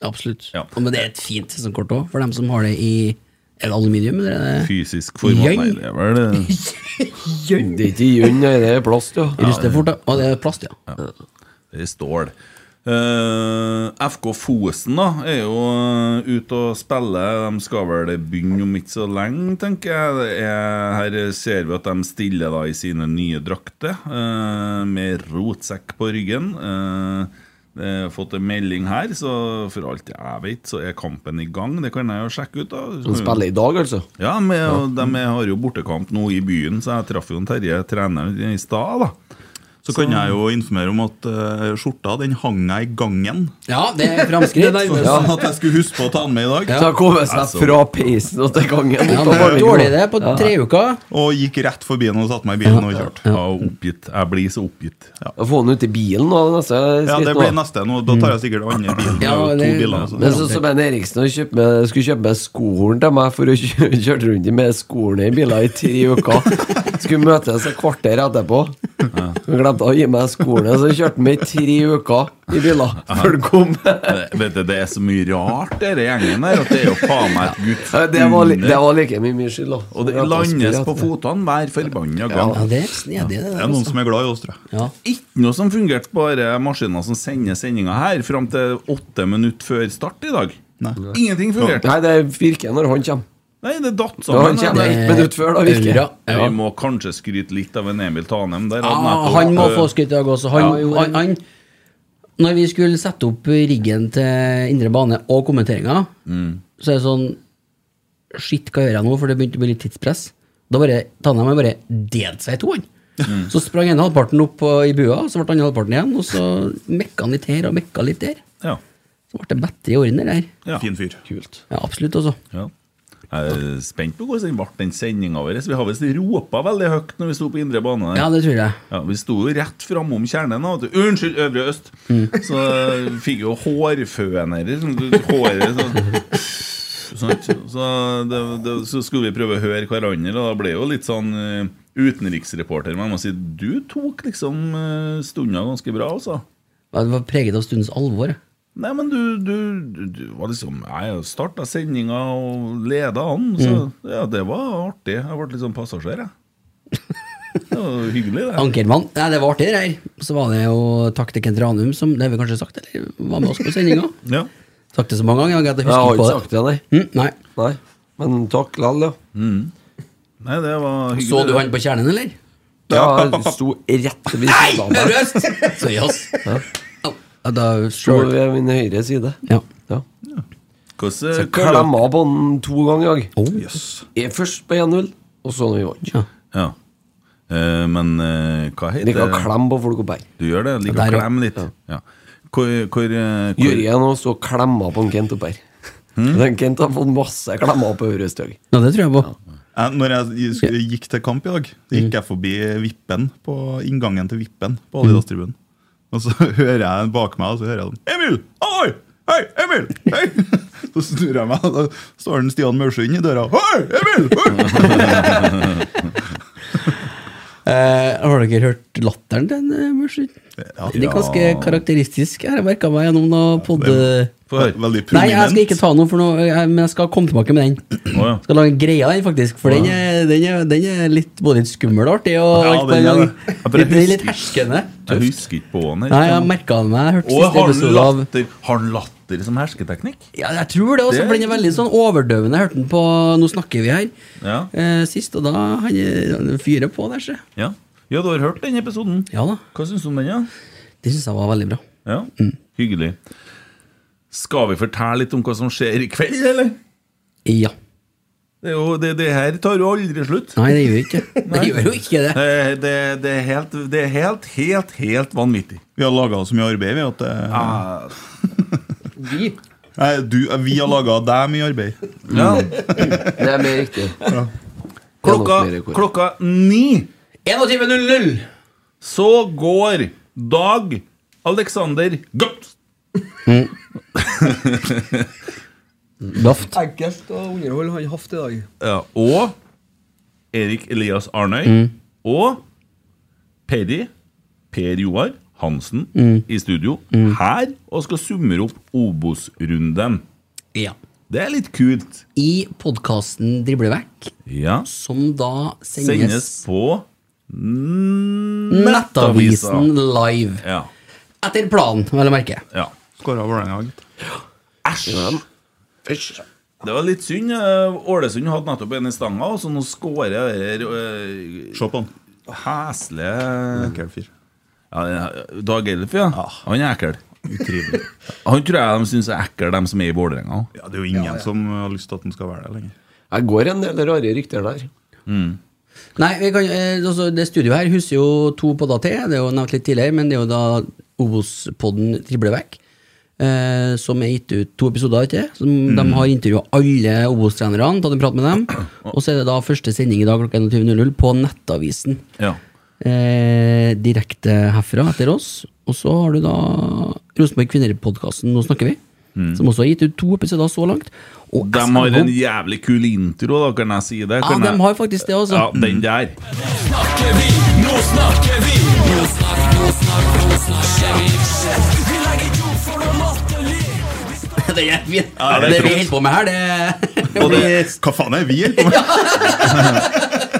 Absolutt. Og Men det er et fint sesongkort òg, for dem som har det i Er det aluminium? Eller er det Fysisk format, Jøy. nei, det er vel eh, det. Det er ikke i jønn, nei, det er plast, ja. Ruster fort, da. Å, det er plast, ja. Det er stål. Eh, FK Fosen da er jo eh, ute og spiller. De skal vel begynne om ikke så lenge, tenker jeg. Det er, her ser vi at de stiller da i sine nye drakter, eh, med rotsekk på ryggen. Eh, jeg har fått en melding her, så for alt jeg vet, så er kampen i gang. Det kan jeg jo sjekke ut. da Så kan De jo- spiller i dag, altså? ja, men de er- har jo bortekamp nå i byen, så jeg traff jo en Terje, treneren, i stad. da Så kan jeg jo informere om at eh, skjorta den hang jeg i gangen. Ja, det er framskritt. Det nærmeste at jeg skulle huske på å ta den med i dag. Ja. Så jeg kom meg seg fra peisen og til gangen. Ja, men det er dårlig det, på tre uker. Og gikk rett forbi den og satte meg i bilen og kjørte. Ja, oppgitt. Jeg blir så oppgitt. Få den ut i bilen nå. Neste, Ja, det skritt nå. blir neste. Nå, da tar jeg sikkert den andre bilen. Det er jo to biler, altså. Det er sånn som en Eriksen han kjøpte med, skulle kjøpe med skolen til meg for å kjø- kjøre rundt i med skolen i biler i tre uker. Skulle møtes et kvarter etterpå. Han glemte å gi meg skolen, så jeg kjørte med i tre uker i biler før han kom. Det- Eh, Vet du, Det er så mye rart, denne gjengen her. At det er jo faen meg et gutt Det var, li, det var like mye min skyld, da. Og det landes på fotene hver forbanna gang. Ja, det er snedig, det der, Det er noen altså. som er glad i oss, tror jeg. Ja. Ikke noe som fungerte på dere maskiner som sender sendinga her, fram til åtte minutter før start i dag. Ingenting fungerte. Nei, det virker når han kommer. Nei, det datt Ja, han sammen. kommer ett minutt før, da, virker. Ja. Ja. Vi må kanskje skryte litt av en Emil Tanem. Der hadde Ah, nettopp, han må eh, få skutt i dag også. Han, Ja. han, han, når vi skulle sette opp riggen til indre bane og kommenteringa, Mm. så er det sånn Shit, hva gjør jeg nå? For det begynte å bli litt tidspress. Da bare Tanheim bare delte seg i to, han. Mm. Så sprang ene halvparten opp på, i bua, så ble andre halvparten igjen, og så mekka han litt her og mekka litt der. Ja. Så ble det bedre i orden der. Fin fyr. Kult. Ja, absolutt, altså. Ja. Jeg er spent på hvordan den ble, den sendinga vår. Vi har visst ropa veldig høyt når vi sto på indre bane. der. Ja, det tror jeg. Ja, vi sto jo rett framom kjernen. da, vet du. Unnskyld, Øvre Øst! Så eh, fikk jo hårfønere. Sånn, håret sånn. Sant? Så, det, det, så skulle vi prøve å høre hverandre, og da ble jo litt sånn eh, utenriksreporter. Men jeg må si du tok liksom eh, stunda ganske bra, altså. Ja, Det var preget av stundens alvor. jeg. Nei, men du, du, du, du var liksom Jeg starta sendinga og leda an, så ja, det var artig. Jeg ble litt sånn passasjer, jeg. Det var hyggelig, det. Ankermann. Nei, det var artig, det her. Så var det jo takk til Kent Ranum, som det har vi kanskje sagt, eller var med oss på sendinga. ja. Sagt det så mange ganger, jeg Jeg har husker ikke ikke sagt det, nei. på det. Mm, nei. nei. Men takk likevel, ja. Nei, det var hyggelig. Så du han på kjernen, eller? Ja, jeg sto rett ved siden av meg. Nervøst! Så jazz. Ja. Ja, da Sto slår ved min høyre side. Ja. Så Hvordan jeg klemma på den to ganger, jeg. Oh, Jeg Først på 1-0, og så når vi vant. Ja. Eh, men eh, hva heter Liker å klemme på folk og bære. Du gjør det? Liker Der, å ja. klemme litt? Ja. Hvor, hvor, eh, hvor Jørgen òg sto og klemma på en Kent og bære. Hmm? Den Kent har fått masse klemmer på øret i dag. Ja, det tror jeg på. Jeg, når jeg sk- gikk til kamp i dag, så Mm. gikk jeg forbi Vippen på inngangen til Vippen på Mm. Adidas-tribunen. Og så hører jeg bak meg, og så hører jeg sånn Emil! Oi! Hei, Emil! Hei! Så snur jeg meg, og da står den Stian Maursund i døra. Hei, Emil! Hei! Eh, har dere hørt latteren til en eh, Mørsund? Den er ganske karakteristisk, har jeg merka meg gjennom noe pod... Få høre. Veldig Nei, jeg skal prominent. ikke ta noe, for noe, jeg, men jeg skal komme tilbake med den. Åja. Skal lage en greie av den, faktisk. For den, er, den, er, den er litt både litt skummel og artig. Og Ja, alt på den en er gang. det. Jeg bare Litt- den er litt husker- herskende. Jeg husker ikke på han. Nei, jeg merka den meg. Jeg hørte Å, siste sånn- har han episode av latter, har han latter som hersketeknikk? ja, Jeg tror det også, Det- for den er veldig sånn overdøvende. Jeg hørte den på Nå snakker vi her Ja. eh, sist, og da han, eh, han fyrer på der, se. ja. Ja, du har hørt den episoden? Ja da. Hva syns du om den? Ja? Det syns jeg var veldig bra. Ja, Mm. Hyggelig. Skal vi fortelle litt om hva som skjer i kveld, eller? Ja. Det, er jo, det, det her tar jo aldri slutt. Nei, det gjør ikke Det gjør jo ikke det. Eh, Det, det er helt, det er helt, helt, helt vanvittig. Vi har laga så mye arbeid, vi. At det, Vi? Nei, du, vi har laga deg mye arbeid. Ja. Mm. Det er mer riktig. Klokka, klokka ni 21.00 så går Dag Alexander Gapt Daft. Enkelt å underholde han Haft i dag. ja, Eh, og Erik Elias Arnøy Mm. og Peri Per Joar Hansen Mm. i studio her og skal summere opp Obos-runden. Ja. Det er litt kult. I podkasten Driblevekk, Ja. som da sendes, Sendes på Nettavisen live. Ja. Etter planen, vel å merke. Ja. Skåra Vålerenga, gitt. Æsj! Fysj. Det var litt synd. eh, Ålesund hadde nettopp en i stanga, og så nå skårer jeg eh, der Se på han. Hesle Ja, den- Dag Ellef, ja. Ah. Han er ekkel. Utrivelig. Han tror jeg de syns er ekkel, de som er i Vålerenga. Ja, det er jo ingen som har lyst til at den skal være der lenger. Jeg går en del rare rykter der. Nei, vi kan, eh, altså, det studioet her huser jo to podder til. Det er jo nevnt litt tidligere, men det er jo da Obos-podden Triblevekk. Eh, som er gitt ut to episoder, ikke som De Mm. har intervjua alle Obos-trenerne, tatt en prat med dem. Og så er det da første sending i dag klokka 21.00 på Nettavisen. Ja. Eh, direkte herfra etter oss. Og så har du da Rosenborg Kvinner-podkasten Nå snakker vi. Mm. Som også har gitt ut to episoder så langt. Og De jeg har skal en gå- jævlig kul intro, da, kan jeg si det. Ja, Kan jeg- de har faktisk det altså. også. Ja, den der. Nå snakker vi! Nå snakk, nå snakk, nå snakker vi. Vi legger jord for noe latterlig. Det er fint. Ja, det det er vi flott. holder på med her, det Og det, hva faen er vi holder på med?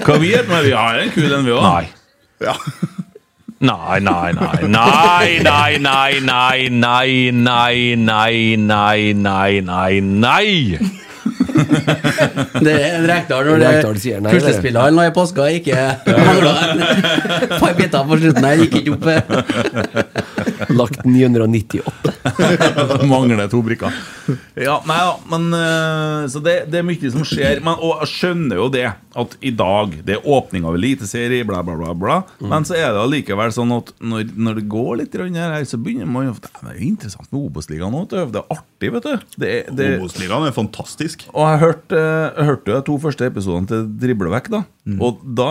Hva vi hjelper med? Vi har en kul en, vi òg. Nei, nei, nei, nei, nei, nei, nei, nei, nei, nei, nei, nei, nei, nei. Det er en Rekdal når Rekdal det sier nei, puslespilleren la i påska ikke manglet et par biter på slutten her, gikk ikke opp. Lagt 998. Mangler to brikker. Ja, nei da, men eh, Så det, det er mye som skjer. Men, og jeg skjønner jo det, at i dag Det er åpning av eliteserie, bla, bla, bla. bla Men så er det allikevel sånn at når, når det går litt rundt her, så begynner man jo Det er jo interessant med Obos-ligaen òg, det er artig, vet du. Det, det, Obos-ligaen er fantastisk. Og jeg hørte, eh, hørte jo de to første episodene til Driblevekk, da. Og da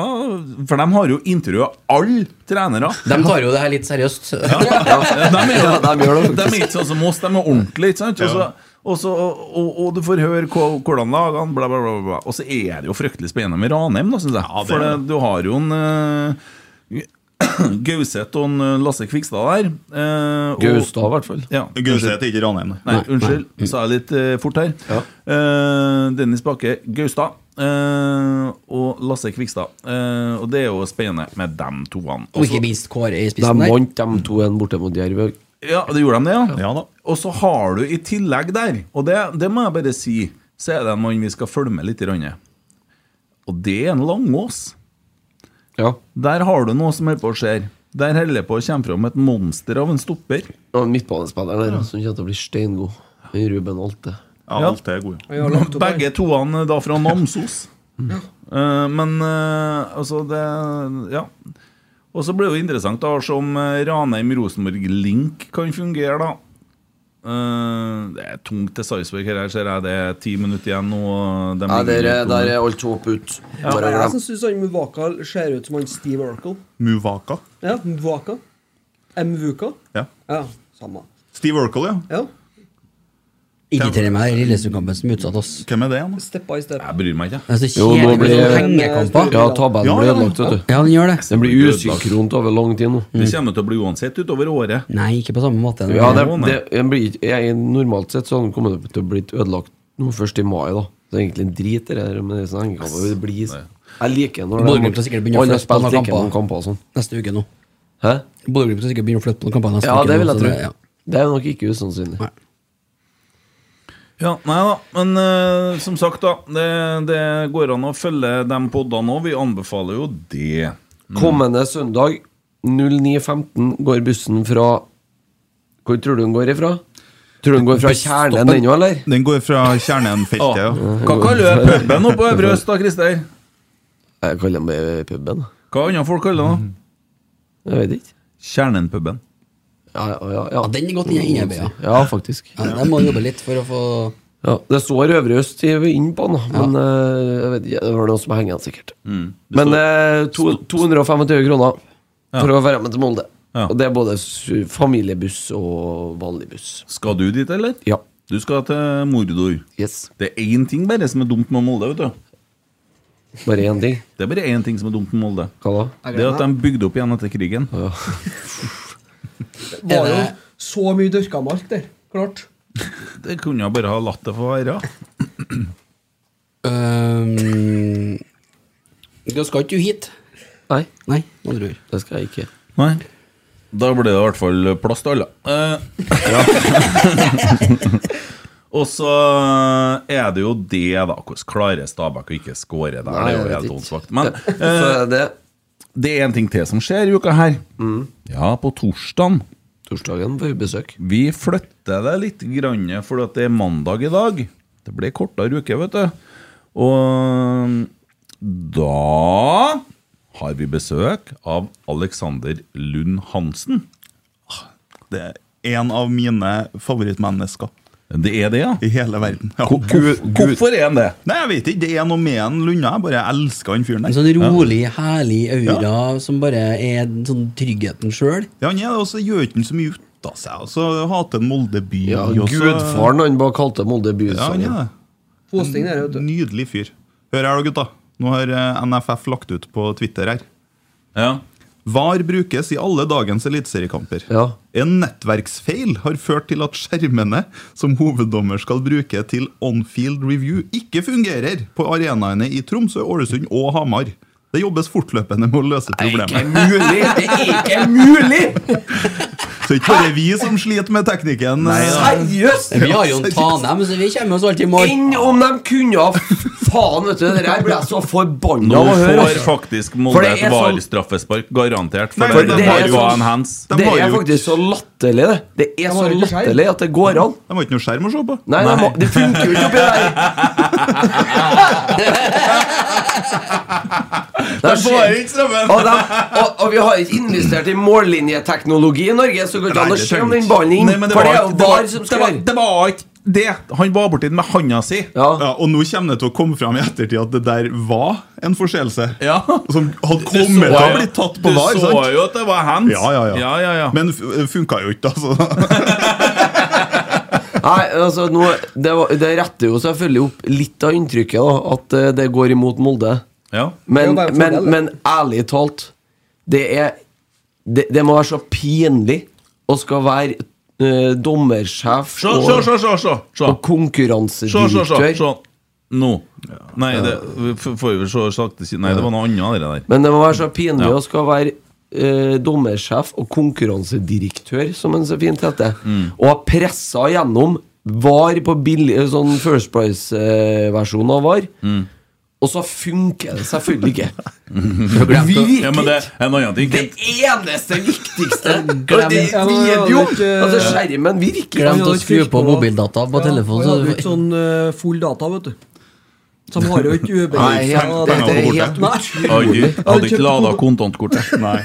For de har jo intervjua alle trenere. De tar jo det her litt seriøst. De er, jo, Ja, de gjør det faktisk. de er ikke sånn som oss, de er ordentlige. Ikke sant? Og så- Og, så, og, og du får høre hva- hvordan lagene bla, bla, bla, bla, bla. Og så er det jo fryktelig spennende med Ranheim, da, syns jeg. det For er det, du har jo en eh, Gauseth og en eh, Lasse Kvikstad der. eh, og- Gaustad, i hvert fall. Ja, Gauseth unnskyld. er ikke Ranheim, nei. Nei, unnskyld, sa jeg litt eh, fort her. Eh, Dennis Bakke Gaustad eh, og Lasse Kvikstad. Eh, og det er jo spennende med dem toene. Og ikke minst Kåre i De spissen der. vant de to en borte mot Jerv. Ja, det gjorde de det, ja. Og så har du i tillegg der, og det, det må jeg bare si, så er det en mann vi skal følge med litt. i rønne. Og det er en Langås. Der har du noe som holder på å skje. Der holder det på å komme fram et monster av en stopper. Og midtbanespilleren der som kommer til å bli steingod. Ruben Alte. Ja, Ja. Alte er god, ja. Vi har lagt opp her. Begge toene da fra Namsos. Ja. Eh, men eh, altså det Ja. Og så blir det jo interessant da å se om eh, Ranheim-Rosenborg-link kan fungere, da. Eh, det er tungt til Sarpsborg her, her, ser jeg. Det er ti minutter igjen, og de Ja, der ligger er- litt under. der er alt håp ut. Ja. Jeg syns han Muvaka ser ut som han Steve Urkel. Muvaka. Ja, Muvaka. Mvuka. Ja. Ja, samme. Steve Urkel, ja. Ja. Ikke til meg i Lillestrøm-kampen som utsatte oss. Hvem er det, han? Step by step. Jeg bryr meg ikke. Altså, Jo, nå kjedelig med blir sånne hengekamper. Ja, tabellen blir ødelagt, vet du. Ja, den gjør det. Den blir usynkront over lang tid nå. Det kommer til å bli uansett utover året. Nei, ikke på samme måte. Ja, det, det, den blir, ikke- jeg, normalt sett så kommer det til å bli ødelagt nå først i mai, da. Så det er egentlig en drit, det der med disse hengekamper. Det blir Jeg liker når det- Bodø-Glimt har sikkert begynt å Alle har flytte på spilt noen like mange kamper. kamper og sånn. Neste uke nå. Hæ? Bodø-Glimt har sikkert begynt å flytte på noen kamper neste Ja, uke. det vil jeg nå, så tro. det- ja. Det er nok ikke usannsynlig. Ja, nei da, men eh, som sagt, da. Det, det går an å følge de poddene òg. Vi anbefaler jo det. Kommende søndag 09.15 går bussen fra Hvor tror du den går ifra? Tror du den går fra Kjernen den òg, eller? Den går fra Ah. Kjernen-feltet, ja. Hva kaller du puben oppe på Øvre Øst, da, Christer? Jeg kaller den bare puben. da. Hva andre folk kaller den? Jeg vet ikke. Kjernen-puben. Ja, ja, ja, Ja, den er godt inn- innarbeidet. Ja, faktisk. Ja, der må du jobbe litt for å få Ja, det står Øvre Øst i- inn på den, da, men eh, jeg vet ikke, det var noe som hengende, sikkert. Mm. Men eh, to, 225 kroner for å være med til Molde. Og det er både su- familiebuss og vanlig buss. Skal du dit, eller? Ja. Du skal til Mordor. Det er én ting bare som er dumt med Molde, vet du. Bare én ting? Det er bare én ting som er dumt med Molde. Hva da? Det er at de bygde opp igjen etter krigen. Det var jo så mye dyrka mark der. Klart. Det kunne jeg bare ha latt det få være. Øhm, Da skal ikke du hit. Nei. Nei, nå tror jeg. Det skal jeg ikke. Nei. Da blir det i hvert fall plass til alle. Eh, og så er det jo det, da. Hvordan klarer Stabæk å ikke score der? Nei, det er jo jeg vet helt ikke. åndssvakt. Men Så eh, det. er en ting til som skjer i uka her. Mm. Ja, på torsdagen. Torsdagen får vi besøk. Vi flytter det litt, grann, for at det er mandag i dag. Det ble kortere uke, vet du. Og da har vi besøk av Alexander Lund Hansen. Det er en av mine favorittmennesker. Det er det, ja? I hele verden. Ja. Hvor- hvor- hvorfor er han det? Nei, Jeg vet ikke. Det er noe med han Lunde. Jeg bare elsker han fyren der. Altså, En sånn rolig, herlig aura som bare er sånn tryggheten sjøl. Ja, han er det, og så gjør ikke han så mye ut av seg. Og så hater han Molde by. Ja, og så- Gudfaren liksom. han bare kalte Molde Ja, han bysangen. er det. En Nydelig fyr. Hør her, da, gutta. Nå har eh, NFF lagt ut på Twitter her. VAR brukes i alle dagens eliteseriekamper. En nettverksfeil har ført til at skjermene som hoveddommer skal bruke til on-field review, ikke fungerer på arenaene i Tromsø, Ålesund og Hamar. Det jobbes fortløpende med å løse problemet. Det er ikke mulig! Så ikke bare vi som sliter med teknikken. Seriøst? Vi har jo en Tanem, så vi kommer oss alltid i mål. Enn om de kunne ha Faen, vet du, det der ble jeg så forbanna Nå av å høre. får altså. faktisk For Molde det et er sånn- VAR-straffespark, garantert. For, Nei, det, men det det er var jo sånn- en hands. Det er faktisk så latterlig, det. Det er så latterlig at det går an. De har ikke noe skjerm å se på. Nei, de Nei. har- det funker jo ikke oppi der. Det skjer- får ikke strømmen. Og, de- og, og vi har ikke investert i mållinjeteknologi i Norge, så det går ikke an å se om den ballen inn. Nei, men det for det var er jo ikke- det var- VAR som skal være Det var ikke det. Han var borti den med handa si. Ja, og nå kommer det til å komme fram i ettertid at det der var en forseelse. Som hadde Du kommet til så å jo- bli tatt på du var. så jo at det var hands. Ja, ja, ja. Ja, ja, ja. Men f- funka jo ikke, altså. Nei, altså nå, det, var, det retter jo selvfølgelig opp litt av inntrykket da At eh, det går imot Molde Det er men, jo bare en men, fordel, det. men ærlig talt Det er Det, det må være så pinlig Å skal være eh, dommersjef Se, og, se, se, se, se, se. og Se, se, se, konkurransedirektør se. Nå. Nei, det f- får vi så sakte si Nei, det var noe annet, det der. Men det må være så pinlig Ja. Å skal være eh, dommersjef og konkurransedirektør Som en så fint heter Mm. Og har presset gjennom Var på billig, sånn First Price-versjon av var Mm. Og så funker det selvfølgelig ikke. Virkelig! Ja, men det er en annen ting. Kent. Eneste viktigste Glem- Det er video! Altså, skjermen virker. Glemte å skru på mobildata på Han telefonen. hadde jo Så ikke sånn eh, full data, vet du. Så de har jo ikke UB. Nei, helt- Ja, det er borte. helt Nei. Aldri. Hadde ikke lada kontantkortet. Nei.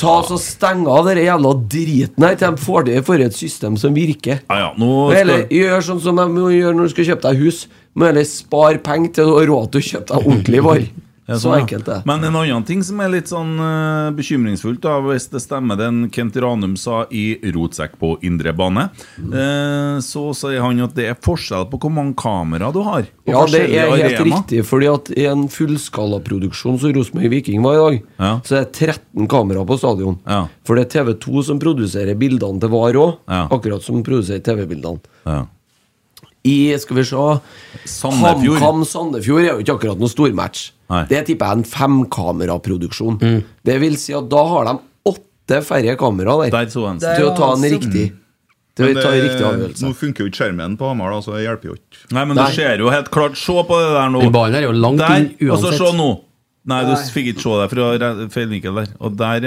Ta så Steng av den jævla driten her til de får det for et system som virker. Ja, ja, nå Må heller skal gjør sånn som de må gjøre når du skal kjøpe deg hus. Må heller spare penger til å ha råd til å kjøpe deg ordentlig var. Ja, Så sånn, ja. enkelt det er. Men en annen ting som er litt sånn eh, bekymringsfullt, da, hvis det stemmer den Kent Ranum sa i Rotsekk på indre bane, eh, så sier han at det er forskjell på hvor mange kamera du har. på Ja, det forskjellige er helt arenaer. riktig, fordi at i en fullskalaproduksjon som Rosenborg Viking var i dag, så er det 13 kameraer på stadion. For det er TV2 som produserer bildene til VAR òg, akkurat som produserer TV-bildene. I skal vi se Sandefjord. HamKam Sandefjord er jo ikke akkurat noen stormatch. Det tipper jeg er en femkameraproduksjon. Mm. Det vil si at da har de åtte færre kameraer der, til å ta en riktig Til å Men ta en det- riktig avgjørelse. eh, Nå funker jo ikke skjermen på Hamar, da, så det hjelper jo ikke. Nei, men du ser jo helt klart Se på det der nå. Den ballen er jo langt der, inn Og så uansett. se nå. Nei, du Nei. fikk ikke se det fra re- feil vinkel der. Og der er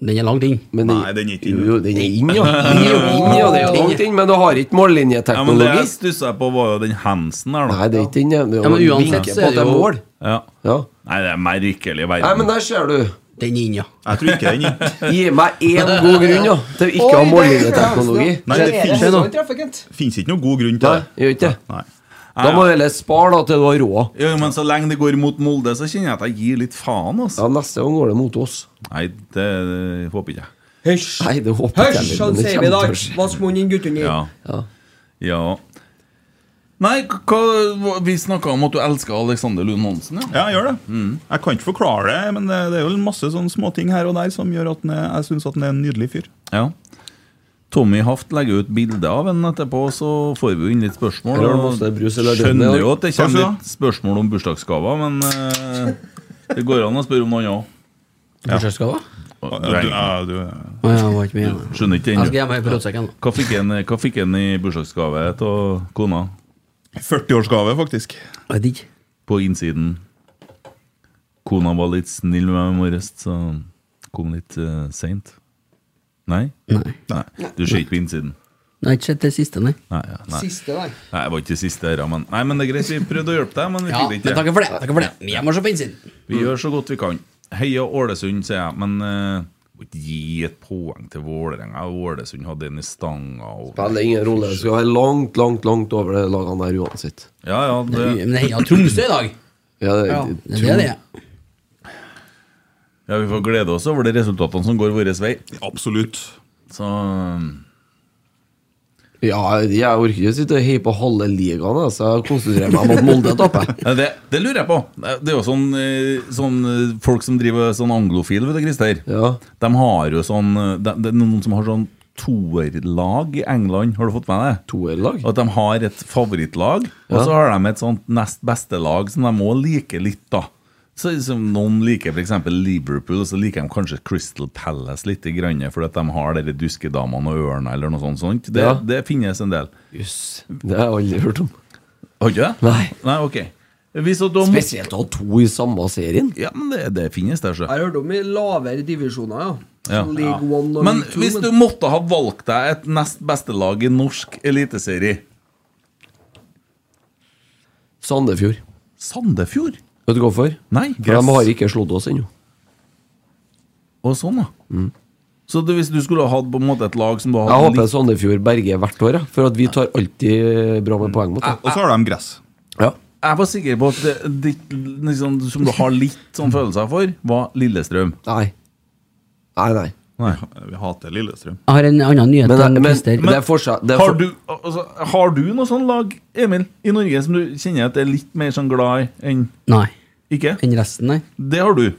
Den er langt inn. Nei, den er ikke inn. Jo, den er inn, ja. Den er jo inn, ja. Det er jo langt inn, men du har ikke Ja, men det mållinjeteknologi. jeg stussa på, var jo den handsen der, da. Nei, det er ikke den. ja. Det er Ja, men jo uansett vinkel så på er at det er jo- mål. Ja. Nei, det er merkelig verden. Nei, men der ser du. Den er inn, ja. Jeg tror ikke den er inn. Gi meg én god grunn ja, til å ikke Oi, ha det er mållinjeteknologi. Nei, det Det er finnes- det som treffer, Kent. Fins ikke noen god grunn til det. Gjør ikke det. Da må du heller spare da til du har råd. Jo, men så lenge det går mot Molde, så kjenner jeg at jeg gir litt faen, altså. Ja, neste gang går det mot oss. Nei, det eh, håper ikke jeg. Hysj! Nei, det håper jeg Hysj, heller, han men det sier vi kommer i dag. til å skje. Vask munnen din, guttungen. Ja. ja. Nei, k- hva, hva- vi snakka om at du elsker Alexander Lund Monsen, ja. Ja, jeg gjør det. Mm. Jeg kan ikke forklare det, men det, det er vel masse sånne småting her og der som gjør at den er, jeg syns han er en nydelig fyr. Ja. Tommy Haft legger ut bilde av en etterpå, så får vi jo inn litt spørsmål. Eller og masse brus eller døgn, skjønner ja. jo at det Kanskje, kommer ja. litt spørsmål om bursdagsgaver, men eh, det går an å spørre om noe annet òg. Bursdagsgaver? Ja, du- ja, du- Å ja, han var ikke med igjen. Skjønner ikke Jeg Altså, skal hjem og høre på det Rotsekken, ennå. Hva fikk han- Hva fikk han i bursdagsgave av kona? 40-årsgave, faktisk. På innsiden. Kona var litt snill med meg i morges, så kom litt uh, seint. Nei? Nei. Du ser ikke på innsiden. Nei, ikke sett det siste, nei. Nei, ja, nei. Siste, nei. Nei, jeg var ikke siste her, men, nei, men det er greit, vi prøvde å hjelpe deg, men vi Ja, fikk det men ikke. takk for det. Takk for det. Vi må se på innsiden. Vi gjør så godt vi kan. Heia Ålesund, sier jeg, men eh, må ikke gi et poeng til Vålerenga. Ålesund hadde en i stanga. Og... Spiller ingen rolle. Det skal være langt, langt langt over det lagene der uansett. Ja, ja, det... Men det heia Tromsø i dag. Ja, det, Ja, det er det. Ja, Vi får glede oss over de resultatene som går vår vei. Absolutt. Så um, Ja, jeg orker ikke sitte og heie på halve ligaen, jeg, så jeg konsentrerer meg om at Molde taper. Nei, det, det lurer jeg på. Det er jo sånn, eh, sånn eh, folk som driver sånn anglofil, vet du, Christer. De har jo sånn eh, de, Det er noen som har sånn toerlag i England, har du fått med deg? Toerlag? At de har et favorittlag, og Ja. så har de et sånt nest beste lag som de må like litt, da. Så liksom, Noen liker f.eks. Liverpool, og så liker de kanskje Crystal Palace litt, grann, fordi at de har de duskedamene og ørna eller noe sånt. sånt. Det, Ja. det finnes en del. Det har jeg aldri hørt om. Har ikke det? Nei. Nei, ok. Hvis at de... Spesielt å ha to i samme serien. Ja, men det, det finnes der, så. Jeg har hørt om i lavere divisjoner, ja. Ja. Som League One og Men League Two, hvis du måtte ha valgt deg et nest beste lag i norsk eliteserie Sandefjord. Sandefjord? Vet du hvorfor? Nei, For gress. de har ikke slått oss ennå. Og sånn, da. Så det, hvis du skulle ha hatt på en måte et lag som du hadde Mm. Jeg håper Sandefjord berger hvert år, ja, for at vi tar alltid bra med poeng mot dem. Og så har de gress. Ja. Jeg var sikker på at det, det, liksom, som du har litt Mm. sånn følelser for, var Lillestrøm. Nei. Nei, nei. Vi hater Lillestrøm. Jeg har en annen nyhet. Men- enn men- Christer. men det er fortsatt- det er Har for- du, altså, har du noe sånn lag, Emil, i Norge som du kjenner at er litt mer sånn glad i enn Nei. Ikke? Enn resten, nei. Det har du.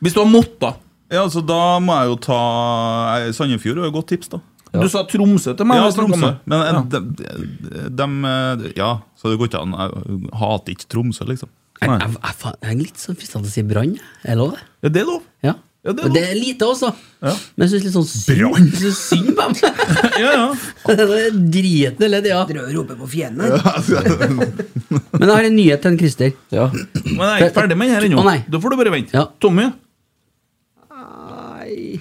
Hvis du har måtta Ja, altså Da må jeg jo ta eh, Sandefjord er jo et godt tips, da. Du sa Tromsø til meg. Ja, jeg snakket Tromsø. med. Men eh, Ja. de, de, de, eh, Ja, så det går ikke an. Jeg hater ikke Tromsø, liksom. Jeg, jeg, jeg, faen- jeg er litt sånn fristende til å si brann. Er det lov, det? Ja, det er lov. Ja. Og det er lite også, men jeg syns litt sånn synd Brann! Synd på dem. ja, ja. Dritende ledd, ja. Dere roper på fienden. altså. her. Men jeg har en nyhet til en Christer. Ja. Men jeg er ikke ferdig med den her Å, ennå. nei. Da får du bare vente. Tommy, Nei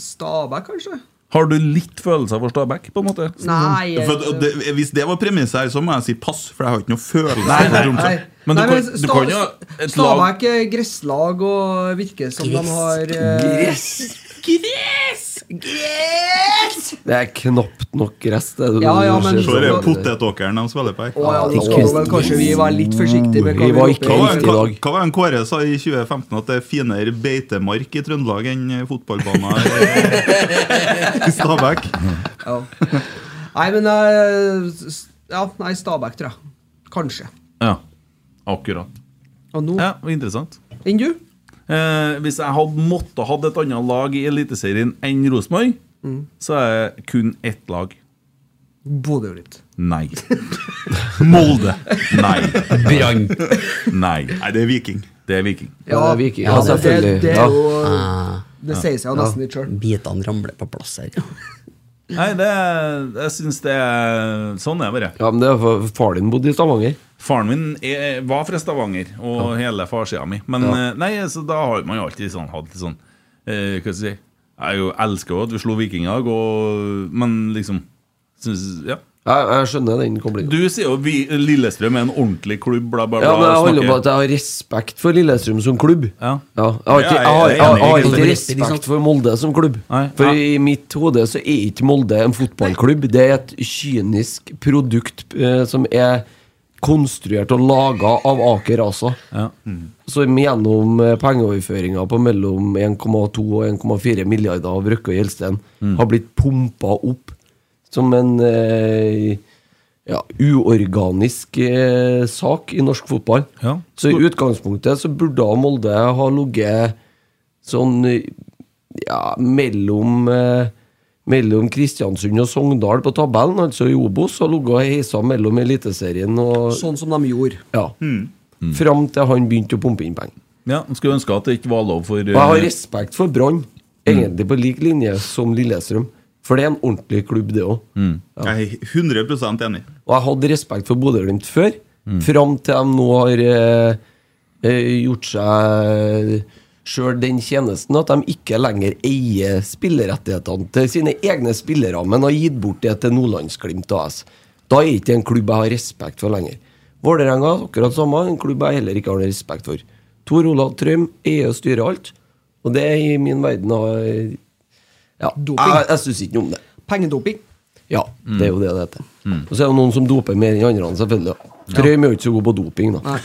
Stabæk, kanskje? har du litt følelser for Stabæk, på en måte? Nei, altså. jeg- Mm. For, at- det, hvis det var premisset her, så må jeg si pass, for jeg har ikke noe følelse. Nei, nei, for Tromsø. nei. Men Nei, men Sta- Stabæk er gresslag og virker som Gress. de har eh, Gress. Gress! Gress! Det er knapt nok rest. Det, Ja, ja, men- Så er det potetåkeren de spiller på her. Å ja, nå skal vel kanskje vi være litt forsiktige med hva Hva roper. var en- hva- hva var en Kåre sa i 2015? At det er finere beitemark i Trøndelag enn eh, fotballbaner i- i Stabæk? Ja. Nei, men eh, s- Ja, nei, Stabæk, tror jeg. Kanskje. Ja, akkurat. Ja, det var interessant. Enn du? Eh, hvis jeg hadde måtte hatt et annet lag i Eliteserien enn Rosenborg, Mm. så er det kun ett lag. Bodø-Glimt. Nei. Molde. Nei. Brann. Nei. Nei, det er Viking. Det er Viking. Ja, det er Viking. Ja, Ja, det- selvfølgelig. det er Ja. jo- Ah. det sier seg jo nesten litt selv. Bitene ramler på plass her. Nei, det er, jeg syns det er Sånn er det bare. Ja, men det er for Faren din bodde i Stavanger. Faren min er, var fra Stavanger, og hele farssida mi. Men Ja. eh, nei, så da har man jo alltid sånn, hatt litt sånn eh, Hva skal jeg si Jeg jo elsker jo at vi slo vikinger, og, men liksom synes, ja. Jeg, jeg skjønner den koblingen. Du sier jo vi, Lillestrøm er en ordentlig klubb, bla, bla, bla. Ja, men jeg og holder snakker- på at jeg har respekt for Lillestrøm som klubb. Ja. Jeg har ikke, Ja, jeg jeg har, er jeg har, enig, jeg er ikke enig. respekt for Molde som klubb. For i mitt hode så er ikke Molde en fotballklubb. Det er et kynisk produkt eh, som er konstruert og laga av Aker ASA. Som gjennom eh, pengeoverføringer på mellom 1,2 og 1,4 milliarder av Røkke og Gjelsten Mm. har blitt pumpa opp som en eh, ja, uorganisk eh, sak i norsk fotball. Ja. Så i utgangspunktet så burde da Molde ha ligget sånn eh, ja, mellom eh, mellom Kristiansund og Sogndal på tabellen, altså i Obos, og ligget og heisa mellom Eliteserien og Sånn som de gjorde. Ja. Fram til han begynte å pumpe inn penger. Ja, Skulle ønske at det ikke var lov for Og jeg har eh, respekt for Brann. Egentlig på lik linje som Lillestrøm. For det er en ordentlig klubb, det òg. Jeg er 100 enig. Og jeg hadde respekt for Bodø-Glimt før, fram til de nå har eh, eh, gjort seg sjøl den tjenesten at de ikke lenger eier spillerettighetene til sine egne spillere, men har gitt bort det til Nordlandsglimt AS. Da er ikke det en klubb jeg har respekt for lenger. Vålerenga akkurat samme, en klubb jeg heller ikke har respekt for. Tor Olav Trøim eier og styrer alt, og det er i min verden eh, ja, Jeg, jeg syns ikke noe om det. Pengedoping. Ja, det er jo det det heter. Og så er det noen som doper mer enn andre, selvfølgelig. Ja. Trøim er jo ikke så god på doping, da. Nei,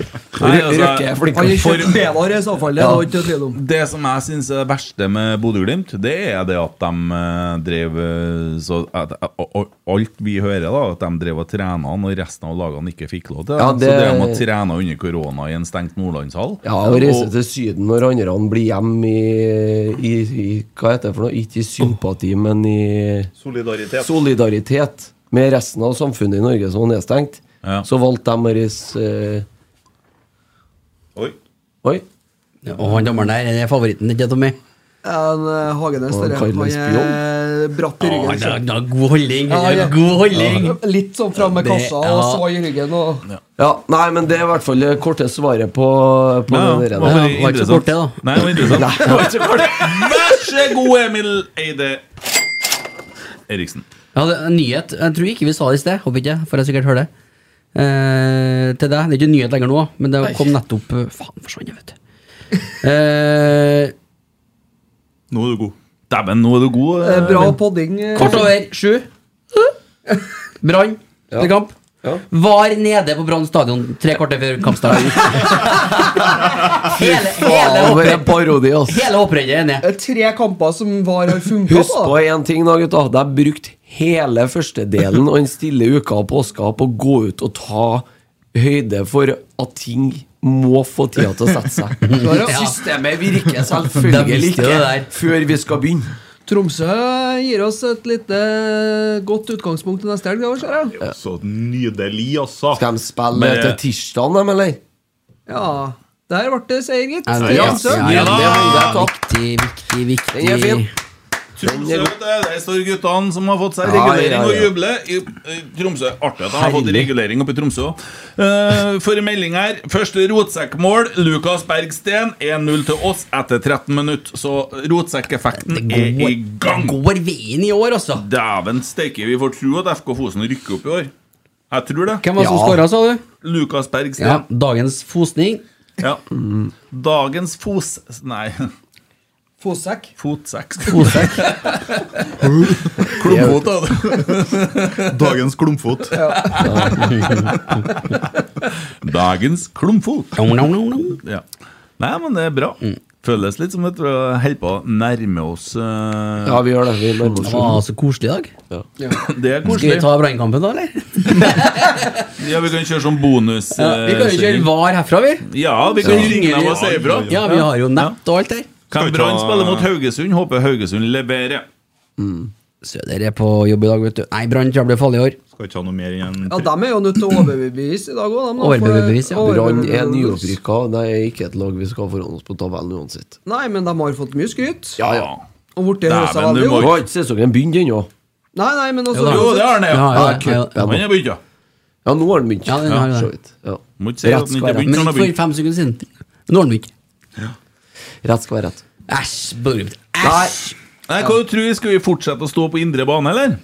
Rø- altså, Røkke er flink. Han er kjøpt bedre i så fall, det er det ikke tvil om. Det som jeg syns er det verste med Bodø-Glimt, det er det at de eh, drev eh, så, at, og- og- Alt vi hører, da, at de drev og trena han, og resten av lagene ikke fikk lov til det. Ja, det- Så det om å trene under korona i en stengt nordlandshall Ja, å reise til Syden når andre blir hjemme i, i, i Hva heter det for noe? Ikke i sympati, men i Solidaritet. solidaritet med resten av samfunnet i Norge som var nedstengt. Så valgte de å reise eh, Oi. Oi. Ja, og han dommeren der er favoritten, ikke Tommy? En eh, Hagenes, Og dere. Han Carlos er bratt i Å, ryggen. han har- så. han har god holdning. Ja, han ja. har God holdning. Ja. Litt sånn fram med Det- kassa og ja. svai i ryggen. Og Ja, nei, men det er i hvert fall det korte svaret på, på Ja, det der. var bare Ja, var ikke så interessant. kort det, da. Nei, det var interessant. Nei. Det var ikke kort. Vær så god, Emil Eide Eriksen. Jeg hadde en nyhet. Jeg tror ikke vi sa det i sted. Håper ikke, for jeg sikkert hører det. Eh, til deg. Det er ikke en nyhet lenger nå, men det kom nettopp Faen, forsvant jeg, vet du. Eh, nå er du god. Dæven, nå er du god. Eh, Bra podding. eh. Kort over sju. Brann til kamp. Var nede på Brann stadion tre kvarter før kampstart. hele hele, Faen, for oppre- en parodi, ass. hele opprennet er ned. Eh, Tre kamper som var har funka, Husk på én ting, da, gutta. Det er brukt hele førstedelen og den stille uka og påska på å gå ut og ta høyde for at ting må få tida til å sette seg. Ja. Systemet virker De selvfølgelig visste det ikke der. før vi skal begynne. Tromsø gir oss et lite godt utgangspunkt til neste helg. det var, ser jeg. Så nydelig, altså. Skal de spille til tirsdag, dem, eller? Ja. Der ble det seier, gitt. Ja, Til det- Tromsø. ja, ja, det holder jeg tatt. Viktig, viktig, viktig. Den er fin. Tromsø, vet du, der står guttene som har fått seg Ja, regulering ja, ja. og jubler. I, i Tromsø, Artig at de har fått Herlig. regulering oppe i Tromsø òg. for en melding her. Første rotsekkmål. Lukas Bergsten 1-0 til oss etter 13 minutter. Så rotsekkeffekten er i gang. Det går veien i år, altså. Dæven steike, vi får tro at FK Fosen rykker opp i år. Jeg tror det. Hvem var det som skåra, sa du? Lukas Bergsten. Ja, dagens Fosning. Ja. Dagens fos... Nei. Fotsekk. Fotsekk. Fotsekk. Klumpfot, da. Dagens klumpfot. Dagens klumpfot. No, no, no, no. Ja. Mm. Nei, men det er bra. Føles litt som at vi holder på å nærme oss eh, Ja, vi gjør det. Vi nærmer Det var så koselig i dag. Det er Skal vi koselig. Eh, ta brannkampen, da, eller? Ja, vi kan kjøre som bonus. Ja, vi kan jo eh, kjøre sending. VAR herfra, vi. Ja, vi kan ringe dem og si ifra. Ja, vi har jo nett og alt der. Kan Brann spille mot Haugesund? Håper Haugesund leverer. Søder er på jobb i dag, vet du. Nei, Brann tror jeg blir farlig i år. Skal ikke ha noe mer enn Ja, de er jo nødt til å overbevise i dag òg. Overbevise, ja. Brann er nyopprykka. Det er ikke et lag vi skal ha foran oss på tabellen uansett. Nei, men de har fått mye skryt. Ja, ja. Og blitt det høyeste Dæven, veldig nå opp. har ikke sesongen begynt ennå. Nei, nei, men altså- også Jo, det har han, ja. Ja, ja, ja. cupen. Han har begynt, ja. Ja, nå har han begynt. Ja, den har Ja, det. så vidt. Ja. Må ikke si at den ikke har begynt, Men han har for begynt. fem sekunder siden. Nå har den ikke. Rett skal være rett. Æsj, Bodø-Glimt. Æsj! Nei, hva du tror du? Skal vi fortsette å stå på indre bane, eller?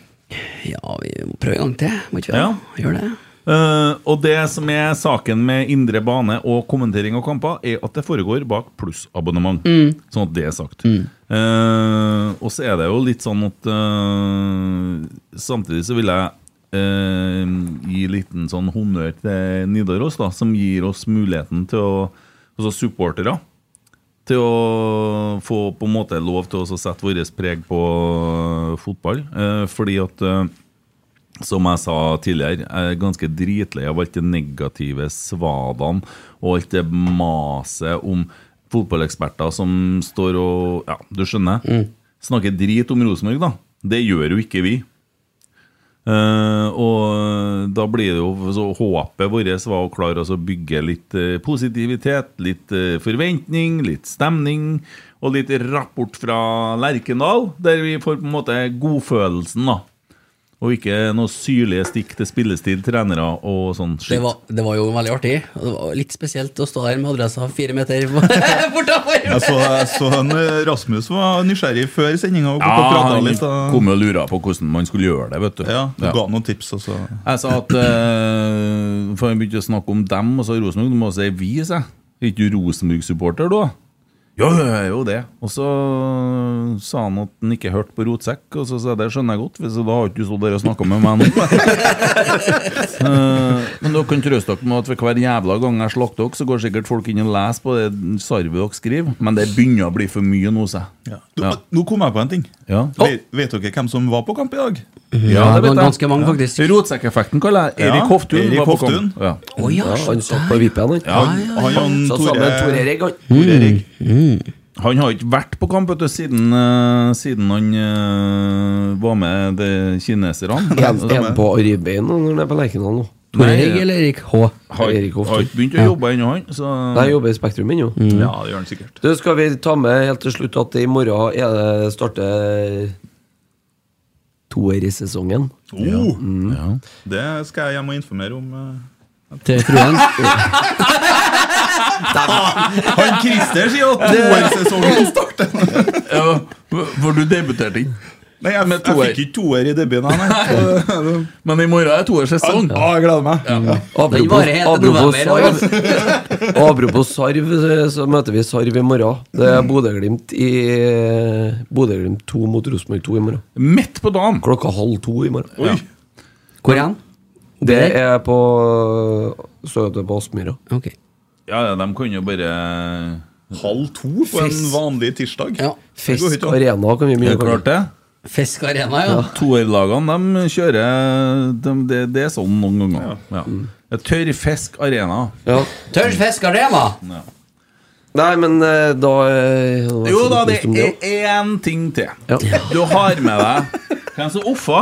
Ja, vi må prøve en gang til. Må ikke vi Ja. gjøre det? Eh, og det som er saken med indre bane og kommentering av kamper, er at det foregår bak plussabonnement. Mm. Sånn at det er sagt. Eh, og så er det jo litt sånn at eh, Samtidig så vil jeg eh, gi liten sånn honnør til Nidaros, da, som gir oss muligheten til å Altså supportere. Til å få på en måte lov til å også sette vårt preg på eh, fotball. Eh, fordi at eh, som jeg sa tidligere, jeg er ganske dritlei av alt det negative svadene og alt det maset om fotballeksperter som står og Ja, du skjønner. Snakker drit om Rosenborg, da. Det gjør jo ikke vi. Eh, og da blir det jo så Håpet vårt var å klare oss å bygge litt eh, positivitet, litt eh, forventning, litt stemning. Og litt rapport fra Lerkendal, der vi får på en måte godfølelsen, da. Og ikke noe syrlige stikk til spillestil, trenere og sånn Det shit. var, det var jo veldig artig. og Det var litt spesielt å stå der med adressa fire meter Jeg så, jeg så en, eh, Rasmus var nysgjerrig før sendinga og Ja, prata han litt. og- kom og lura på hvordan man skulle gjøre det. vet du Ja, du ga noen tips også. Jeg sa at eh, For han begynte å snakke om dem, og så Rosenborg. Du må si vi, sa jeg. Er ikke du Rosenborg-supporter, du? da?» Ja, jeg er jo det. Og så sa han at han ikke hørte på rotsekk, og så sa jeg det skjønner jeg godt, for så da har ikke du stått der og snakka med meg nå. Eh, Men dere kan trøste dere med at for hver jævla gang jeg slakter dere, så går sikkert folk inn og leser på det sarvet dere skriver, men det begynner å bli for mye nå, sa jeg. Du, Nå kom jeg på en ting. Ja. Ve- Vet dere hvem som var på kamp i dag? Ja, det vet jeg. Ja. Rotsekkeffekten kaller jeg Erik Hoftun. Erik var på Hoftun. kamp. Ja. Å ja, Ja, han satt på vippen, han. Ja, han, Ja, ja, ja. han, Satt sammen med Tore Erik, han. Tore Erik. Han har ikke vært på kamp vet du, siden, eh, siden han eh, var med de kineserne. En, en på ribbein når han er på Lerkendal nå. Tor Erik Nei, eller Erik H? Har, Erik Hoftun. har ikke begynt å Ja. jobbe ennå, han. Så... Nei, jobber i Spektrum ennå. Mm. Ja, det gjør han sikkert. Du, skal vi ta med helt til slutt at i morgen er det starter toerisesongen. Oh. Det skal jeg hjem og informere om. eh. Til fruen. Han Christer sier at toårssesongen starter. Ja, for du debuterte ikke? Nei, jeg, jeg toer. fikk ikke toer i debuten. Nei. Men i morgen er toårssesong. Ja, jeg gleder meg. Apropos- varer helt til Apropos november, altså. sarv, apropos sarv, så- så møter vi Sarv i morgen. Det er Bodø-Glimt i Bodø-Glimt 2 mot Rosenborg 2 i morgen. Midt på dagen! Klokka halv to i morgen. Oi. Hvor er han? Det er på Står det på Aspmyra. Ja, ja, de kan jo bare Halv to på en vanlig tirsdag. Det går Fisk ikke an. Arena kan vi begynne Det er klart det. Fisk Arena, ja. Toerlagene de kjører de, det, det er sånn noen ganger. Ja. Det er Tørrfisk Arena. Ja. Ja. Nei, men eh, da eh, var Jo så da, det opplyst om er også. én ting til. Ja. Du har med deg Hvem som offa?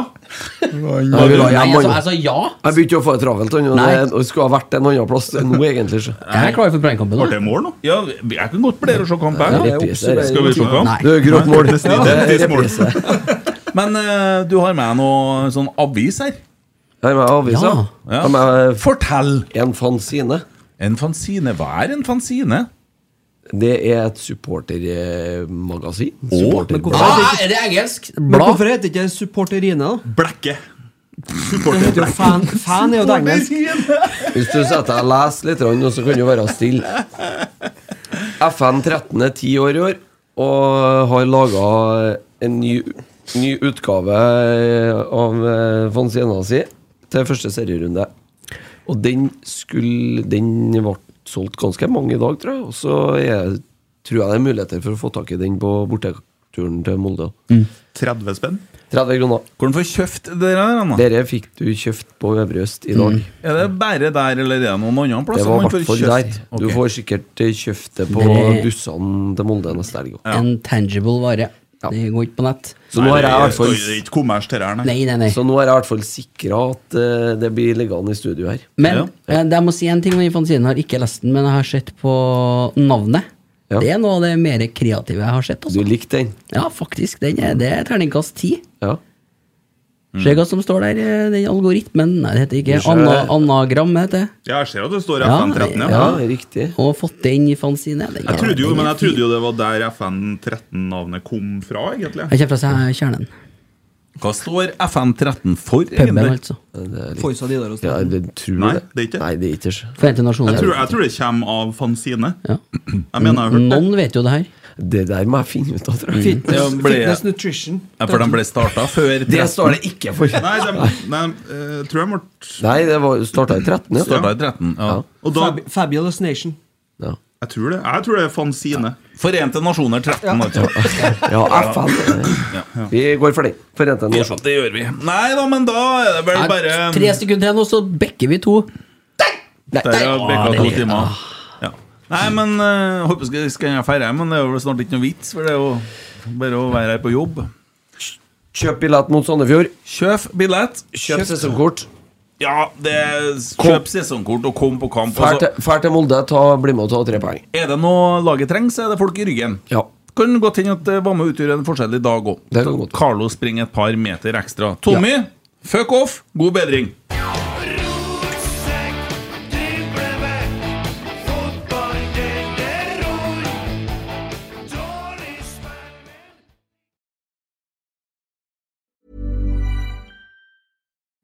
Jeg vil ha hjem, Nei, altså, mann. altså, ja. Jeg begynte jo å få det travelt. han, og Nei. det- og Skulle ha vært en annen plass enn nå, egentlig. Så. Jeg er klar for brannkampen. Ble det mål nå? Ja, jeg kan godt blære og se kamp. Ja, jeg. det er reprise, det er Skal vi se kamp? Nei. Det er grått mål. Nesten identisk Ja, det Men eh, du har med noe sånn avis her? Jeg har med avisa. Sånn. Ja. Jeg har med- Fortell! En fanzine. En fanzine? Hva er en fanzine? Det er et supportermagasin. Men hvorfor- Ah, er det engelsk? Men hvorfor heter det ikke supporterine? Blekke. Fan, fan er jo det engelsk. Hvis du setter deg og leser litt, grann, så kan du være stille. FN 13 er ti år i år og har laga en ny, ny utgave av eh, fanzina si til første serierunde. Og den skulle Den ble solgt ganske mange i dag, tror jeg. Og så er, tror jeg det er muligheter for å få tak i den på borteturen til Molde. 30 spenn? 30 kroner. Hvordan får du kjøpt det der? Anna? Dere fikk du kjøpt på Øvre Øst i dag. Er det bare der, eller er det noen annen plass? Det var i man får hvert fall der. kjøpt? Du Ok. får sikkert eh, kjøpt det på Det- bussene til Molde neste helg. også. En tangible vare. Det går ikke på nett. Så nå har jeg i hvert fall Det er ikke kommers til det her, Nei, nei, nei. Så nå er jeg i hvert fall sikra at eh, det blir liggende i studio her. Men eh, jeg må si en ting om Infanzinen. Jeg har ikke lest den, men jeg har sett på navnet. Det er noe av det mer kreative jeg har sett. Altså. Du likte den? Ja, faktisk. Den er, det er terningkast ti. Ja. Se hva som står der. eh, Den algoritmen Nei, det heter ikke Mm. Du ser- Anna, Anagram, heter det. Ja, jeg ser at det står FN13. riktig. Og fått det inn i fanzine. Den Jeg er- trodde jo, den er men jeg fin. trodde jo det var der FN13-navnet kom fra, egentlig. Jeg kommer fra seg kjernen. Hva står FN13 for, Puben, altså. Forsa Nidaros. Ja, det tror Nei, jeg det. det er ikke Nei, det er ikke så. Forente Nasjoner. Jeg tror, jeg tror det kommer av fanzine. Ja. Jeg mener, jeg har hørt Noen vet jo det her. Det der må jeg finne ut av, tror jeg. Fitness, Ja, ble- fitness nutrition. Ja, for de ble starta før Det står det ikke for. Nei, de, nei eh, tror jeg Mort Nei, det starta i 13, ja. Startet i 13, ja. Og da, Fab fabulous Nation. jeg tror det Jeg tror det er fanzine. Forente nasjoner 13, altså. Ja, FN. Vi går for den. Forente Ja, nasjoner. det gjør vi. Nei da, men da er det vel Nei, bare um, Tre sekunder igjen, og så bekker vi to. Der har Nei. Bekka Ah, to det- timer. Ja. Nei, men eh, håper skal, skal jeg feire, men det er jo snart ikke noe vits, for det er jo bare å være her på jobb. Kjøp billett mot Sandefjord. Kjøp billett. Kjøp sesongkort. Ja, det er kjøp sesongkort og kom på kamp. Fær Altså, til, fær til Molde, ta, bli med og ta tre poeng. er det noe laget trenger, så er det folk i ryggen. Kan godt hende at det var med og utgjorde en forskjell i dag òg. Carlo springer et par meter ekstra. Tommy, fuck off! God bedring.